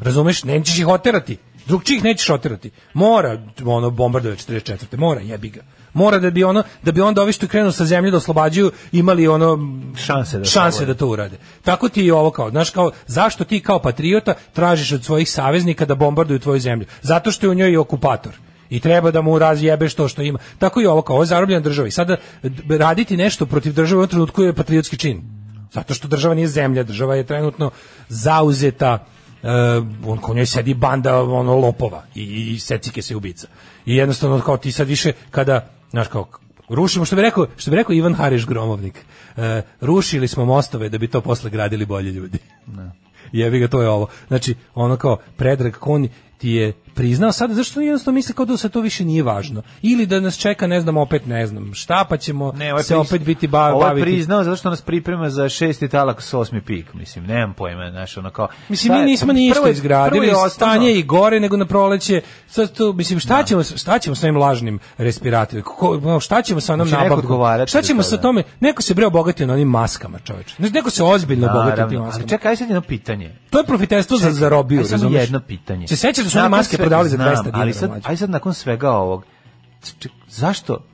F: Razumeš? Nemci ih oterati. Drugčijih nećeš oterati. Mora ono bombarduje 44. Mora, jebi ga. Mora da bi ono da bi onda ovi što krenu sa zemlje da oslobađaju imali ono
G: Šanse da
F: šanse
G: oslobode.
F: da to urade. Tako ti i ovo kao, znaš kao, zašto ti kao patriota tražiš od svojih saveznika da bombarduju tvoju zemlju? Zato što je u njoj i okupator. I treba da mu razjebeš to što ima. Tako i ovo kao, ovo je zarobljena država. I sada d- raditi nešto protiv države u ovom trenutku je patriotski čin. Zato što država nije zemlja, država je trenutno zauzeta e, on ko njoj sedi banda ono lopova i, i, i secike se ubica. I jednostavno kao ti sad više kada znaš kao rušimo što bi rekao što bi rekao Ivan Hariš Gromovnik. E, rušili smo mostove da bi to posle gradili bolje ljudi. Jebi ga to je ovo. Znači ono kao Predrag Kon ti je priznao sada zašto jednostavno misli kao da se to više nije važno ili da nas čeka ne znam opet ne znam šta pa ćemo
G: Ne, ovaj
F: se
G: prizna-
F: opet biti ba,
G: ovaj
F: baviti
G: priznao zato što nas priprema za šesti talak s osmi pik, mislim, nemam pojma, znaš, ono kao...
F: Mislim,
G: Šta
F: mi
G: je-
F: nismo
G: prvo
F: ni
G: je-
F: isto
G: prvo je
F: izgradili,
G: osnovno-
F: stanje je i gore nego na proleće. Sad tu, mislim, šta ćemo, s- šta ćemo sa ovim lažnim respiratorima? Ko- ko- šta ćemo sa onom
G: Hoće neko
F: nabavkom?
G: odgovarati
F: Šta
G: za
F: ćemo
G: to,
F: sa
G: da?
F: tome? Neko se bre obogatio na onim maskama, čoveče. Znaš, neko se ozbiljno obogatio tim
G: Naravno,
F: maskama.
G: ali čekaj, sad jedno pitanje.
F: to je profiterstvo za zarobio,
G: Aj sad
F: razumeš?
G: jedno pitanje.
F: Se sećaš da su one
G: Nakon
F: maske
G: sve-
F: prodavali za
G: znam,
F: 200 dinara?
G: Ali sad,
F: mlađe?
G: aj sad nakon svega ovog, c- ček, zašto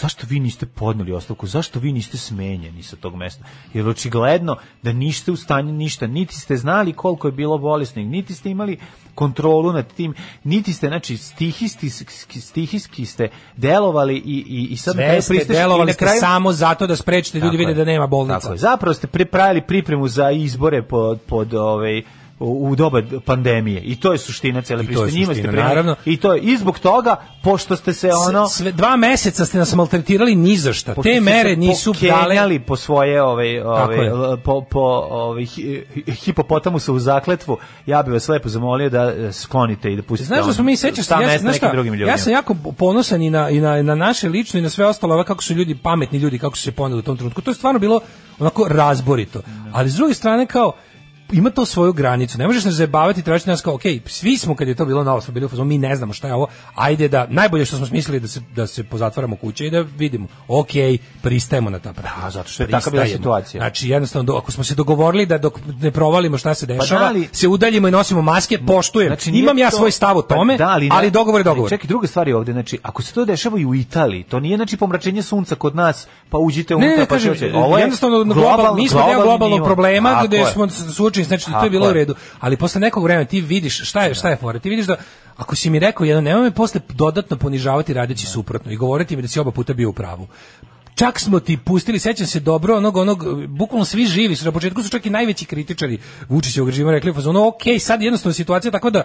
G: zašto vi niste podneli ostavku, zašto vi niste smenjeni sa tog mesta? Jer očigledno da niste u stanju ništa, niti ste znali koliko je bilo bolesnih, niti ste imali kontrolu nad tim, niti ste, znači, stihisti, stihiski ste delovali i, i, i sad na
F: Sve
G: kraju
F: ste
G: pristaš- i
F: delovali
G: na
F: ste
G: kraju-
F: samo zato da sprečite ljudi
G: Tako
F: vide
G: je.
F: da nema bolnica.
G: Tako je. Zapravo ste pripravili pripremu za izbore pod, pod ovaj u u doba pandemije i to je suština cele
F: I to je
G: priče njima ste
F: suština,
G: primili-
F: naravno.
G: i to je i zbog toga pošto ste se ono
F: S- sve, dva meseca ste nas maltretirali ni za šta.
G: pošto
F: Te
G: ste se
F: mere nisu dale
G: pokenjali po svoje ove
F: Tako
G: ove
F: je.
G: l- po po ove hi- hi- hipopotamusa u zakletvu ja bih vas lepo zamolio da e, sklonite i da pustite ono,
F: Znaš da smo mi sećaš se,
G: ja
F: ja, znaš šta,
G: drugim ljudima
F: ja sam jako ponosan i na, i na, i na naše lično i na sve ostalo, ove kako su ljudi pametni ljudi, kako su se poneli u tom trenutku. To je stvarno bilo onako razborito. Ali s druge strane kao ima to svoju granicu. Ne možeš se zabavati i tražiti nas kao, okej, svi smo kad je to bilo na smo bili u fazonu, mi ne znamo šta je ovo. Ajde da najbolje što smo smislili da se da se pozatvaramo kuće i da vidimo. Okej, pristajemo na ta pravila.
G: Da, zato što je takva bila
F: Pristajemo.
G: situacija.
F: Znači jednostavno do- ako smo se dogovorili da dok ne provalimo šta se dešava,
G: Pa da, ali-
F: se udaljimo i nosimo maske, poštujem.
G: Znači, nije
F: Znači, Imam ja
G: to-
F: svoj stav o
G: Pa
F: tome,
G: da,
F: ali,
G: ne-
F: dogovor je dogovor.
G: Čekaj, druga stvar je ovde, znači, ako se to dešava i u Italiji, to nije, znači, pomračenje sunca kod nas, pa uđite
F: Ne,
G: unutra,
F: ne, ne,
G: pa
F: kažem,
G: ćete- Ovo je
F: jednostavno global, mi smo deo
G: globalni
F: globalnog
G: nivo.
F: problema
G: Tako
F: gde
G: je.
F: smo s- suočeni, znači to
G: Tako
F: je bilo u
G: je.
F: redu, ali posle nekog vremena ti vidiš šta je, šta je fora, ti vidiš da ako si mi rekao jedno, nemoj me posle dodatno ponižavati radeći suprotno i govoriti mi da si oba puta bio u pravu. Čak smo ti pustili, sećam se dobro, onog, onog, bukvalno svi živi su, na početku su čak i najveći kritičari Vučićevog režima rekli, u fazonu, ok, sad jednostavno situacija tako da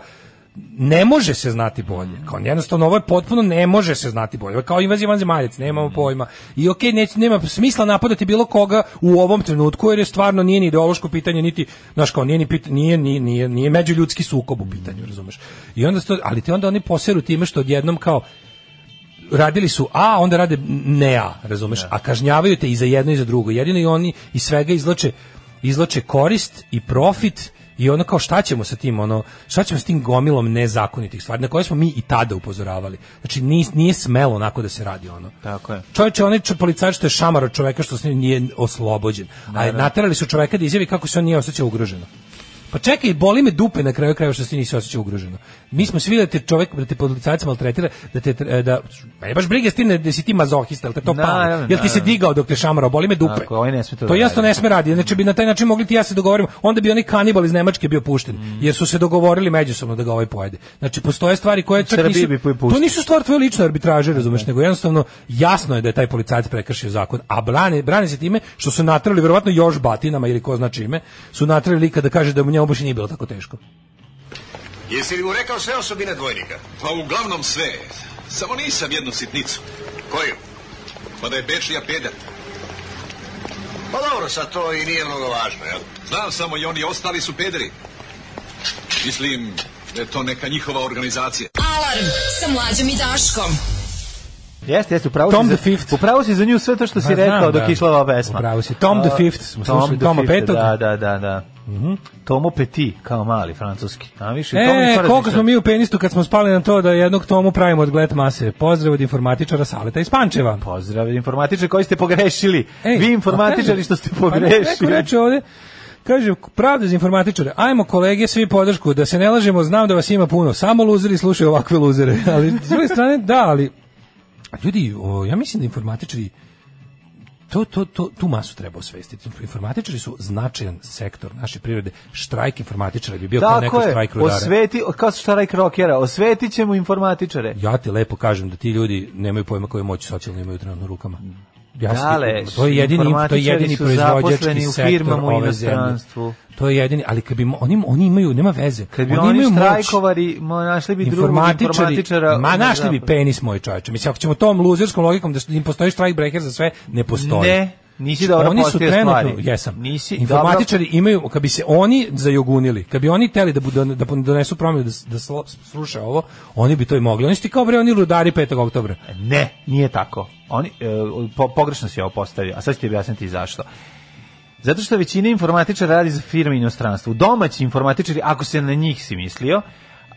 F: ne može se znati bolje. Kao jednostavno ovo je potpuno ne može se znati bolje. Ovo je Kao invazija vanzemaljac, nemamo pojma. I okej, neć- nema smisla napadati bilo koga u ovom trenutku jer je stvarno nije ni ideološko pitanje niti znaš kao nije ni pit, nije nije nije, nije međuljudski sukob u pitanju, razumeš. I onda sto, ali ti onda oni poseru time što odjednom kao radili su A, onda rade ne A, razumeš? A kažnjavaju te i za jedno i za drugo. Jedino i oni iz svega izlače, izlače korist i profit i ono kao šta ćemo sa tim, ono, šta ćemo s tim gomilom nezakonitih stvari, na koje smo mi i tada upozoravali. Znači, nije, nije smelo onako da se radi ono.
G: Tako je.
F: Čovječe, onaj čo- policajac što je šamaro čoveka što s njim nije oslobođen. A naterali su čoveka da izjavi kako se on nije osjećao ugroženo. Pa čekaj, boli me dupe na kraju krajeva što se nisi osjećao ugroženo. Mi smo svi da te čovjek, da te policajac maltretira, da te, tre- da, pa je baš briga stine da si ti mazohista, jel te to
G: Naravno,
F: pali? Jel ti se
G: naravno.
F: digao dok te šamarao, boli me dupe.
G: Tako, ovaj ne sme to
F: to
G: da
F: jasno
G: radi.
F: ne sme radi, znači bi na taj način mogli ti i ja se dogovorimo, onda bi onaj kanibal iz Nemačke bio pušten, jer su se dogovorili međusobno da ga ovaj pojede. Znači, postoje stvari koje čak
G: Srbiji
F: nisu,
G: bi pustio.
F: to nisu stvar tvoje lične arbitraže, razumeš, nego jednostavno jasno je da je taj policajac prekršio zakon, a brane, brane se time što su natrali, verovatno još batinama ili ko zna čime, su natrali lika da kaže da mu njemu baš i nije bilo tako teško.
J: Jesi li mu rekao sve osobine dvojnika? Pa uglavnom sve. Samo nisam jednu sitnicu. Koju? Pa da je Bečija pedat. Pa dobro, sad to i nije mnogo važno, jel? Znam samo i oni ostali su pederi. Mislim da je to neka njihova organizacija.
E: Alarm sa mlađom i Daškom.
G: Jeste, jeste, upravo
F: Tom
G: si,
F: the Fifth.
G: za, upravo si za nju sve to što si
F: Ma, znam,
G: rekao dok
F: da.
G: je išla ova pesma.
F: Upravo si. Tom the
G: A,
F: Fifth smo
G: Tom
F: slušali,
G: the
F: Toma
G: Fifth,
F: Petog. Mhm.
G: Da, da, da, da. Tomo Petit, kao mali, francuski. A više, o tome
F: E,
G: nisam
F: koliko smo
G: razmišljao.
F: mi u penistu kad smo spali na to da jednog tomu pravimo od gled mase. Pozdrav od informatičara Saleta iz Pančeva.
G: Pozdrav informatičari koji ste pogrešili.
F: Ej,
G: Vi
F: a kaže-
G: informatičari što ste
F: Pa neko
G: pogrešili.
F: reče ovde, kaže, pravda za informatičare, ajmo kolege, svi podršku, da se ne lažemo, znam da vas ima puno, samo luzeri slušaju ovakve luzere, ali s druge strane, da, ali ljudi, o, ja mislim da informatičari to, to, to, tu masu treba osvestiti. Informatičari su značajan sektor naše prirode. Štrajk informatičara bi bio kao neko
G: Tako je,
F: štrajk rudara.
G: osveti, kao što rajk rokera, osvetit ćemo informatičare.
F: Ja ti lepo kažem da ti ljudi nemaju pojma koje moći socijalno imaju trenutno u rukama. Ja sam ti-
G: Dale,
F: to je jedini to je
G: informatičari
F: jedini
G: su
F: proizvođački
G: zaposleni u
F: sektor
G: firmama u
F: ove zemlje.
G: inostranstvu.
F: To je jedini, ali kad bi mo- oni oni imaju nema veze.
G: Kad bi
F: oni,
G: oni
F: imaju moć.
G: štrajkovari, mo, našli bi drugog
F: Informatičari,
G: informatičara.
F: ma
G: na
F: našli bi
G: zapadu.
F: penis moj čoveče. Mislim ako ćemo tom luzerskom logikom da im postoji strike breaker za sve, ne postoji.
G: Ne, nisi dobro
F: Znači, oni su
G: postavio
F: trenutno,
G: stvari.
F: jesam.
G: Nisi,
F: Informatičari imaju, kad bi se oni zajogunili, kad bi oni teli da budu, da donesu promjenu da, s- da slo- sruše ovo, oni bi to i mogli. Oni su ti kao bre oni rudari 5. oktobra.
G: Ne, nije tako. Oni, e, po, pogrešno si ovo postavio, a sad ću ti objasniti zašto. Zato što većina informatičara radi za firme u inostranstvu. Domaći informatičari, ako se na njih si mislio,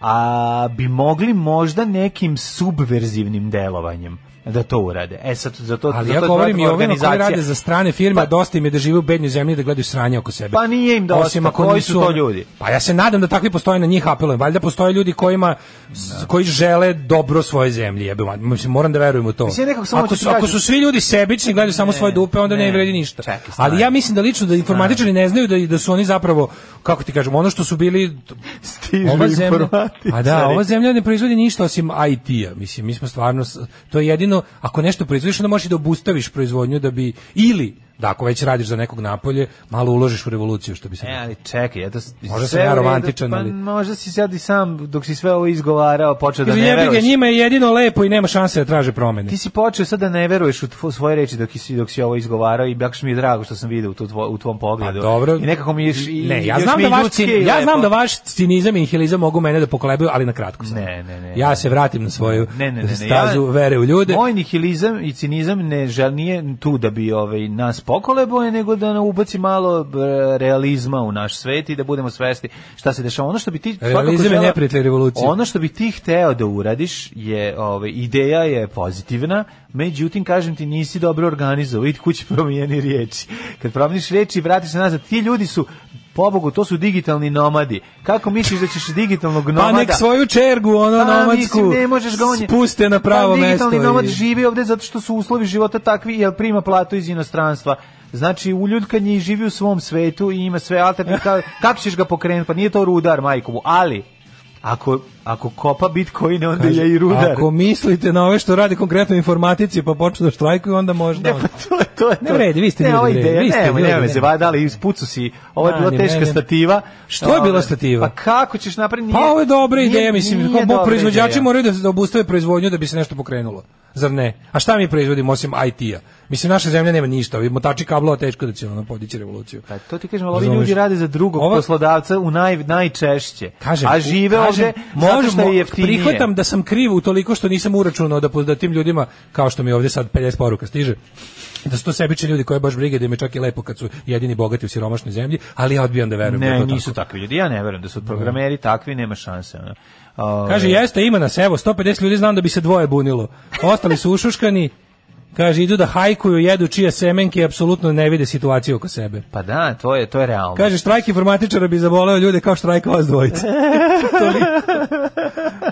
G: a bi mogli možda nekim subverzivnim delovanjem da to urade. E sad, za to,
F: Ali
G: za
F: ja
G: to je
F: govorim i
G: dodatna
F: o ovima koji
G: organizacija.
F: rade za strane firme, a dosta im je da žive u bednjoj zemlji i da gledaju sranje oko sebe.
G: Pa nije im dosta,
F: Osim ako
G: koji
F: nisu
G: su to
F: ono-
G: ljudi?
F: Pa ja se nadam da takvi postoje na njih apelujem. Valjda postoje ljudi kojima, s- koji žele dobro svoje zemlji. Jebe, ma- mislim, moram da verujem u to.
G: Mislim, nekako samo
F: ako,
G: hoću
F: su,
G: ti
F: ako
G: kažem-
F: su svi ljudi sebični, gledaju samo svoje dupe, onda ne,
G: ne.
F: vredi ništa.
G: Čekaj, stani.
F: Ali ja mislim da lično da informatičari ne znaju da, da su oni zapravo, kako ti kažem, ono što su bili
G: Stižu
F: ova zemlja, a da,
G: informatičari.
F: ova zemlja ne proizvodi ništa osim IT-a. Mislim, mi smo stvarno, s- to je jedino, ako nešto proizvodiš, onda možeš i da obustaviš proizvodnju da bi, ili, da ako već radiš za nekog napolje, malo uložiš u revoluciju, što bi se
G: E,
F: reklo.
G: ali čekaj, eto...
F: Možda sam
G: sve
F: ja
G: u redu,
F: romantičan, ali-
G: Pa možda si sad i sam, dok si sve ovo izgovarao, počeo da
F: Kaže,
G: ne
F: jebi ga,
G: veruješ.
F: njima je jedino lepo i nema šanse da traže promene.
G: Ti si počeo sad da ne veruješ u tvo, svoje reči dok si, dok si ovo izgovarao i baš mi je drago što sam vidio u, tu tvo, u tvom pogledu.
F: Pa dobro.
G: I nekako mi je... š- I,
F: Ne, ja
G: još
F: znam
G: mi
F: da
G: je
F: vaš
G: ljudski
F: cin-
G: i
F: ja
G: lepo.
F: znam da vaš cinizam i nihilizam mogu mene da pokolebaju, ali na kratko sam.
G: Ne, ne, ne.
F: Ja se vratim na svoju
G: ne, ne, ne, ne.
F: stazu
G: ja,
F: vere u ljude.
G: Moj nihilizam i cinizam ne žel, nije tu da bi ovaj, nas pokolebo je, nego da ne ubaci malo b- realizma u naš svet i da budemo svesti šta se dešava. Ono što bi ti svakako
F: Realizam je
G: želeo-
F: neprijatelj revolucije.
G: Ono što bi ti hteo da uradiš je, ovaj ideja je pozitivna, međutim kažem ti nisi dobro organizovao. Idi kući promijeni riječi. Kad promijeniš riječi i vratiš se nazad, ti ljudi su Pobogu, to su digitalni nomadi. Kako misliš da ćeš digitalnog nomada?
F: Pa nek svoju čergu, ono
G: Pa,
F: nomadsku,
G: mislim, ne možeš ga on je-
F: spuste na pravo
G: Pa,
F: mesto.
G: Digitalni nomad
F: i-
G: živi ovde zato što su uslovi života takvi, jer prima platu iz inostranstva. Znači, uljuljkan je i živi u svom svetu i ima sve alternative. Kako ćeš ga pokrenuti? Pa nije to rudar, majkovu. Ali, ako, ako kopa bitcoine, onda
F: Kaže,
G: je i rudar.
F: Ako mislite na ove što rade konkretno informatici, pa počnu da štrajkuju, onda možda... on.
G: to je to. je
F: Ne
G: to.
F: vredi, vi ste
G: ne, ovaj
F: ljudi, bre,
G: ova ideja,
F: vi ste
G: nemoj,
F: ljudi,
G: nemoj
F: ne.
G: se vadali, ispucu si. Ovo je
F: Ma,
G: bila
F: ni
G: teška
F: mene.
G: stativa.
F: Što je bila
G: Ove,
F: stativa?
G: Pa kako ćeš napraviti?
F: Pa
G: Nije-
F: ovo je dobra
G: nije-
F: ideja, mislim,
G: nije
F: kao
G: dobra
F: proizvođači
G: ideja.
F: moraju da se da obustave proizvodnju da bi se nešto pokrenulo. Zar ne? A šta mi proizvodimo osim IT-a? Mislim, naša zemlja nema ništa, ovi motači kablova teško da će ono podići revoluciju.
G: Pa to ti kažem, ali ovi
F: Razumeš?
G: ljudi rade za drugog
F: Ova-
G: poslodavca u naj, najčešće.
F: Kažem,
G: a žive
F: kažem,
G: ovde zato što je
F: možemo-
G: jeftinije.
F: Prihvatam da sam kriv u toliko što nisam uračunao da, po- da tim ljudima, kao što mi ovdje sad 50 poruka stiže, da su to sebični ljudi koje baš brige da im je čak i lepo kad su jedini bogati u siromašnoj zemlji, ali ja odbijam da verujem da je
G: Ne,
F: to
G: nisu
F: tako.
G: takvi ljudi. Ja ne verujem da su programeri takvi, nema šanse. ono. Ove,
F: Kaže, jeste, ima nas, evo, 150 ljudi znam da bi se dvoje bunilo. Ostali su ušuškani, kaže, idu da hajkuju, jedu čije semenke i apsolutno ne vide situaciju oko sebe.
G: Pa da, to je, to je realno.
F: Kaže, štrajk informatičara bi zaboleo ljude kao štrajk vas dvojica. Toliko.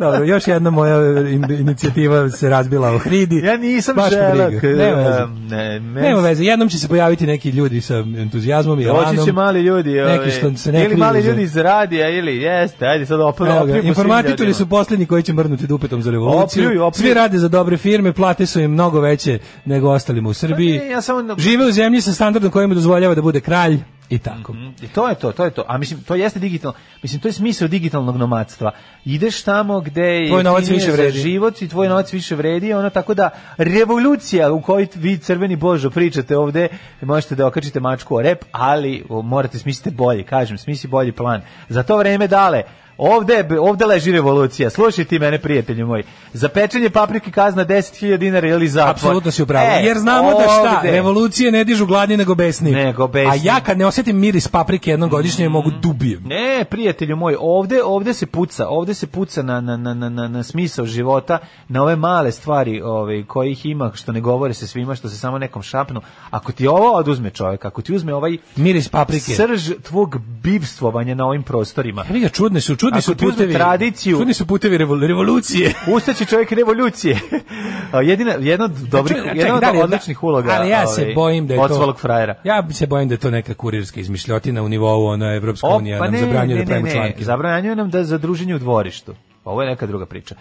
F: Dobro, još jedna moja e, in- inicijativa se razbila u hridi.
G: ja nisam
F: Baš me
G: želeo.
F: briga.
G: k-
F: Nema veze.
G: em, ne, me-
F: Nema veze, jednom će se pojaviti neki ljudi sa entuzijazmom i elanom.
G: Doći će mali ljudi, ove,
F: Neki što se ne
G: ili
F: kriju
G: mali
F: za-
G: ljudi iz radija, ili jeste, ajde sad opet
F: Evo ga,
G: opljujemo svim
F: Informatičari
G: ljudima.
F: su posljednji koji će mrnuti dupetom za revoluciju.
G: Opljuju, opljuju.
F: Svi rade za dobre firme, plate su im mnogo veće nego ostalima u Srbiji.
G: Pa ne, ja samo-
F: Žive u zemlji sa standardom koji mu dozvoljava da bude kralj i tako.
G: I to je to, to je to. A mislim, to jeste digitalno. Mislim, to je smisao digitalnog nomadstva. Ideš tamo gde je
F: Tvoj novac
G: jeftinije
F: više
G: za
F: vredi.
G: život i tvoj novac više vredi. Ono, tako da, revolucija u kojoj vi crveni božo pričate ovde, možete da okačite mačku o rep, ali o, morate smisliti bolje, kažem, smisli bolji plan. Za to vreme dale, Ovde, je be- ovde leži revolucija. Slušaj ti mene, prijatelju moji. Za pečenje paprike kazna 10.000 dinara ili zatvor.
F: Apsolutno si upravo.
G: E,
F: Jer znamo da šta,
G: ovde.
F: revolucije ne dižu gladni nego besni.
G: Nego besni. Mhm.
F: A ja kad ne osjetim miris paprike jednom godišnje mogu dubijem.
G: Ne, prijatelju moj, ovde, ovde se puca, ovde se puca na, na, na, na, na, na smisao života, na ove male stvari ove, kojih ima, što ne govore se svima, što se samo nekom šapnu. Ako ti ovo oduzme čovjek, ako ti uzme ovaj
F: Miris paprike.
G: srž tvog bivstvovanja na ovim prostorima,
F: Evo ga, čudni su, čudni
G: Ako
F: su
G: ti uzme
F: putevi.
G: tradiciju-
F: Čudni su putevi revol- revolucije.
G: ustaće čovjek revolucije. A Jedina, jedna od dobrih,
F: Čekaj,
G: jedna od
F: da li-
G: odličnih uloga.
F: Ali ja se
G: ovaj,
F: bojim da je
G: od
F: to
G: svalog frajera.
F: Ja se bojim da je to neka kurirska izmišljotina u nivou ona Evropska
G: O,
F: unija
G: pa
F: nam
G: ne,
F: zabranjuje
G: ne,
F: da pravimo
G: ne, ne,
F: članke.
G: Zabranjuje nam da za druženje u dvorištu. Ovo je neka druga priča.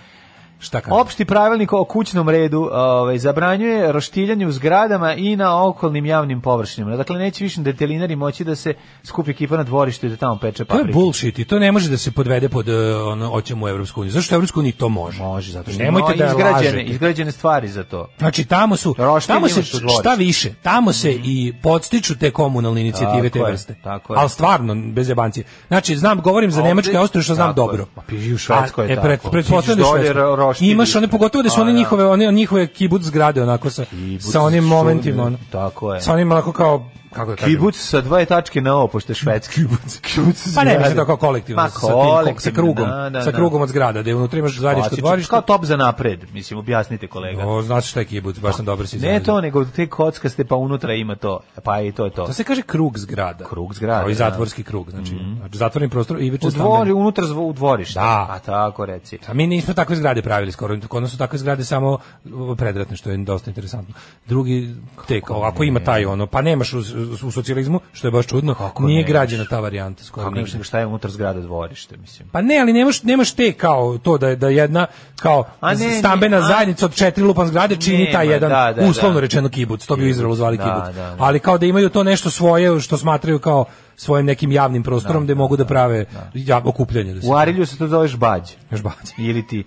F: Šta kaže?
G: Opšti pravilnik o kućnom redu ovaj, zabranjuje roštiljanje u zgradama i na okolnim javnim površinama. Dakle, neće više detelinari moći da se skupi ekipa na dvorištu i da tamo peče
F: To je
G: paprike.
F: bullshit i to ne može da se podvede pod uh, ono oćem u Evropsku uniju. Zašto u Evropsku uniju to može?
G: Može, zato što
F: Nemojte
G: ima
F: da
G: izgrađene,
F: lažete.
G: izgrađene stvari za to.
F: Znači tamo su
G: Roštilj
F: tamo se
G: imaš u dvorištu. Mhm.
F: šta više, tamo se i podstiču te komunalne inicijative
G: Tako
F: te
G: je,
F: vrste.
G: tako je.
F: Ali stvarno bez jebancije. Znači znam govorim za
G: Ovde-
F: nemačke i Austriju što znam
G: tako je.
F: dobro.
G: Pa, pa i u Švedskoj je
F: A, e, pred-
G: tako.
F: pretpostavljam
G: Ti ideš
F: da je
G: dolje,
F: Švedska.
G: ro- roštilj
F: Imaš one
G: isto.
F: pogotovo da su
G: A,
F: one
G: da.
F: njihove one njihove kibuc zgrade onako sa
G: Kibuc
F: sa onim
G: su-
F: momentima ono.
G: Tako je.
F: Sa onim onako kao kako da kažem.
G: Kibuc sa dva tačke na ovo, pošto je švedski. Kibuc.
F: Pa ne, mislim
G: zgrade.
F: to kao kolektivno,
G: Pa
F: sa, tim, ko- sa
G: kolektivno,
F: krugom,
G: da, da,
F: sa
G: da.
F: krugom od zgrada, da je unutra imaš zajedničko
G: Klasično,
F: dvorište.
G: Kao top za napred, mislim, objasnite kolega.
F: O, znači šta je kibuc, baš sam dobro si
G: Pa, Ne
F: izrazio.
G: to, nego te kockaste, pa unutra ima to. Pa i to je to.
F: To se kaže krug zgrada.
G: Krug zgrada,
F: Kao i
G: da. Mhm.
F: zatvorski krug, znači, znači zatvoreni prostor i veće
G: U dvori, unutra zvo, u dvorištu.
F: Da.
G: A tako reci.
F: A mi nismo takve zgrade pravili skoro, kod nas su takve zgrade samo uh, predratne, što je dosta interesantno. Drugi, te kao, ako ima taj ono, pa nemaš u, u socijalizmu, što je baš čudno, nije
G: nemaš?
F: građena ta varijanta skoro
G: Kako nemaš
F: nigde.
G: nego šta je unutar zgrada dvorište, mislim.
F: Pa ne, ali nemaš, nemaš te kao to da je- da jedna kao
G: A ne, ne,
F: stambena
G: a-
F: zajednica od četiri lupan zgrade čini
G: Nema,
F: taj jedan
G: da, da,
F: uslovno
G: da.
F: rečeno kibuc, to bi u Izraelu zvali
G: Da,
F: kibuc.
G: da, da.
F: Ali kao da imaju to nešto svoje što smatraju kao svojim nekim javnim prostorom gde mogu da prave ja, okupljanje da se.
G: U Arilju se to zoveš bađ.
F: Još baci.
G: Ili ti,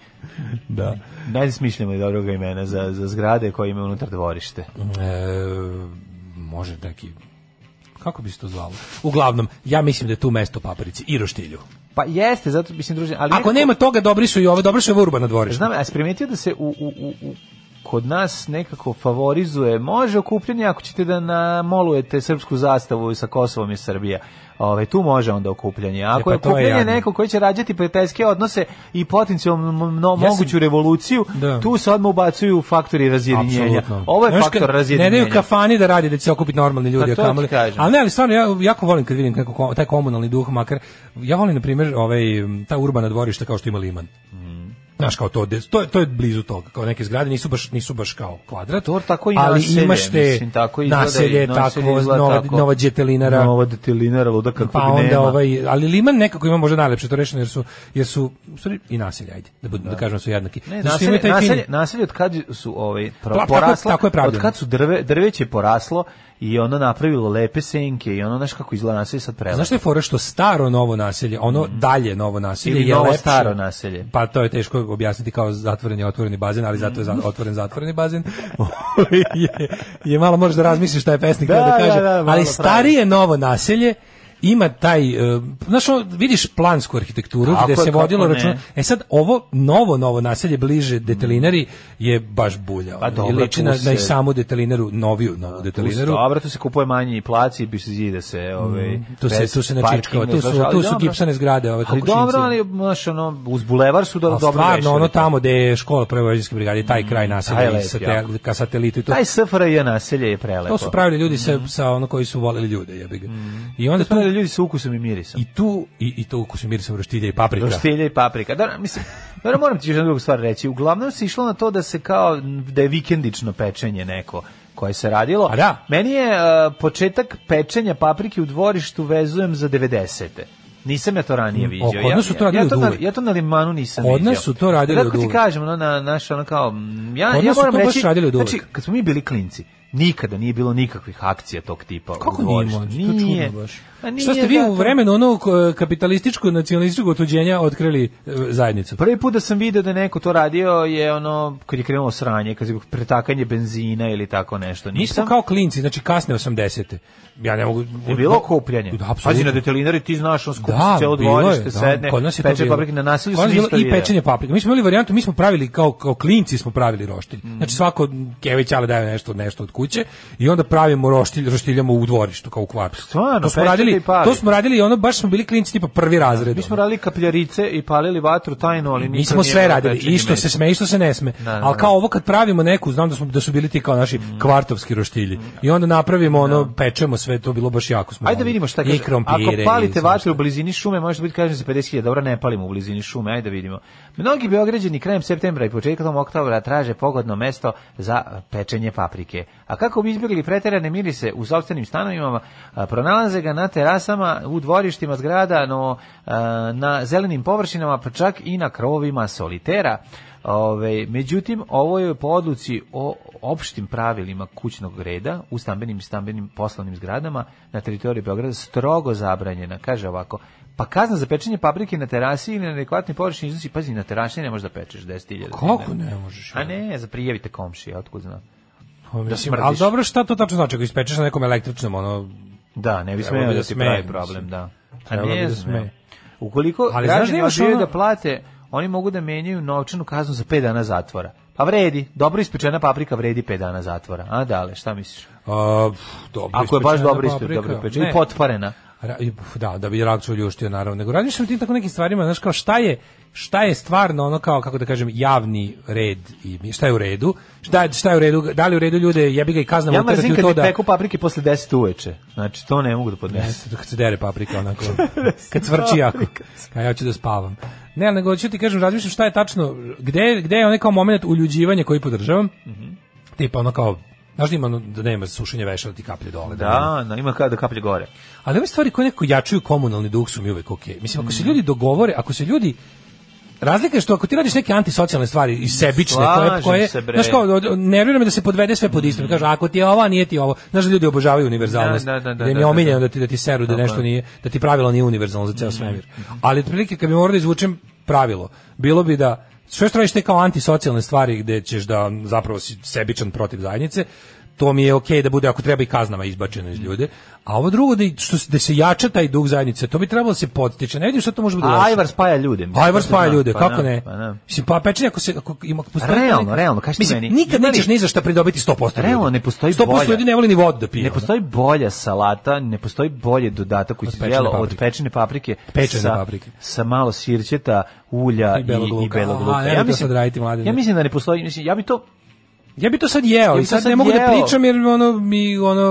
F: Da.
G: daj da smišljamo i dobroga imena za, za zgrade koje imaju unutar dvorište.
F: E, može neki kako bi se to zvalo? Uglavnom, ja mislim da je tu mesto paprici i roštilju.
G: Pa jeste, zato mislim druženje. Ali
F: Ako
G: nekako-
F: nema toga, dobri su i ove, dobri su i ove urbana dvorišta.
G: Znam, a si primetio da se u, u, u, u kod nas nekako favorizuje, može okupljanje ako ćete da namolujete srpsku zastavu sa Kosovom i Srbija. Ove, tu može onda okupljanje. Ako
F: pa
G: je
F: to je
G: okupljanje
F: jadno.
G: neko koji će rađati prijateljske odnose i potencijalno mno-
F: Ja sam-
G: moguću revoluciju,
F: Da.
G: tu se odmah ubacuju faktori razjedinjenja.
F: Apsolutno.
G: Ovo je
F: Znaš, kad
G: faktor
F: Ne daju
G: razjedinjenja.
F: kafani da radi, da će se okupiti normalni ljudi.
G: Pa
F: a
G: to ti
F: kamoli-
G: kažem.
F: Ali ne, ali stvarno, ja jako volim kad vidim kako, ko- taj komunalni duh, makar, ja volim, na primjer, ovaj, m, ta urbana dvorišta kao što ima Liman.
G: Mm.
F: Znaš, kao to, de- to, je- to je blizu toga, kao neke zgrade, nisu baš, nisu baš kao kvadrat,
G: To tako i
F: ali
G: naselje,
F: imaš te
G: mislim, tako izgleda i
F: naselje,
G: naselje
F: takvo,
G: izgleda
F: nova,
G: tako.
F: nova djetelinara,
G: Nova detelinara, luda kakvog
F: pa onda
G: nema.
F: ovaj ali Liman nekako ima možda najlepše to rešeno jer su jer su u stvari i naselja ajde da budu, da, kažem su jednaki.
G: Ne,
F: Zato što
G: naselje,
F: imaju taj fin-
G: naselje, naselje od kad su ovaj, pro-
F: tako je-
G: porasla,
F: tako je pravljeno.
G: od kad su drve, drveće poraslo i ono napravilo lepe senke i ono, znaš kako izgleda naselje sad prelepo.
F: Znaš što je fora što staro novo naselje, ono dalje novo naselje
G: Mm. Ili
F: je
G: novo
F: lepše.
G: staro naselje.
F: Pa to je teško objasniti kao zatvoren je otvoreni bazen, ali zato je
G: Mm.
F: za, otvoren zatvoreni bazen. je, je malo možeš da razmisliš šta je pesnik
G: Da,
F: da, da
G: da,
F: kaže.
G: da, malo
F: ali
G: pravi.
F: starije novo naselje ima taj, e, znaš, ono, vidiš plansku arhitekturu
G: Tako
F: gde
G: je,
F: se vodilo
G: kako ne. Mm.
F: računa. E sad, ovo novo, novo naselje bliže detelinari je baš bulja.
G: Pa
F: ono,
G: dobro,
F: I liči
G: tu
F: na, na i
G: se-
F: samu detelinaru, noviju novu detelinaru.
G: Dobro, tu se kupuje manji placi i bi se zide se, ovaj.
F: Mm, Tu se
G: bez
F: tu se
G: parkinga,
F: načičkava, tu su
G: znaš, ali
F: tu su
G: dobro.
F: gipsane zgrade, ove
G: Ali
F: kokošinci.
G: dobro, ali znaš, ono uz bulevar su dobro
F: Ali
G: dobro
F: stvarno,
G: rešili. Mm,
F: ono tamo gde je škola prve vojvođanske brigade, taj kraj
G: taj je
F: naselja i
G: lep,
F: satel, ka satelitu i to.
G: taj Mm. SFRJ naselje je prelepo.
F: To su pravili ljudi sa, sa ono koji su voleli ljude, jebi ga. I onda tu,
G: Mm. Pravili ljudi sa ukusom i mirisom.
F: i tu, i, i to ukusu mirisa roštilja i paprika.
G: Roštilja i paprika. Da, mislim, da moram ti još jednu drugu stvar reći. Uglavnom se išlo na to da se kao da je vikendično pečenje neko koje se radilo.
F: A da.
G: Meni je e, početak pečenja paprike u dvorištu vezujem za 90. Nisam ja to ranije
F: Mm,
G: viđao.
F: kod nas su to
G: ja,
F: radili
G: ja, to na,
F: oduvek.
G: ja to na limanu nisam
F: Kod
G: viđao.
F: nas su to radili
G: Kratko ti
F: oduvek.
G: kažem, ono, na, naš, ono kao, mm, ja,
F: Kod
G: ja
F: nas su
G: moram
F: to baš
G: reći,
F: radili oduvek.
G: znači, kad smo mi bili klinci, nikada nije bilo nikakvih akcija tog tipa
F: Kako nije
G: u dvorištu.
F: mlađe? To je
G: Nije.
F: čudno baš.
G: Pa
F: Šta ste
G: nije,
F: vi u
G: zato-
F: vremenu onog e, kapitalističko nacionalističkog otuđenja otkrili e, zajednicu?
G: Prvi put da sam video da je neko to radio je ono kad je krenulo sranje, kad je pretakanje benzina ili tako nešto.
F: Mi smo
G: Nisam.
F: kao klinci, znači kasne 80. Ja ne mogu...
G: Je bilo okupljanje.
F: Da,
G: Pazi na
F: apsolutno.
G: detelinari, ti znaš, on skupi
F: Da,
G: celo
F: bilo
G: dvorište,
F: je, da,
G: sedne,
F: kod nas je to
G: peče
F: bilo.
G: paprike na nasilju,
F: Kod nas
G: sam
F: je bilo
G: isto
F: i
G: video.
F: pečenje paprike. Mi smo imali varijantu, mi smo pravili kao, kao klinci smo pravili roštilj.
G: Mm.
F: Znači svako kević ali daje nešto, nešto od kuće i onda pravimo roštilj, roštiljamo u dvorištu kao u kvartu.
G: Stvarno,
F: to smo
G: pečete
F: radili,
G: i palite.
F: to smo radili i ono baš smo bili klinci tipa prvi razred.
G: Mi smo
F: ono.
G: radili kapljarice i palili vatru tajno, ali
F: Mi
G: niko
F: smo
G: nije
F: sve
G: imao
F: radili,
G: pečenje
F: i što se
G: mesa.
F: sme, i što se ne sme.
G: Da, da, Mm.
F: Ali
G: da.
F: kao ovo kad pravimo neku, znam da, smo, da su bili ti kao naši kvartovski roštilji. I onda napravimo ono, pečemo sve, to bilo baš jako smo.
G: Mm. Ajde da
F: volili.
G: vidimo šta
F: I
G: kaže. Ako
F: krompire, i
G: palite
F: svašta.
G: vatru u blizini šume, možete biti kažem za 50.000. Dobro, ne palimo u blizini šume, ajde da vidimo. Mnogi beograđani krajem septembra i početkom oktobra traže pogodno mesto za pečenje paprike. A kako bi izbjegli preterane mirise u sopstvenim stanovima, a, pronalaze ga na terasama, u dvorištima zgrada, no a, na zelenim površinama, pa čak i na krovovima solitera. Ove, međutim, ovo je po odluci o opštim pravilima kućnog reda u stambenim i stambenim poslovnim zgradama na teritoriji Beograda strogo zabranjena. Kaže ovako, pa kazna za pečenje paprike na terasi ili na adekvatni površini iznosi, pazi, na terasi ne možeš da pečeš 10.000.
F: Kako
G: dinara.
F: ne možeš?
G: A ne, za prijavite komšije, otkud znam.
F: Pa, mislim,
G: smrdiš.
F: ali dobro, šta to tačno znači? Ako ispečeš na nekom električnom, ono...
G: Da, ne bi
F: Trebalo
G: smeo
F: bi
G: da
F: da
G: ti
F: sme,
G: pravi
F: mislim.
G: problem, da. A
F: Trebalo bi
G: ne
F: da
G: smeo.
F: sme.
G: Ukoliko
F: Ali
G: Ali
F: znaš da
G: građani
F: imaš
G: odbijaju
F: ono-
G: da plate, oni mogu da menjaju novčanu kaznu za 5 dana zatvora. Pa vredi, dobro ispečena paprika vredi 5 dana zatvora. A dale, šta misliš?
F: A, pf, dobro
G: Ako je baš
F: ispečena
G: dobro
F: paprika.
G: ispečena, dobro ispečena
F: Ne.
G: i potparena.
F: Ra- i, pf, Da, da bi rakcu uljuštio, naravno. Nego radiš sam ti tako nekim stvarima, znaš, kao šta je, šta je stvarno ono kao, kako da kažem, javni red i mi- šta je u redu, šta, je- šta je u redu, da li u redu ljude, jebi ga i kaznamo
G: Ja
F: uterati
G: mrzim
F: u
G: kad
F: to
G: mi
F: da...
G: peku paprike posle 10 uveče. Znači, to ne mogu da podnesem.
F: Jeste, kad se dere paprika onako. kad cvrči jako. A ja ću da spavam. Ne, ali nego ću ti kažem, razmišljam šta je tačno, gde, gde je onaj kao moment uljuđivanja koji podržavam,
G: Mhm.
F: tipa ono kao, znaš da ima, ono- da nema sušenje veša da ti kaplje dole. da nema-
G: Da, na, ima kada da kaplje gore.
F: ali ove stvari koje nekako jačaju komunalni duh su mi uvek okej. Mislim,
G: Mhm.
F: ako se ljudi dogovore, ako se ljudi Razlika je što ako ti radiš neke antisocijalne stvari i sebične koje
G: Slažem
F: koje
G: se, bre. Mhm.
F: znaš kao od- od- nervira me da se podvede sve pod isto. Kaže ako ti je ovo, a nije ti ovo. Znaš da ljudi obožavaju univerzalnost.
G: Da, da, da, da,
F: im je
G: da, da.
F: omiljeno da ti da ti seru da
G: Tako
F: nešto
G: je. Mm,
F: nije, da ti pravilo nije univerzalno za ceo svemir. Ali otprilike kad bi morao da izvučem pravilo, bilo bi da sve što radiš te kao antisocijalne stvari gde ćeš da zapravo si sebičan protiv zajednice, to mi je okej da bude ako treba i kaznama izbačeno iz
G: Mm.
F: ljude. A ovo drugo da, i- što, se- da se jača taj duh zajednice, to bi trebalo da se podstiče. Ne vidim što to može biti
G: A
F: loše.
G: Ajvar spaja ljude. mislim,
F: Ajvar
G: to se
F: spaja
G: zna.
F: ljude,
G: Pa
F: kako
G: da,
F: ne?
G: Pa da.
F: Mislim, pa pečenje ako se ako ima ako postoji
G: Realno,
F: neka-
G: realno, kaži ti
F: Mislim,
G: meni.
F: nikad
G: Ima li-
F: nećeš ni za šta pridobiti 100%. ljudi.
G: Realno ne postoji
F: 100% ljudi
G: bolja.
F: ne voli ni vodu da pije.
G: Ne
F: ono.
G: postoji bolja salata, ne postoji bolje dodatak koji
F: Od
G: se
F: pečene
G: jelo od
F: paprike.
G: pečene paprike,
F: Pečene
G: sa,
F: paprike.
G: sa malo sirćeta, ulja i,
F: I belog
G: i
F: luka.
G: belog
F: Aha,
G: luka.
F: nemoj to sad raditi, mladine.
G: ja mislim da ne postoji, mislim, ja bi to
F: Ja bi to sad jeo,
G: bi
F: i
G: to
F: sad,
G: sad
F: ne mogu da
G: jeo.
F: pričam jer ono mi ono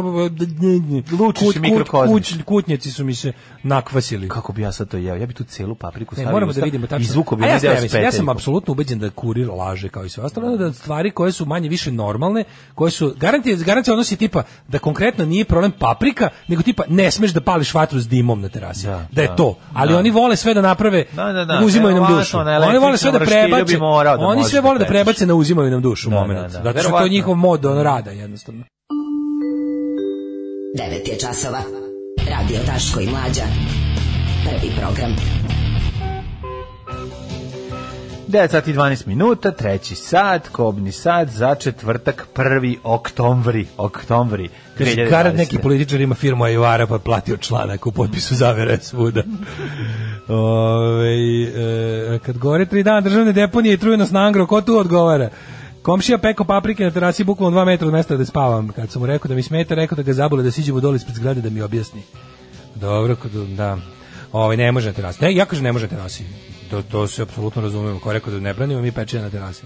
G: Lučiš mikrokozmič.
F: kutnjaci su mi se nakvasili.
G: kako bi ja sad to jeo? Ja bi tu celu
F: Ne,
G: papriku stavio.
F: moramo
G: u
F: da
G: usta
F: vidimo tačno.
G: I zvuko bi
F: A ja,
G: video
F: sam- ja mislim, ja sam
G: speteljkom.
F: apsolutno ubeđen da kurir laže kao i sve ostalo, da stvari koje su manje više normalne, koje su garantije garancija odnosi tipa da konkretno nije problem paprika, nego tipa ne smeš da pališ vatru s dimom na terasi. Da,
G: Da,
F: je
G: da,
F: to. Ali oni vole sve da naprave,
G: Da, da, da.
F: uzimaju nam
G: Evo,
F: dušu.
G: ovako, na
F: Oni vole sve da
G: električnom roštilju
F: prebace.
G: bi morao da
F: oni
G: možeš
F: sve
G: da
F: vole da
G: prebačeš.
F: prebace na uzimaju nam dušu
G: Da, da,
F: momenat.
G: da.
F: Zato što je to
G: Verovatno.
F: njihov mod on rada jednostavno.
E: 9 je časova. Radio Daško i Mlađa. Prvi program.
G: 9 sati i 12 minuta, treći sat, kobni sat za četvrtak 1. oktombri. Oktombri.
F: Garant neki
G: 2020..
F: političar ima firmu Ajvara pa je platio članak u potpisu zavere svuda. Ove, e, kad gore tri dana državne deponije i trujenost na angro, ko tu odgovara? Komšija peko paprike na terasi bukvalno dva metra od mesta da spavam. Kad sam mu rekao da mi smeta, rekao da ga zabole da siđemo dole ispred zgrade da mi objasni. Dobro, kod- da. Ovaj ne može na terasi. Ne, ja kažem ne može na terasi. To, to se apsolutno razumemo. Ko je rekao da ne branimo, mi pečenje na terasi.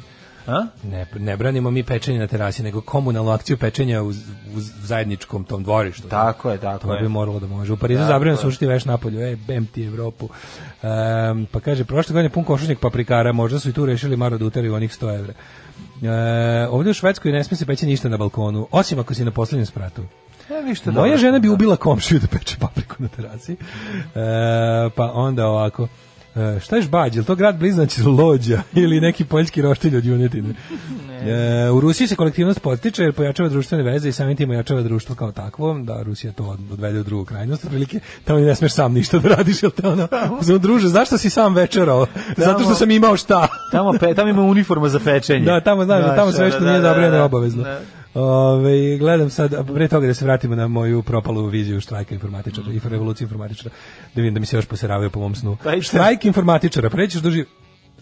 G: A?
F: Ne, ne branimo mi pečenje na terasi, nego komunalnu akciju pečenja u, u zajedničkom tom dvorištu.
G: Tako je, tako
F: To
G: je.
F: bi moralo da može. U Parizu da, zabranjeno sušiti veš napolju. E, bem ti Evropu. Ehm, pa kaže, prošle godine pun košušnjak paprikara, možda su i tu rešili maro da uteraju onih 100 evra. E, ovdje u Švedskoj ne smije se peći ništa na balkonu, osim ako si na posljednjem spratu.
G: Ja, vi što
F: Moja
G: dobro.
F: žena bi ubila komšiju da peče papriku na terasi. E, pa onda ovako. E, šta je Žbađ? Je li to grad bliznač Lođa ili neki poljski roštilj od Junetine? E, u Rusiji se kolektivnost potiče jer pojačava društvene veze i samim tim ojačava društvo kao takvo, da Rusija to od- odvede u drugu krajnost, otprilike tamo ni ne smeš sam ništa da radiš, jel te ono, uzmem, druže, zašto si sam večerao? Zato što sam imao šta.
G: Tamo, pe, tamo ima uniforma za pečenje.
F: Da, tamo znaš, da, tamo sve što nije zabranjeno
G: da,
F: je
G: da.
F: obavezno.
G: Da.
F: Ove, gledam sad, a pre toga da se vratimo na moju propalu viziju štrajka informatičara i revolucije informatičara, da vidim da mi se još poseravaju po mom snu.
G: Pa i šta?
F: Štrajk informatičara, prećeš doži,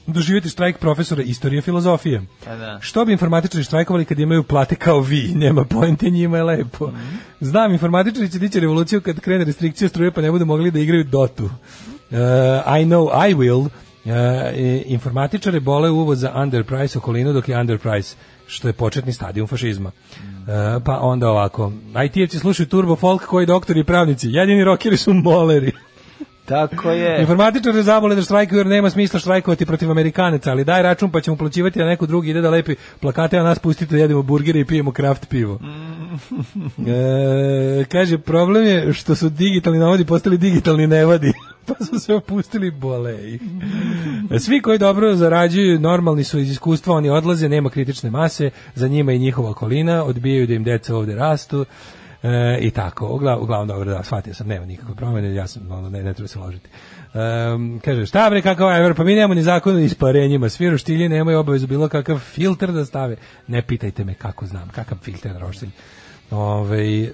F: doživjeti štrajk profesora istorije filozofije.
G: Pa da.
F: Što bi informatičari štrajkovali kad imaju plate kao vi? Nema pojente, njima je lepo. Znam, informatičari će dići revoluciju kad krene restrikcija struje pa ne budu mogli da igraju Dotu. Uh, I know I will. Uh, e, informatičare bole uvoz za underprice okolinu dok je underprice što je početni stadion fašizma. Uh, pa onda ovako. IT-evci slušaju turbo folk koji doktori i pravnici. Jedini rokeri su moleri.
G: Tako je.
F: Informatičari zabole da štrajkuju jer nema smisla štrajkovati protiv Amerikanaca, ali daj račun pa ćemo plaćivati a neko drugi ide da lepi plakate, a nas pustite da jedemo burgere i pijemo kraft pivo. E, kaže, problem je što su digitalni navodi postali digitalni nevadi, pa su se opustili bole ih. Svi koji dobro zarađuju, normalni su iz iskustva, oni odlaze, nema kritične mase, za njima i njihova okolina, odbijaju da im deca ovde rastu. E, I tako, uglavnom, uglavnom dobro, da, shvatio sam, nema nikakve promene, ja sam, ono, ne, ne treba se ložiti. Ehm, kaže, šta bre, kakav Ever, pa mi nemamo ni zakon o isparenjima, svi roštilje nemaju obavezu bilo kakav filter da stave. Ne pitajte me kako znam, kakav filter na roštilj. Ove,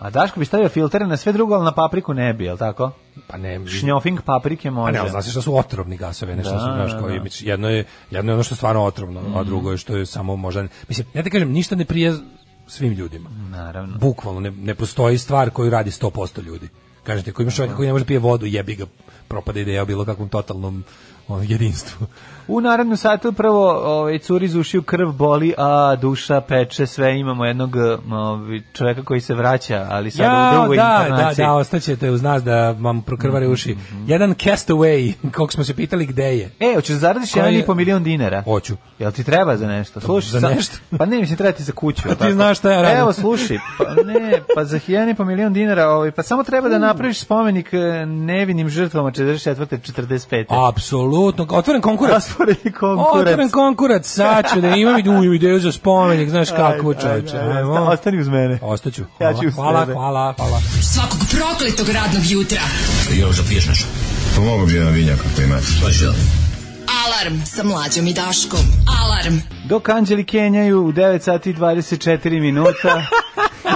G: A Daško bi stavio filtere na sve drugo, ali na papriku ne bi, jel tako?
F: pa ne,
G: Šnjofing paprike
F: pa
G: može.
F: ne, ali znaš šta su otrovni gasovi, nešto
G: Da,
F: su, znaš,
G: da,
F: kao,
G: da. Mhm.
F: i jedno je, jedno je ono što je stvarno otrovno, a drugo je što je samo možda, mislim, ja ti kažem, ništa ne prije svim ljudima.
G: Naravno.
F: Bukvalno, ne, ne postoji stvar koju radi 100% ljudi. Kažete, ako imaš čovjeka koji ne može da pije vodu, jebi ga, propada ideja o bilo kakvom totalnom ono, jedinstvu.
G: U narednom satu prvo ovaj, curi iz ušiju krv boli, a duša peče sve. Imamo jednog ovaj, čoveka koji se vraća, ali sad u
F: Ja,
G: drugoj
F: da, da,
G: inkarnaciji.
F: da, ostaćete uz nas da vam prokrvare uši.
G: Mhm,
F: Jedan castaway, kog smo se pitali gde je.
G: E, hoćeš zaradiš
F: Koji-
G: jedan i po milion dinara?
F: Hoću.
G: Jel ti treba za nešto? Slušaj,
F: za
G: sa-
F: nešto?
G: Pa ne, mislim, treba ti za kuću. jel
F: ti
G: tako?
F: znaš šta ja radim.
G: Evo, slušaj, pa ne, pa za jedan i po milion dinara, ovaj, pa samo treba da napraviš spomenik e, nevinim žrtvama 44. 45.
F: Apsolutno, otvoren konkurac.
G: Rasporedi konkurac.
F: Otvoren konkurac, sad ću da imam i- uju, ideju za spomenik, znaš kako
G: Ajde,
F: čoveče.
G: ajde, ajde,
F: ajmo.
G: osta- Ostani uz mene.
F: Ostaću.
G: Ja
F: Hvala,
G: ću uz
F: hvala,
G: tebe.
F: hvala, hvala.
E: Svakog prokletog radnog jutra.
B: Pomogu Pa bi jedan vinjak ako imate.
E: Alarm sa Mlađom i Daškom. Alarm.
G: Dok anđeli kenjaju u 9 sati i 24 minuta.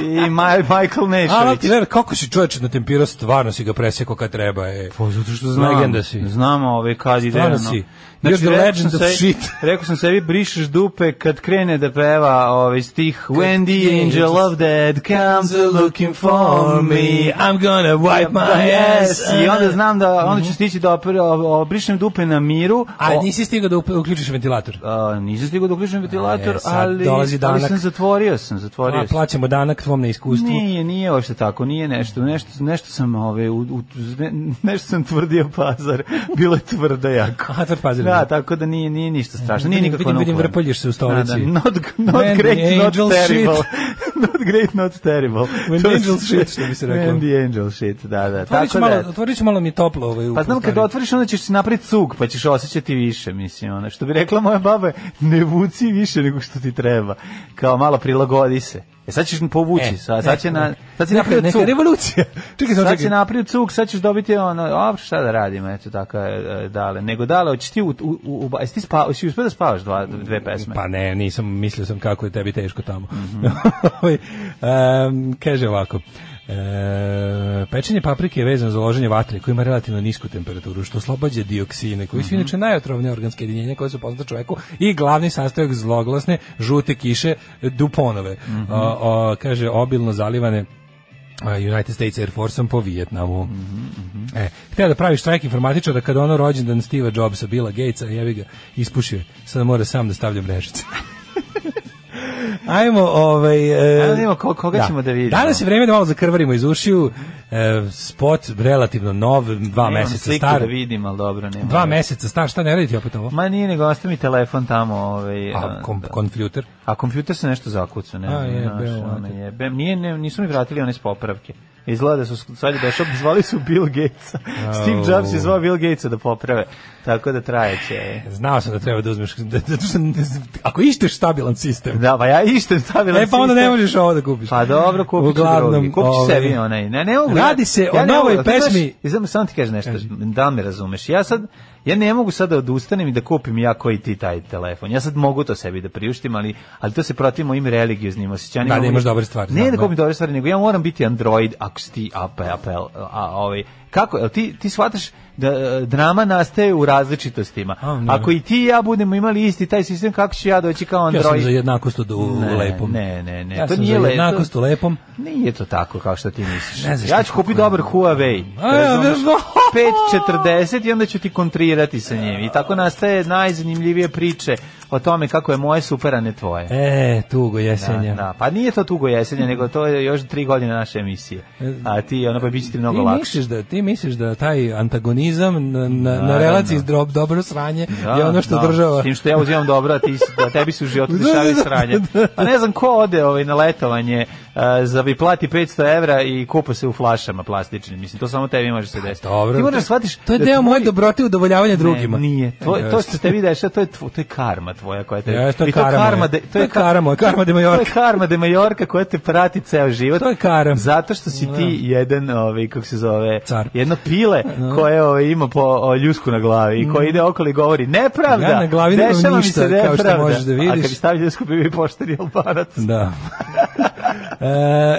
G: i Ma- Michael
F: Ali
G: Nešović.
F: ti ver, kako si čovječe na tempira, stvarno si ga presekao kad treba. E.
G: Pa zato što znam.
F: Legenda si.
G: Znam ove kad ide.
F: Stvarno
G: ono.
F: si. You're the
G: rekao sam
F: legend of
G: sebi-
F: shit.
G: Rekao sam sebi, brišeš dupe kad krene da peva ovaj stih When the
F: krene,
G: angel
F: just-
G: of death comes a looking for me,
F: I'm gonna wipe my ass. Mhm.
G: I onda znam da onda ću stići da opere- o- obrišem dupe na miru.
F: A
G: o-
F: nisi stigao da up- uključiš ventilator?
G: a, nisam stigao da uključim ventilator,
F: E, sad
G: ali,
F: dolazi
G: ali
F: danak.
G: sam zatvorio sam, zatvorio
F: A,
G: sam.
F: plaćamo danak tvom neiskustvu.
G: Nije, nije uopšte tako, nije nešto, nešto, nešto sam ove, u, u, ne, nešto sam tvrdio pazar, bilo je tvrdo jako.
F: A, tvrd pazar je
G: Da,
F: bio.
G: tako da nije, nije ništa strašno, nije
F: Vidim-
G: nikako
F: vidim- vidim,
G: nuklearno.
F: vrpoljiš se u stolici.
G: Da, da, not, not
F: When the
G: great, not
F: angel
G: terrible.
F: shit.
G: not great, not terrible.
F: When
G: To
F: the
G: se-
F: angel shit, što bi se reklo.
G: When the angel shit, da, da.
F: Otvorit ću
G: Tako
F: malo,
G: da,
F: otvorit ću malo mi je toplo. Ovaj, u
G: Pa znam kad
F: prostoriji.
G: otvoriš onda ćeš napraviti cug, pa ćeš osjećati više, mislim, ono. Što bi rekla moja baba, ne vuci više nego što ti treba. Kao malo prilagodi se. E sad ćeš povući,
F: E,
G: sad, sad će na, sad će
F: Neka-
G: napraviti
F: neka
G: cug.
F: revolucija. čekaj, samo
G: Sad
F: čekaj.
G: će napravio cuk, sad ćeš dobiti ono, a šta da radimo, eto tako je, e, dale. Nego dale, hoćeš ti, u, u, u, a jesi ti spava, jesi uspio da spavaš dva, dve pesme?
F: Pa ne, nisam, mislio sam kako je tebi teško tamo. Ovaj, Em, kaže ovako, e, pečenje paprike je vezano za loženje vatre koji ima relativno nisku temperaturu, što oslobađa dioksine, koji su inače najotrovnije organske jedinjenja koje su poznate čoveku i glavni sastojak zloglasne žute kiše duponove. O- o, kaže, obilno zalivane a, United States Air Force-om po Vijetnamu. E, htio da pravi štrajk informatičara kada ono rođendan Steve Jobsa, Billa Gatesa, jevi ga, ispušio. je. Sada mora sam da stavlja mrežice. Ajmo, ovaj... e,
G: Ajde da vidimo ko- koga ćemo da vidimo.
F: Danas je vreme da malo zakrvarimo iz ušiju. E, spot relativno nov, dva
G: Nemam
F: meseca
G: sliku
F: star.
G: da vidim, ali dobro, nema.
F: Dva meseca star, šta ne radite opet ovo?
G: Ma nije, nego ostavi mi telefon tamo, ovaj,
F: A, kom,
G: da.
F: konfljuter?
G: A kompjuter se nešto zakucu, ne
F: A,
G: znam,
F: jebe,
G: znaš, ono,
F: ovako.
G: jebe. Nije, ne, nisu mi vratili one s popravke. Izgleda da su, sad je došao, zvali su Bill Gatesa. Steve Jobs je zvao Bill Gatesa da poprave. Tako da trajeće.
F: Znao sam da treba da uzmeš... Da, da, da, ako išteš stabilan sistem,
G: Da, pa ja ište stavila
F: E pa onda ne
G: sistem.
F: možeš ovo da kupiš.
G: Pa dobro, kupit ću
F: Uglavnom,
G: drugi. Kupit ću
F: ovaj,
G: sebi onaj. Ne, ne mogu.
F: Radi
G: ja-
F: se
G: ja
F: o
G: ne mogu,
F: novoj
G: a ti znaš,
F: pesmi.
G: i znam, samo ti kažem nešto, da me razumeš. Ja sad, ja ne mogu sad da odustanem i da kupim ja koji ti taj telefon. Ja sad mogu to sebi da priuštim, ali, ali to se protiv mojim religioznim osjećanjima.
F: Da, da
G: Mogu-
F: imaš dobre stvari,
G: Ne
F: znam,
G: da
F: da.
G: kupim dobre stvari, nego ja moram biti Android ako si ti Apple, Apple, a, ovaj, kako, jel ti, ti shvataš da e, drama nastaje u različitostima.
F: A, ne.
G: Ako i ti i ja budemo imali isti taj sistem, kako ću ja doći kao
F: Ja
G: Android?
F: sam za jednakost u, u
G: Ne,
F: lepom.
G: ne, ne, ne,
F: Ja
G: to
F: sam
G: nije
F: za
G: lepo.
F: jednakost u lepom.
G: Nije to tako kao što ti misliš.
F: Ne znaš
G: ja
F: ti
G: ću
F: kako
G: kupiti
F: je.
G: dobar Huawei.
F: A, ja,
G: razumeš?
F: ne,
G: 5.40 i onda ću ti kontrirati sa njim. I tako nastaje najzanimljivije priče o tome kako je moje super, a ne tvoje.
F: E, tugo
G: Da,
F: jesenja.
G: da. Pa nije to tugo jesenje, nego to je još tri godine naše emisije. A ti, ono, pa bit će ti
F: E,
G: mnogo
F: Ti
G: lakše.
F: misliš da ti misliš da taj antagonizam na, na, na
G: Naravno.
F: relaciji s drob, dobro sranje je ono što
G: da,
F: država
G: S tim što ja uzimam dobro, a ti, si- da tebi su u životu
F: Da,
G: dešavaju
F: da, da,
G: sranje. A ne znam ko ode ovaj, na letovanje uh, za vi plati 500 evra i kupa se u flašama plastičnim. Mislim, to samo tebi može se desiti.
F: Dobro.
G: Ti moraš da shvatiš
F: To je
G: da
F: deo
G: tvoj-
F: moje dobrote i udovoljavanja
G: Ne,
F: drugima. E,
G: nije. Tvoj, to što
F: Jeste.
G: tebi dešava, to je, tvo- to je karma tvoja koja te...
F: Jeste, to je
G: i to
F: karma moja.
G: de-
F: To je
G: ka-
F: karma moja, karma de Mallorca.
G: To je karma de Majorka koja te prati ceo život.
F: To je karma.
G: Zato što si ti jedan, ovaj, kako se zove,
F: Car.
G: jedno pile koje ovaj, ima po o, ljusku na glavi i koji ide okolo i govori nepravda.
F: Mm. Ja na glavi nemam
G: dešava mi se
F: ništa, kao što
G: nepravda."
F: možeš da
G: A kad
F: vidiš.
G: bi stavio ljusku bi bio pošteni albanac.
F: Da. E,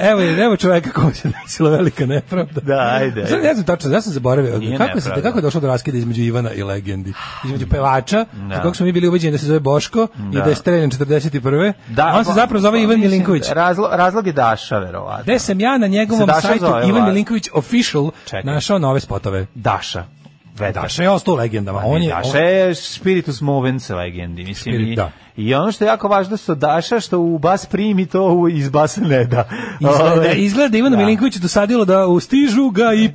F: evo, evo čoveka kome se desila velika nepravda.
G: Da, ajde,
F: Sad
G: ajde.
F: ne znam tačno, ja sam zaboravio.
G: Nije
F: kako, se,
G: nepravda.
F: kako je došlo do raskida između Ivana i legendi? Između pevača,
G: Da.
F: kako smo mi bili ubeđeni da se zove Boško i da je streljan 41. a on se
G: pa-
F: zapravo zove
G: pa
F: Ivan
G: mislim,
F: Milinković.
G: Razlo, razlog je Daša, verovatno.
F: Gde sam ja na njegovom
G: Se Daša
F: sajtu
G: zove,
F: Ivan
G: Vlad?
F: Milinković Official
G: Čekaj. E,
F: našao nove spotove.
G: Daša. Vedar.
F: Daša je ostao u legendama. On je,
G: E, Daša je spiritus movens legendi, mislim.
F: Spirit,
G: i,
F: da.
G: I ono što je jako važno što Daša, što u bas primi, to u- iz Ovaj, bas ne da.
F: Izgleda,
G: Ove,
F: izgleda Ivanu
G: da. E,
F: Milinkoviću dosadilo da ustižu ga i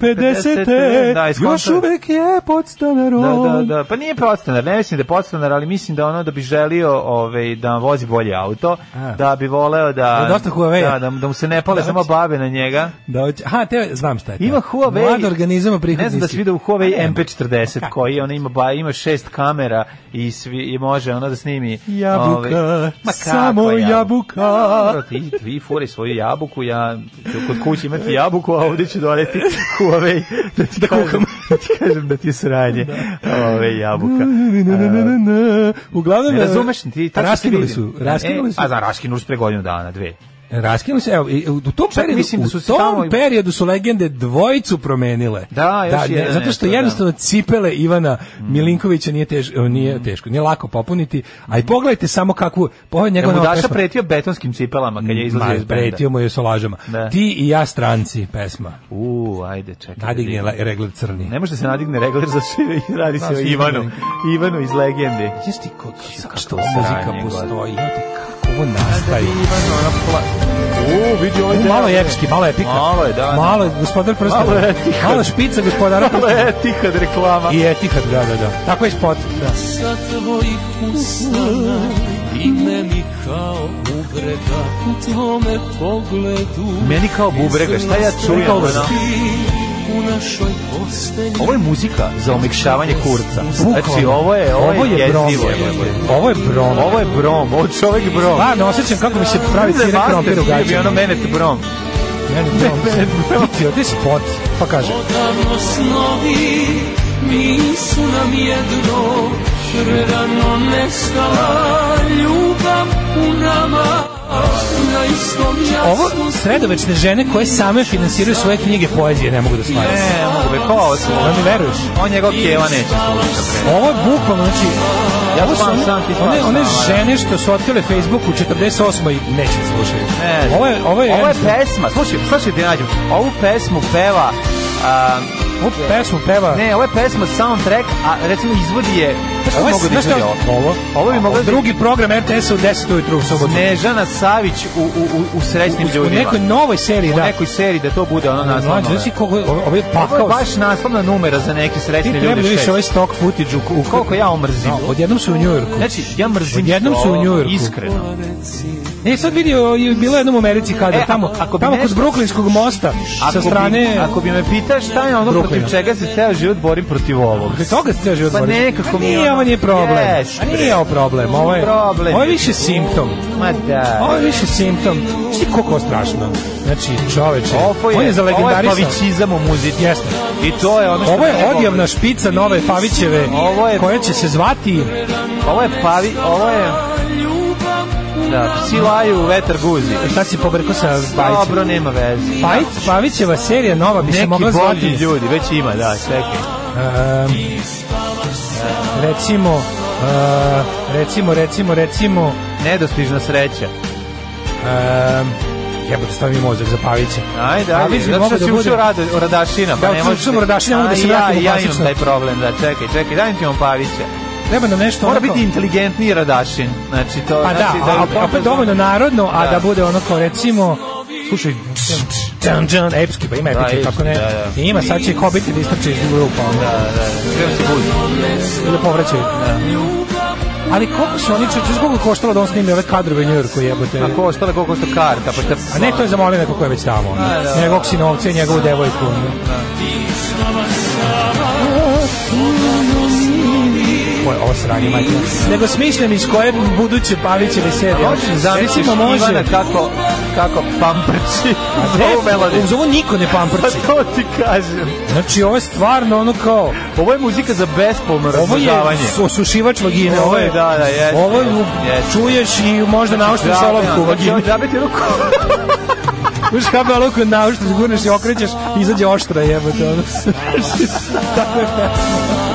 F: 50.
G: Da, iz
F: Još
G: kontra-
F: uvek je podstanarom.
G: Da, da, da. Pa nije podstanar, ne mislim da je podstanar, ali mislim da ono da bi želio ovaj, da vozi bolje auto,
F: A.
G: da bi voleo da...
F: Da, dosta Huawei-a.
G: Da, da, da mu se ne pale
F: Da, znači-
G: samo babe na njega.
F: Da, hoće- aha, te, znam šta je to.
G: Ima Huawei.
F: Mlad organizam prihodniski.
G: Ne znam da si vidio u
F: Pa
G: Huawei MP40 koji ona ima ba, ima šest kamera i svi i može ona da snimi
F: Jabuka,
G: ovaj, ma kako
F: samo jabuka.
G: Dobro, ti vi furi svoju jabuku, ja ću kod kuće imati jabuku, a ovdje ću doneti Huawei da ti da kuham. Da ti kažem da ti je sranje. Ove jabuka.
F: Na, na, na, na, na. Uglavnom,
G: Ne razumeš ti?
F: Pa Raskinuli
G: vidim.
F: su, raskinuli
G: E,
F: su.
G: A za raskinuli su pre godinu dana, dve.
F: Raskinuli se, evo, i u tom
G: Čak
F: periodu,
G: mislim da su
F: u
G: se
F: tom
G: tamo-
F: periodu su legende dvojicu promenile.
G: Da, još
F: ne,
G: jedan
F: Zato što
G: je to, da. Mm.
F: jednostavno cipele Ivana Milinkovića nije, tež, nije teško, nije lako popuniti, a i pogledajte samo kakvu, pogledajte
G: Jel
F: njegov
G: mu Daša pretio betonskim cipelama kad je izlazio iz benda?
F: Mm, pretio mu je sa lažama.
G: Da.
F: Ti i ja stranci, pesma.
G: U, ajde, čekaj.
F: Nadigne
G: da
F: la- regler crni.
G: Ne može da se nadigne regler za sve, radi se
F: Znaš,
G: o Ivanu. Ivanu iz legende.
F: Znaš ti ko, što
G: kakvo
F: muzika
G: sranje,
F: postoji? Znate kako ovo nastaje?
G: U, vidi ovaj
F: U, malo je epski, malo je epika.
G: Malo je, da, da.
F: Malo je gospodar prsta.
G: Malo je Etihad.
F: Malo špica gospodara
G: Malo
F: prsta.
G: je ti kad reklama.
F: I Etihad, da, da, da. Tako je spot. Da.
K: sa tvojih usana i meni kao bubrega u tvome pogledu
G: Meni kao bubrega, šta ja čujem?
K: Kao
G: ono?
K: ti u našoj postelji
G: Ovo je muzika za omekšavanje kurca.
F: Bukvalno.
G: Znači, ovo je, ovo je,
F: brom.
G: jezivo.
F: Ovo je brom.
G: Ovo je brom, ovo je čovek brom.
F: Stvarno, osjećam kako mi se pravi
G: Vidim da
F: cire
G: je
F: krompir u
G: Master bio
F: gaćama.
G: ono Menet brom.
F: Meni brom.
G: Meni brom.
F: Vidi, ovdje je spot, pa kaže.
K: odavno snovi nisu nam jedno prerano nestala ljubav u nama na istom
F: Ovo
K: jasnom
F: sredovečne žene koje same finansiraju svoje knjige poezije ne mogu da stvaraju.
G: Ne, mogu bi, kao ovo smo.
F: Da mi veruješ?
G: On njegov kjeva neće slušati. bre.
F: Ovo je bukvalno, znači,
G: Ja
F: ovo su
G: spavam
F: one-
G: sam, ti
F: one,
G: spavaš
F: one
G: sam, a?
F: žene što su otkrile Facebook u 48. i neće da slušaju.
G: Ne,
F: Ovo je, ovo je,
G: ovo je
F: jednostavno-
G: pesma, slušaj, slušaj ti nađem, ovu pesmu peva, a,
F: ovu pesmu peva.
G: ne, ovo je pesma soundtrack, a recimo izvodi je, znaš što
F: Ovo je-
G: mogu da
F: znaš šta-
G: izvodi ovo?
F: ovo?
G: Ovo bi mogla da-
F: drugi program RTS-a u 10 ujutru u sobotu.
G: Snežana Savić u, u, u, u srećnim
F: U
G: ljudima.
F: nekoj novoj seriji,
G: u
F: da.
G: nekoj seriji da to bude ono naslovno.
F: Mlađe, znaš ti koliko je- ovo- ovo je
G: Ovo je
F: pakao.
G: baš naslovna numera za neke
F: Ti
G: srećne
F: treba da
G: ljude
F: vidiš
G: šest.
F: ovaj stock footage u, u
G: Koliko ja omrzim.
F: No, odjednom su u New Yorku.
G: Znači, ja mrzim
F: Odjednom su u
G: ovo,
F: New Yorku.
G: Iskreno.
F: E, sad vidio, je bilo jednom u Americi kada,
G: E,
F: tamo,
G: ako bi
F: tamo
G: nešto-
F: kod Bruklinskog mosta, sa
G: Bi,
F: strane...
G: ako bi me pitaš šta je ono
F: Brooklyna.
G: protiv čega se ceo život borim protiv ovog.
F: Zbog toga se ceo život
G: Pa
F: boriš.
G: nekako
F: A
G: mi je
F: nije,
G: ono-
F: ovo nije problem.
G: Jes,
F: A nije ovo problem, ovo je,
G: Problem.
F: ovo je više simptom.
G: Ma da.
F: Ovo je više simptom. Šti koliko ovo strašno. Znači, čoveče,
G: Ovo je,
F: on je za
G: ovo je
F: legendarisa.
G: pavićizam u muzici.
F: Jeste.
G: I to je ono što...
F: Ovo je
G: mene
F: odjavna
G: boli.
F: špica nove Pavićeve,
G: Ovo je-
F: koja će se zvati...
G: Ovo je pavi... Ovo je... Da, psi laju u vetar guzi.
F: Šta si pobrko sa Bajićem?
G: Dobro, nema veze.
F: Pajić, Pavićeva serija nova bi se
G: Neki
F: Pa, mogla zvati...
G: bolji ljudi, već ima, da, čekaj.
F: Ehm, recimo, eh, recimo, recimo, recimo,
G: Nedostižna sreća.
F: um, jebote, stavi mi mozak za Pavića.
G: Ajde, ajde.
F: Pavić bi
G: Zato
F: mogao
G: što
F: da
G: si
F: bude-
G: učio rado, o Radašina, pa
F: Da,
G: ne
F: učio
G: možeš...
F: sam o Radašina, mogu da
G: A
F: se
G: ja,
F: vratim u
G: ja imam
F: klasično.
G: taj problem, da, čekaj, čekaj, daj mi ti imam Pavića.
F: Treba nam nešto
G: Mora
F: onako-
G: biti inteligentniji Radašin. Znači, to...
F: Pa da,
G: znači,
F: a, a, opet dovoljno narodno, a da bude ono kao recimo... Slušaj, džan, džan, epski, pa ima epički,
G: epski,
F: kako ne.
G: da, da.
F: Ima, sad će i hobiti da istrče iz grupa, ono,
G: Da, da, da. Treba se budi.
F: da povraćaju. Ali koliko su oni, čuči, koliko je koštalo da on snimi ove kadrove u Njujorku, jebote?
G: A koštala koliko što karta, pa šta...
F: A ne, to je za molim neko ko je već tamo. ono.
G: da.
F: Njegovog sinovca i njegovu devojku. ono. Ovo je ovo sranje, majke. Nego smišljam iz koje buduće pavićeve serije.
G: Možeš zamisliš
F: Recimo, može.
G: Ivana kako, kako pamprči
F: A
G: za
F: ne,
G: ovu melodiju.
F: Uz ovo niko ne
G: Pa
F: pamprči.
G: to ti kažem.
F: Znači, ovo je stvarno ono kao...
G: Ovo je muzika za bespolno
F: Ovo je
G: razložavanje.
F: su- osušivač vagine. Ovo je,
G: Da, da, jeste,
F: ovo je,
G: jeste. Znači,
F: čuješ i možda nauštiš
G: Da,
F: olovku u
G: da,
F: vagini.
G: Da bi ti ruku...
F: Uš kape olovku nauštiš, gurneš i okrećeš, izađe oštra jebote. ono. Tako je pesma.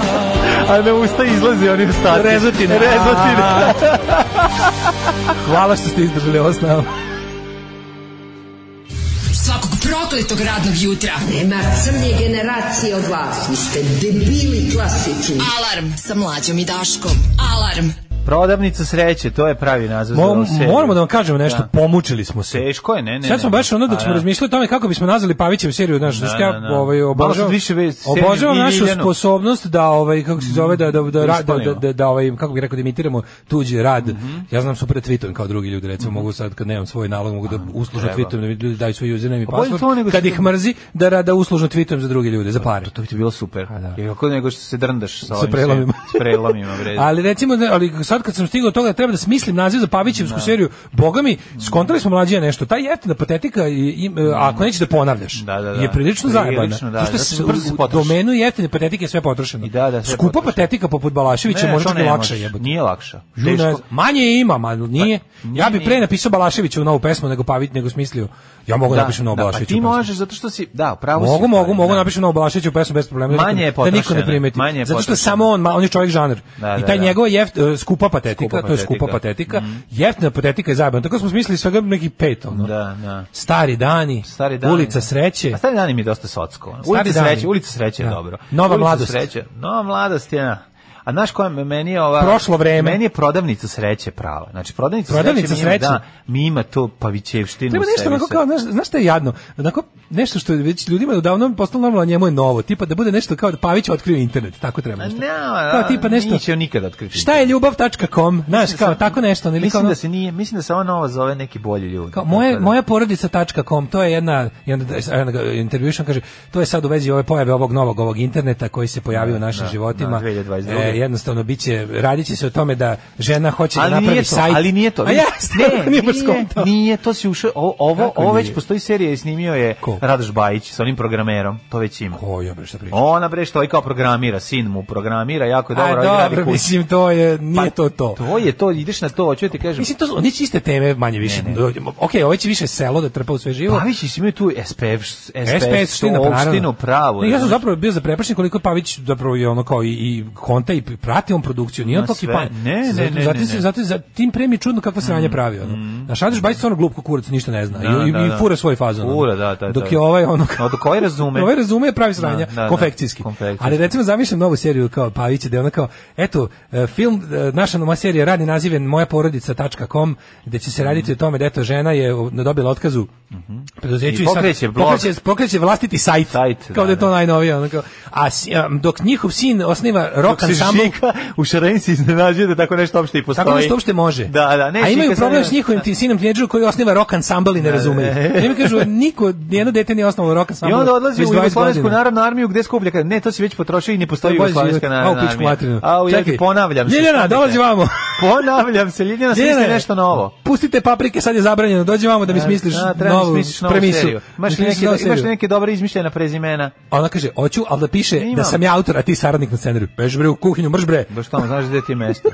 G: A na usta izlaze oni ostati.
F: Rezotine.
G: Rezotine.
F: Hvala što ste izdržali ovo s nama.
E: Svakog prokletog radnog jutra.
L: Nema crnje generacije od vas. Vi ste debili klasični.
E: Alarm sa mlađom i Daškom. Alarm.
G: Prodavnica sreće, to je pravi naziv za ovu
F: Mo-
G: seriju.
F: moramo da vam kažemo nešto,
G: Da.
F: pomučili smo se.
G: Teško je, ne, ne.
F: Sad smo
G: ne.
F: baš ono
G: A,
F: dok smo
G: da.
F: razmišljali o tome kako bismo nazvali Pavićevu seriju, znaš, da,
G: Da,
F: ja
G: da, da.
F: ovaj
G: Malo
F: obožavam.
G: sad više ve- seriju
F: obožavam
G: i
F: našu
G: Ljiljanu.
F: sposobnost da ovaj kako se zove da da da da, da, da,
G: ispunimo.
F: da, da ovaj kako bih rekao da imitiramo tuđi rad.
G: Mhm.
F: Ja znam super tweetujem kao drugi ljudi, recimo mogu sad kad nemam svoj nalog mogu da uslužno
G: treba.
F: tweetujem da mi ljudi daju svoj username i
G: Pa bolje to nego
F: password. Kad
G: što-
F: ih mrzi da ra- da uslužno tweetujem za druge ljude, za pare.
G: To bi ti bilo super.
F: A, da.
G: Jer kako nego što se drndaš sa ovim
F: prelomima.
G: svim- S prelomima, bre.
F: Ali recimo, ne, ali sad sad kad sam stigao do toga da treba da smislim naziv za Pavićevsku seriju, boga mi, skontali smo mlađe nešto. Ta jeftina patetika, i, i, ako nećeš da ponavljaš,
G: da.
F: je prilično zajebana.
G: Prilično, da,
F: Zato
G: zato
F: što
G: što brzo
F: se
G: se
F: u
G: potroši.
F: domenu jeftine patetike je sve potrošeno.
G: sve
F: Skupa patetika poput Balaševića
G: Ne,
F: može
G: to
F: čak i
G: ne
F: lakše
G: može.
F: jebote.
G: Nije lakša.
F: Ju,
G: Teško. Pa,
F: ne znam. manje je ima, ma nije. ja bi pre napisao Balaševiću novu pesmu nego Pavić nego smislio. Ja mogu da, napišem novu
G: da, pa
F: Balaševiću.
G: ti možeš zato što si, da, pravo si.
F: Mogu, mogu, mogu
G: Da.
F: napišem novu Balaševiću pesmu bez problema. da
G: Manje
F: niko-
G: je
F: Da niko ne
G: potrošena,
F: primeti.
G: manje je
F: Zato što
G: potrošena.
F: samo on, ma- on je čovjek žanar.
G: Da,
F: I
G: da,
F: taj
G: da.
F: njegova jeft, e, skupa patetika,
G: Skupa
F: to je skupa
G: patetika. Mhm.
F: patetika. Jeftina patetika je zajebana. Tako smo smislili svega neki pet, ono.
G: Da, da.
F: Stari dani,
G: Stari dani.
F: ulica sreće.
G: A stari dani mi je dosta socko. ono.
F: Stari
G: Ulica
F: dani.
G: sreće, ulica sreće je
F: Da.
G: dobro.
F: Nova
G: ulica
F: mladost.
G: Sreće, nova mladost je na. A znaš koja me- meni je ova...
F: Prošlo vreme.
G: Meni je prodavnica sreće prava. Znači, prodavnica,
F: Prodavnica
G: sreće, mi ima-
F: sreće.
G: da, mi ima to pavićevštinu
F: Treba nešto onako kao, znaš, znaš šta je jadno? Onako, nešto što je već ljudima odavno postalo normalno, a njemu je novo. Tipa da bude nešto kao da Pavić otkrio internet, tako treba nešto.
G: Ne,
F: Kao tipa nešto-
G: Nije će nikad otkriti.
F: Šta je ljubav.com? Znaš,
G: Mislim da
F: kao
G: sam-
F: tako nešto. ono, Ili kao,
G: Mislim
F: ono-
G: da se nije, mislim da se ova nova zove neki bolji ljudi.
F: Kao, moje, moja porodica.com, to je jedna, jedna, jedna intervjušan kaže, to je sad u vezi ove pojave ovog novog ovog interneta koji se pojavio u našim
G: Da, da,
F: životima.
G: 2022.
F: E, jednostavno, bit će, radit će se o tome da žena hoće da
G: ali
F: napravi
G: nije to,
F: sajt.
G: ali nije to.
F: A ja, stvarno, nije baš
G: nije,
F: skontao.
G: nije, to si ušao, o- ovo,
F: Kako
G: ovo već
F: nije?
G: postoji serija i snimio je Radoš Bajić sa onim programerom, to već ima.
F: Ko je, bre, šta priča?
G: Ona bre što ovaj kao programira, sin mu programira, jako
F: A,
G: dobro, ovaj
F: dobro,
G: radi kući.
F: mislim, to je, nije
G: Pa,
F: to to.
G: To je to, ideš na to, hoću ja ti kažem.
F: Mislim, to su, oni će iste teme manje više. Ok, ovaj će više selo da trpa u sve živo.
G: Pavić i imaju tu SPF,
F: SPS
G: SPS,
F: ština, pa naravno.
G: opštinu pravu.
F: Ne, ja sam
G: znaš.
F: zapravo bio zaprepašen koliko je Pavić zapravo je ono kao i, i konta i prati on produkciju, nije on
G: Ma
F: toki
G: sve,
F: pa.
G: ne, ne,
F: zato,
G: ne,
F: zato,
G: ne,
F: se-
G: ne. Mhm.
F: zato, za tim pre mi je čudno kakva sranja pravi ono. Naš Andrić Bajić je stvarno glup kukurac, ništa ne zna.
G: Da,
F: I, i,
G: da, da.
F: i fura svoj fazon. ono.
G: Fura, da, da,
F: Dok
G: da.
F: je ovaj ono kao
G: Od koji razume?
F: Ovaj razume pravi sranja,
G: Da, da, da.
F: konfekcijski.
G: Konfekcijski.
F: Ali recimo zamišljam novu seriju kao Pavić da je ona kao eto e, film e, naša nova serija radni naziv je moja porodica.com gde će se raditi o
G: Mhm.
F: tome da eto žena je o, dobila otkazu preduzeću
G: I
F: i sad
G: pokreće blog.
F: pokreće, pokreće vlastiti sajt.
G: Sajt,
F: kao da,
G: da,
F: je to
G: da.
F: najnovije ono kao. A si- a, dok njihov sin osniva rock
G: Dok se
F: ensemble
G: Žika u Šarenici iznenađuje da tako nešto uopšte i postoji.
F: Tako nešto uopšte može.
G: Da, da, ne,
F: A imaju
G: Žika sad
F: problem
G: je-
F: s njihovim tim sinom tinejdžerom koji osniva rock ensemble i ne razumeju. Oni mi kažu niko nijedno dete nije osnovalo rock ensemble.
G: I onda odlazi
F: već
G: u
F: 20
G: Jugoslovensku
F: godina.
G: narodnu armiju gde skuplja kad ne, to si već potrošio i ne postoji
F: To je bolje
G: Jugoslovenska
F: život.
G: narodna
F: A, u
G: armija.
F: pičku materinu.
G: A u
F: Čekaj.
G: jedi, ponavljam se.
F: Ljiljana,
G: stanite.
F: dolazi vamo.
G: ponavljam se, Ljiljana, smisli
F: Ljiljana,
G: nešto novo.
F: Pustite paprike, sad je zabranjeno. Dođi vamo da mi smisliš
G: Da, treba mi
F: novu
G: smisliš novu
F: premisu.
G: seriju. Imaš li
F: Smisliš
G: neke,
F: novu
G: imaš
F: seriju.
G: li neke dobre izmišljena prezimena?
F: A Ona kaže, hoću, ali da piše da
G: Imam.
F: sam ja autor, a ti saradnik na scenariju. Beži bre u kuhinju, mrš bre.
G: Baš tamo, znaš gde ti je mesto.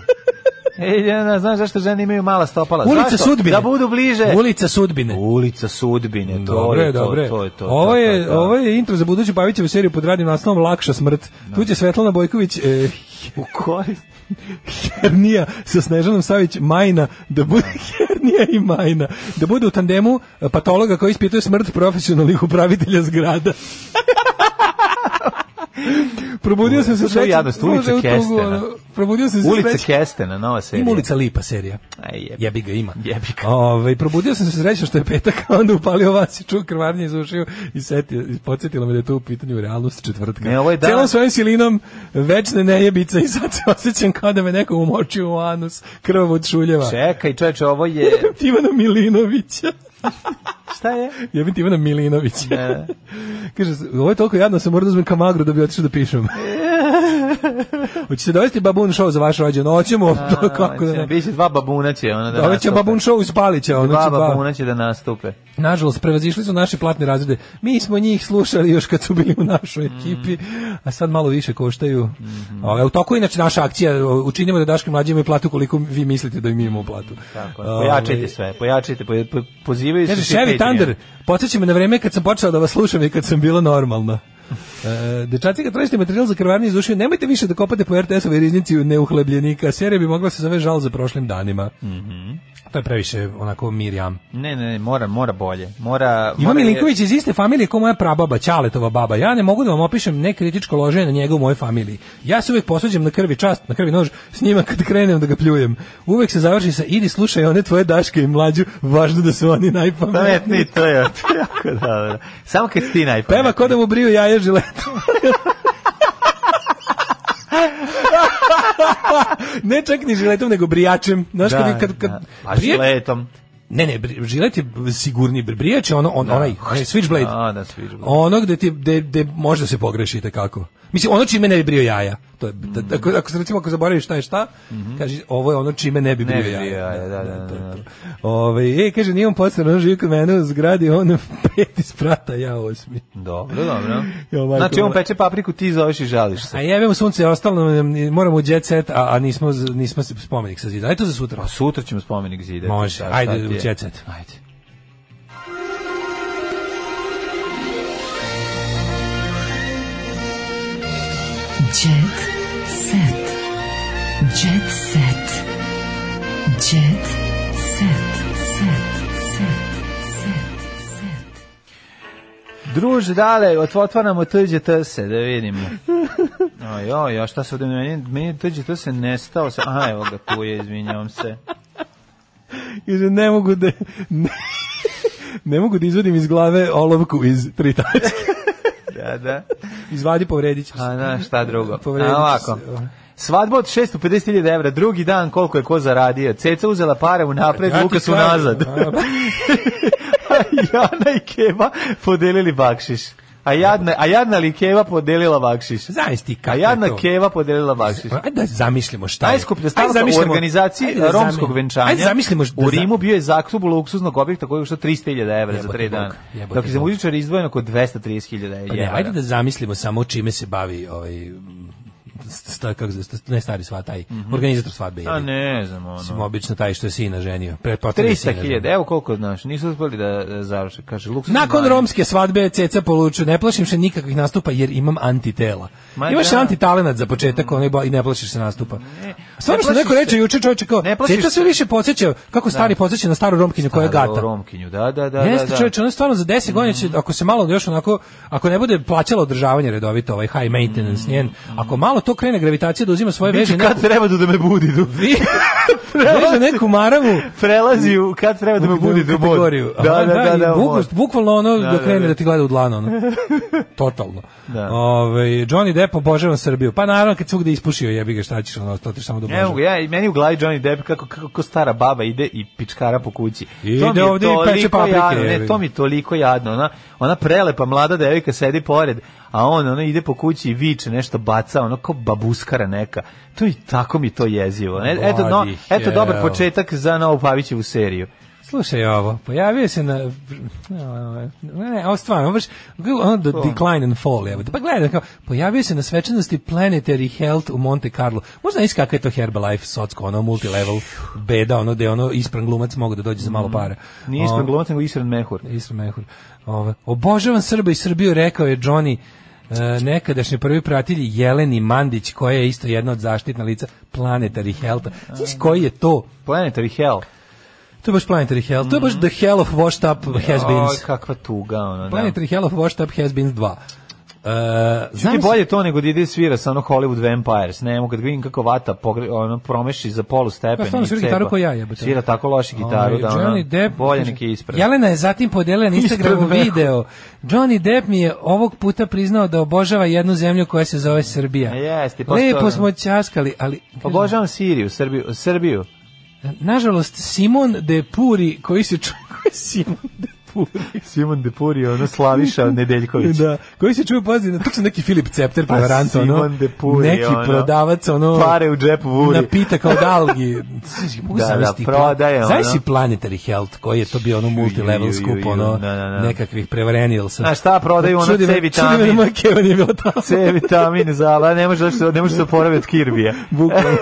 G: E, Ljiljana, znaš zašto žene imaju mala stopala?
F: Ulica
G: Zašto?
F: sudbine.
G: Da budu bliže.
F: Ulica sudbine.
G: Ulica sudbine, to
F: Dobre,
G: je to,
F: dobre.
G: to je to.
F: ovo,
G: to,
F: je,
G: to, to.
F: ovo je intro za buduću Pavićevu seriju pod radnim naslovom Lakša smrt. Tu će Svetlana Bojković, e,
G: U korist.
F: Hernija sa Snežanom Savić, Majna, da bude Hernija i Majna. Da bude u tandemu e, patologa koji ispituje smrt profesionalnih upravitelja zgrada. Probudio sam se
G: To je jadnost, ulica
F: Slušaj, u tugu,
G: Kestena.
F: ono, Probudio sam se
G: Ulica
F: srećan-
G: Kestena, nova serija.
F: Ima ulica Lipa serija.
G: Aj, jebi.
F: Jebi ga ima.
G: Jebi ga.
F: Ove, Ovaj, probudio sam se srećan što je petak, a onda upalio vas i čuo krvarnje iz ušiju i setio, i podsjetilo me da je to u pitanju realnost četvrtka.
G: Ne, ovo je dan-
F: Celom svojim silinom večne nejebica i sad se osjećam kao da me neko umočio u anus krvav od šuljeva.
G: Čekaj, čoveče, ovo je...
F: Tivana Milinovića.
G: Šta je?
F: Jebim Tivana Milinovića.
G: Ne.
F: Kaže, ovo je toliko jadno, sam moram da uzmem kamagru da bi otišao da pišem. Hoćete dovesti babun show za vaš rođen? Hoćemo, to kako da ne.
G: Biće dva babuna će ona da
F: Doveće će
G: nastupe.
F: babun show iz Palića. ono
G: Dva
F: će ba-
G: babuna će da nastupe.
F: Nažalost, prevazišli su naše platne razrede. Mi smo njih slušali još kad su bili u našoj ekipi, a sad malo više koštaju.
G: Mhm.
F: A, u toku je inače naša akcija, o, učinimo da Daški mlađi imaju platu koliko vi mislite da im imamo platu.
G: Tako je. Pojačajte
F: Ovaj,
G: sve, pojačajte, po, po, pozivaju se
F: Kaže,
G: svi
F: Chevy
G: Patreon.
F: Thunder, podsjeća me na vreme kad sam počela da vas slušam i kad sam bila normalna. E, dečaci, kad tražite materijal za krvarni iz ušiju, nemojte više da kopate po RTS-ovoj riznici u neuhlebljenika. Serija bi mogla se zove žal za prošlim danima.
G: Mhm.
F: To je previše onako mirjam.
G: Ne, ne, ne, mora, mora bolje. Mora,
F: Ivan
G: mora
F: Milinković iz iste familije kao moja prababa, Ćaletova baba. Ja ne mogu da vam opišem nekritičko loženje na njega u mojoj familiji. Ja se uvek posuđem na krvi čast, na krvi nož, s njima kad krenem da ga pljujem. Uvek se završi sa idi slušaj one tvoje daške i mlađu, važno da su oni najpametniji.
G: Pametni, to je to je jako dobro. Samo kad si ti najpametniji.
F: Peva ko da mu briju jaje žiletom. ne čak ni žiletom, nego brijačem. Znaš,
G: da,
F: kad, kad, kad
G: da. Pa
F: brije-
G: žiletom.
F: Ne, ne, bri- žilet je b- sigurni bri- brijač, je ono on onaj onaj switchblade.
G: Da, da, switchblade.
F: Ono gde ti gde, gde možda se pogreši te kako. Mislim ono čime ne bi brio jaja. To je da-
G: Mhm.
F: da- ako ako se recimo ako zaboraviš šta je šta, kaže ovo je ono čime ne bi
G: Ne
F: brio
G: bi
F: jaja.
G: brio jaja, da, da,
F: to je
G: da,
F: to. Ovaj, e, kaže, nijem podstavno, ono živi kod mene u zgradi, on peti sprata, ja osmi.
G: Dobro, dobro.
F: Jo, majko
G: Znači, on
F: moja.
G: peče papriku, ti zoveš i žališ se.
F: A jebe mu sunce, ostalo nam je- moramo u jet set, a, a nismo, nismo se spomenik sa zida. Ajde to za sutra.
G: A sutra ćemo spomenik zida.
F: Može,
G: Šta- šta
F: ajde
G: ti
F: u
G: je?
F: jet set.
G: Ajde.
E: Jet set. Jet set. Jet set. Set. Set. Set. Set.
G: Druž, dale, otv- otvaramo tuđe tse, da vidimo. Oj, oj, a šta se ovde meni, meni tuđe tse nestao se. Aha, evo ga, tu je, izvinjavam se.
F: Kaže, ne mogu da... Ne, ne mogu da izvadim iz glave olovku iz tri tačke.
G: Da, da.
F: Izvadi, povredit ćeš.
G: A da, šta drugo?
F: Povredit ćeš
G: A, ovako.
F: se.
G: Svadba od 650.000 evra, drugi dan koliko je ko zaradio. Ceca uzela pare u napred,
F: Ja ti
G: Lukas u
F: kažem,
G: nazad.
F: a,
G: Jana i Keva podelili bakšiš. A jadna, a jadna li Keva podelila bakšiš?
F: Pa Znaš ti
G: A
F: kako je
G: Pa jadna
F: to. Pa-
G: Keva podelila bakšiš.
F: Ajde da zamislimo šta je.
G: Najskuplja
F: Ajde
G: stavka u
F: zamislimo-
G: organizaciji
F: ajde da zami-
G: romskog venčanja.
F: Ajde zamislimo da
G: u
F: za-
G: Rimu bio je zakup luksuznog objekta koji je što 300.000 evra za
F: Jebote
G: 3
F: Bog,
G: dana.
F: jebote
G: Dok je za
F: Bog.
G: muzičara izdvojeno oko 230.000
F: Pa ne,
G: evra.
F: ajde da zamislimo samo čime se bavi ovaj sta, kako, se- sta- ne stari sva, taj organizator svadbe. jebi
G: Mhm. A
F: ga.
G: Pa ne znam,
F: Mislim,
G: ono.
F: obično taj što je sina ženio. Pretpostavljam da je sina
G: 300.000, evo koliko znaš, nisu uspeli da, da završe, kaže luksuzno.
F: Nakon romske svadbe Ceca poluču, ne plašim se nikakvih nastupa jer imam antitela.
G: Ma
F: Imaš
G: da. Mhm.
F: antitalenat za početak onaj ba- i ne plašiš se nastupa.
G: ne
F: Stvarno što
G: plašiš
F: neko reče
G: se.
F: juče čovječe kao,
G: Ne plašiš
F: Ceca sve
G: se.
F: više podsjeća kako stari podsjeća na staru romkinju koja je gata.
G: Romkinju, da, da, da.
F: Jeste
G: da, da.
F: čovječe, ono stvarno za 10 godina će, ako se malo još onako, ako ne bude plaćalo održavanje redovito, ovaj high maintenance njen, ako malo to krene gravitacija da uzima svoje veže,
G: Biće
F: neku,
G: kad treba da me budi, du.
F: veže neku maramu,
G: prelazi u kad treba da me budi do bod.
F: kategoriju.
G: Da, da, da,
F: i
G: da. u
F: bukva-
G: bod.
F: bukvalno ono
G: Da,
F: da,
G: da,
F: krene
G: da.
F: da, ti gleda u dlanu. Ono. Totalno.
G: Da.
F: Ove, Johnny Depp obožavam Srbiju. Pa naravno kad svugde ispušio jebi ga šta ćeš, ono, to ćeš samo da
G: Evo
F: obožavaš.
G: ga, ja, i meni u glavi Johnny Depp kako, kako, kako stara baba ide i pičkara po kući.
F: Ide
G: mi je
F: ovde i peče
G: toliko
F: paprike,
G: Jadno, ne,
F: jebi
G: to
F: ga.
G: mi je toliko jadno. Ona, ona prelepa mlada devojka sedi pored, a on ono ide po kući i viče, nešto baca, ono kao babuskara neka. To i tako mi to jezivo. E, eto, no,
F: Bloody
G: eto
F: hell.
G: dobar početak za Novu Pavićevu seriju.
F: Slušaj ovo, pojavio se na... Ne, ne, ovo stvarno, ovo baš, ono do decline and fall, evo. Pa gledaj, kao, pojavio se na svečanosti Planetary Health u Monte Carlo. Možda nisi kakva je to Herbalife, socko, ono multilevel beda, ono gde ono ispran glumac mogu da dođe za malo para.
G: Mm. Nije ispred
F: Ono,
G: glumac, nego Isran Mehur.
F: Isra Mehur. Ovo, obožavam Srba i Srbiju, rekao je Johnny e, nekadašnji prvi pratitelj Jeleni Mandić, koja je isto jedna od zaštitna lica Planetary Health. Znaš koji je to?
G: Planetary Hell.
F: To je baš Planetary Health. To je baš The Hell of Washed Up Has
G: Oj,
F: Beens.
G: kakva tuga, ono, Mhm. da.
F: Planetary Hell of Washed Up Has Beens 2. E,
G: Ti
F: znam
G: bolje to nego da ide i svira sa ono Hollywood Vampires, ne mogu kad vidim kako vata pogre, ono promeši za polu stepen
F: Pa stvarno svira gitaru ko ja, jebote. Ovaj,
G: Svira tako loše gitaru da ono,
F: Johnny Depp,
G: bolje
F: kaže,
G: nek je ispred.
F: Jelena je zatim podelila na
G: Ispred
F: Instagramu
G: veku.
F: video. Johnny Depp mi je ovog puta priznao da obožava jednu zemlju koja se zove Srbija.
G: A jeste, pa što,
F: Lepo
G: ono?
F: smo ćaskali, ali... kaže,
G: Obožavam Siriju, Srbiju, Srbiju.
F: Nažalost, Simon de Puri, koji se čuje... Ko je Simon de Puri?
G: Simon Depuri, ono Slaviša Nedeljković.
F: Da, koji se čuje pozivno, to neki Filip Cepter,
G: Pa
F: prevarant, ono,
G: Simon de Puri,
F: neki
G: ono.
F: prodavac, ono,
G: Pare u džep vuri.
F: napita kao dalgi. Mogu
G: Da, da,
F: zamisliti,
G: prodaje, ono.
F: Znaš si Planetary Health, koji je to bio ono
G: Ju, ju,
F: multilevel
G: ju,
F: skup,
G: ju,
F: ono,
G: da, da, da.
F: nekakvih prevarenilsa.
G: A šta prodaju, ono,
F: Čudi me-
G: C vitamin.
F: Čudi me da moja keva nije bila tamo.
G: C vitamin za, ali ne može da se ne može da se oporavi od Kirbija.
F: Bukvalno.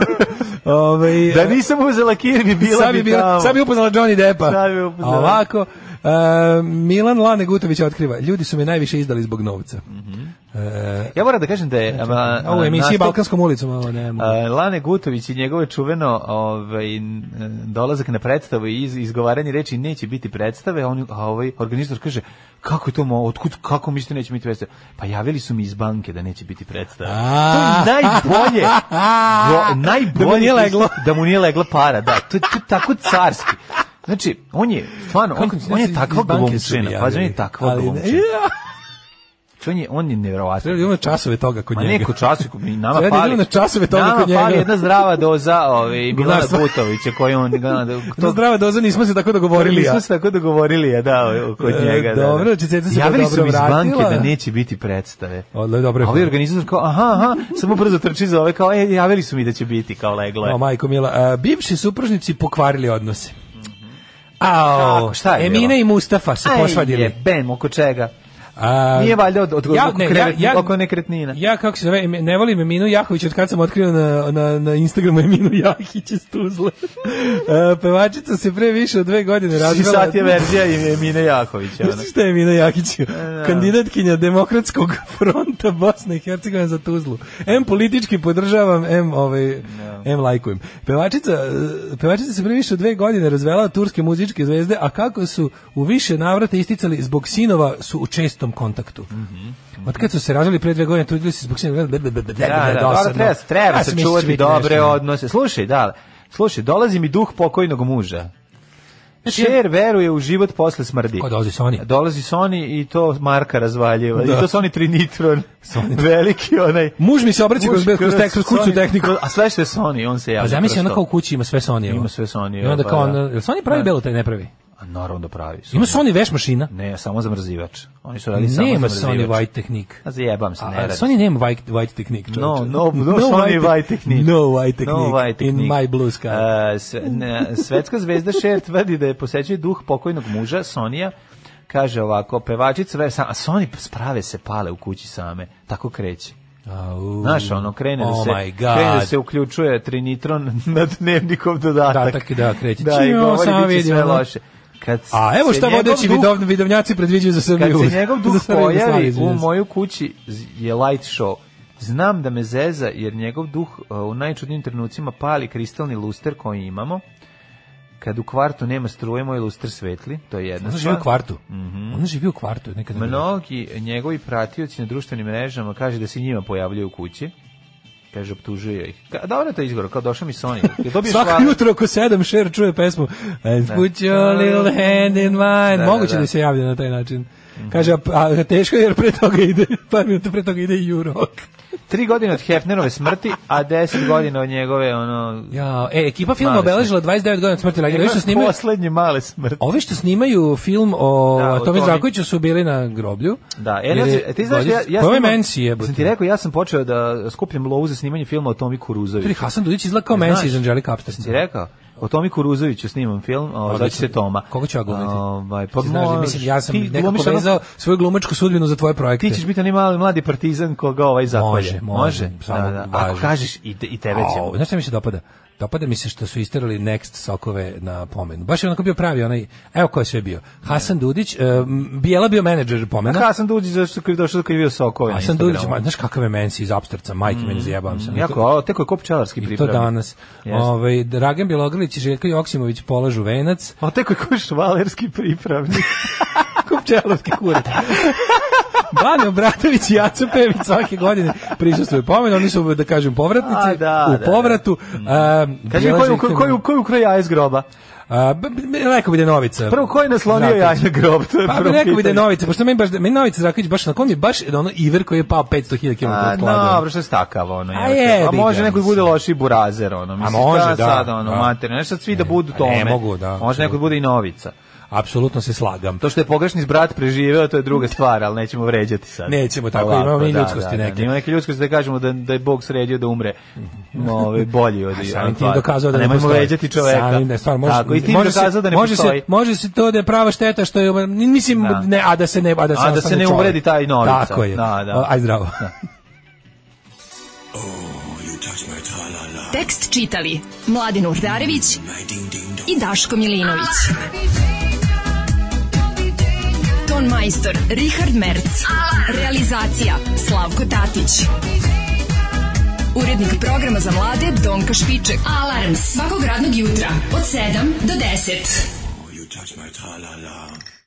F: Ovaj,
G: Da nisam uzela Kirbi, bila
F: sad
G: bi,
F: bi,
G: tamo.
F: bila, sad bi upoznala Johnny Deppa.
G: Sad bi upoznala.
F: A Ovako, e, Milan Lane Gutović otkriva, ljudi su me najviše izdali zbog novca. E,
G: Ja moram da kažem Mm. da je... a, a,
F: ovo je emisija
G: nastup-
F: Balkanskom ulicom, ono, ovo ne mogu.
G: A, Lane Gutović i njegove čuveno ovaj, n- dolazak na predstavu i iz, izgovaranje reči neće biti predstave, a, on, a ovaj organizator kaže kako je to mo, otkud, kako mislite neće biti predstave? Pa javili su mi iz banke da neće biti predstave.
F: A.
G: To je najbolje, go,
F: Ah. Da
G: najbolje
F: mu nije leglo.
G: da mu nije legla para, da, to, to je tako carski. Znači, on je, stvarno, on,
F: Kako-
G: on je
F: iz
G: takva
F: banke su mi
G: glumčina,
F: javili.
G: pazi, on je takva
F: Ali ne-
G: glumčina. on je, on je nevjerovatan.
F: Treba da idemo na časove toga kod
G: Ma
F: njega.
G: neko časove kod njega, nama
F: Treba da
G: fali.
F: idemo na časove toga
G: nama
F: kod njega.
G: fali jedna zdrava doza ove, Milana
F: Glumarstva.
G: Butovića koju on... Da, da,
F: To zdrava doza, nismo se tako dogovorili.
G: Nismo
F: ja.
G: se tako dogovorili, a da, o- kod
F: E,
G: njega. Da,
F: dobro,
G: da.
F: znači, Ceca se
G: Javili
F: dobro
G: su mi iz banke
F: vratila.
G: da neće biti predstave.
F: Odle, dobro je.
G: A ovaj organizator kao, aha, aha, samo brzo trči za ove, kao, e, javili su mi da će biti, kao leglo je.
F: O, majko mila, a, bivši supružnici pokvarili odnose.
G: Kako,
F: Ao,
G: šta je
F: Emina
G: bilo?
F: i Mustafa se
G: Aj,
F: posvadili.
G: jebem, oko čega?
F: A,
G: Nije valjda od, od,
F: ja-
G: oko,
F: ne, ja-
G: krevet,
F: ja-
G: oko nekretnina.
F: Ja, kako se zove, Emi- ne volim Eminu Jahović od kad sam otkrio na, na, na Instagramu Eminu Jahić iz Tuzle. E, pevačica se pre više od dve godine
G: Svi
F: razvela.
G: sat je verzija i Mine Jakovića. ono.
F: Znaš šta je Emina Jakić?
G: E,
F: Kandidatkinja Demokratskog fronta Bosne i Hercegovine za Tuzlu. M politički podržavam, M, ovaj, M lajkujem. Pevačica, eh, pevačica se pre više od dve godine razvela od turske muzičke zvezde, a kako su u više navrata isticali zbog sinova su u čestom kontaktu. Od kad su se razveli pre dve godine, trudili se zbog sinova. Da,
G: Mhm. da, da, da, treba, treba se čuvati dobre odnose. Slušaj, da, slušaj, dolazi mi duh pokojnog muža. Šer veruje u život posle smrdi.
F: Ko dolazi Sony?
G: Dolazi Sony i to Marka razvaljeva.
F: Da.
G: I to Sony Trinitron. Veliki onaj.
F: Muž mi se obraća
G: Muž
F: kroz, kroz, kroz, kroz,
G: kroz
F: kućnu
G: Sony-
F: tehniku.
G: A sve što je Sony, on se javlja.
F: Pa zamisli
G: kroz
F: ono
G: to.
F: kao u kući ima sve Sony.
G: Ima sve Sony.
F: I onda
G: pa
F: kao,
G: da.
F: ono, jel Sony pravi
G: Da.
F: belo, taj ne pravi?
G: A Naravno da pravi.
F: Ima
G: Sony.
F: Sony veš mašina?
G: Ne, samo zamrzivač. Oni su radili samo
F: Nema
G: zamrzivač.
F: Sony White Technique.
G: A zajebam se, ne
F: A,
G: radi.
F: Sony nema White, white Technique.
G: No,
F: čoveče.
G: no, no, Sony
F: White-
G: White Technique.
F: No White Technique.
G: No White
F: In
G: Technique.
F: my blue sky.
G: E, sve- ne, svetska zvezda Cher tvrdi da je posećuje duh pokojnog muža Sonija. Kaže ovako, pevačica, ver- sa- a Sony sprave se pale u kući same. Tako kreće.
F: Au.
G: Znaš, ono, krene, da,
F: Oh
G: se,
F: my God.
G: krene da se uključuje trinitron na dnevnikov dodatak.
F: Dodatak, da, kreće.
G: Da, i
F: Ćao,
G: govori,
F: samo
G: bit će
F: vidim,
G: sve
F: ono.
G: loše. Kad
F: A evo
G: se
F: šta
G: njegov
F: vodeći
G: duh-
F: vidov, vidovnjaci predviđaju za
G: kad
F: Srbiju.
G: se njegov
F: Za
G: duh
F: Srbiju i Jugoslaviju,
G: pojavi u
F: izvinjam se.
G: moju kući je light show. Znam da me zeza jer njegov duh uh, u najčudnijim trenucima pali kristalni luster koji imamo. Kad u kvartu nema struje, moj luster svetli, to je jedna
F: Ona živi u
G: stvar.
F: kvartu.
G: Mhm.
F: Ona živi u kvartu. Nekada
G: Mnogi njegovi pratioci na društvenim mrežama kaže da se njima pojavljaju u kući. Kaže, optužuje ih. Ka, dobro to izgovor, kao došao mi Sonja. Jel dobiješ
F: Svako
G: hvala?
F: jutro oko sedam šer čuje pesmu And
G: Da.
F: put your little hand in mine.
G: Da,
F: Moguće
G: da,
F: da, Mhm.
G: da.
F: se javlja na taj način. Kaže, a, a teško je jer pre toga ide, par minuta pre toga ide i Jurok.
G: Tri godine od Hefnerove smrti, a deset godina od njegove, ono...
F: Ja, e, ekipa filma
G: Male
F: obeležila 29 godina od smrti Lagina. Ovi što snimaju,
G: Poslednje male smrti.
F: ovi što snimaju film o
G: Da, o
F: Tomi
G: Tomi.
F: Zdravkoviću su bili na groblju.
G: Da, e,
F: Jer je-
G: znači, ti znaš, ja, ja
F: Ko je
G: snimam-
F: Mensi jebote?
G: Sam ti rekao, ja sam počeo da skupljam lovu za snimanje filma o Tomi
F: Tri,
G: Kuruzoviću.
F: Hasan Dudić izgleda kao
G: Ne
F: Mensi
G: znaš.
F: iz Angelica Upstar.
G: Sam ti rekao, o Tomi Kuruzoviću snimam film, o, zove
F: Odlično.
G: se Toma.
F: Koga ću ja glumiti?
G: Ovaj,
F: Pa
G: pa
F: znaš, da
G: možeš,
F: mislim, ja sam
G: ti glumiš
F: nekako
G: ono-
F: vezao svoju glumačku sudbinu za tvoje projekte.
G: Ti ćeš biti onaj mali mladi partizan koga ovaj zakolje.
F: Može, može, samo
G: Da, da. Ako
F: važno.
G: kažeš i, te, i tebe
F: Au,
G: ćemo.
F: Znaš šta mi se dopada? Dopada mi se što su isterali Next sokove na pomenu. Baš je onako bio pravi onaj, evo ko je sve bio. Hasan Dudić, um, Bijela bio menadžer pomena.
G: Hasan Duđić zašto je došao kad je bio Sokove. na
F: Hasan Dudić,
G: Instagramu. Mm,
F: ma, znaš kakav je Mensi iz Apsterca, majke meni zajebavam se.
G: Jako, a teko je ko pčelarski
F: I
G: pripravnik.
F: to danas.
G: Jeste.
F: Ovaj Dragan Bjelogrlić i Željko Joksimović polažu venac.
G: A teko je ko švalerski pripravnik.
F: Kupčelovski kurat. Bane Obratović i Jaco Pević svake godine prisustvuju pomenu, oni su, da kažem, povratnici
G: A, da,
F: u
G: da,
F: povratu. Um,
G: Kaži mi koju, koju, koju, koju kraj jaje iz groba?
F: rekao bi da je Novica.
G: Prvo, ko je naslonio
F: Zratović.
G: jaje na grob? To je
F: Pa bi
G: prvo
F: rekao bi da je
G: pitanje.
F: Novica, pošto meni baš, meni Novica Zraković baš, na kom je baš ono Iver koji je pao 500.000 km
G: A,
F: od
G: dobro, što je stakavo, ono,
F: A
G: jebote.
F: jebi
G: a može
F: ga,
G: neko da bude
F: mislim.
G: loši burazer, ono, mislim,
F: može,
G: šta
F: da,
G: sad, ono,
F: da.
G: mater, nešto svi da budu
F: a ne
G: tome.
F: mogu, da,
G: Može neko da bude i novica.
F: Apsolutno se slagam.
G: To što je pogrešni brat preživeo, to je druga stvar, ali nećemo vređati sad.
F: Nećemo tako,
G: Ovako,
F: imamo mi
G: da,
F: ljudskosti
G: da, da,
F: neke.
G: Imamo neke ljudskosti da kažemo da, da je Bog sredio da umre Ove, bolji od...
F: A
G: od
F: samim tim
G: tvara.
F: dokazao da
G: A
F: ne
G: nemojmo
F: postoji.
G: vređati čoveka.
F: Samim ne, stvarno, može,
G: Tako, i tim
F: može se-
G: dokazao da ne
F: može
G: postoji.
F: Se, može se to da je prava šteta što je, mislim,
G: Da.
F: ne, a da se ne, a da se,
G: A da
F: ostane
G: se ne
F: čovjek.
G: uvredi taj novica.
F: Tako je.
G: Da, da.
F: Aj zdravo.
E: Tekst čitali Mladin Urdarević i Daško Milinović. Ton majstor Richard Merc. Realizacija Slavko Tatić. Urednik programa za mlade Donka Špiček. Alarms svakog radnog jutra od 7 do 10.
M: You touch my tra-la-la.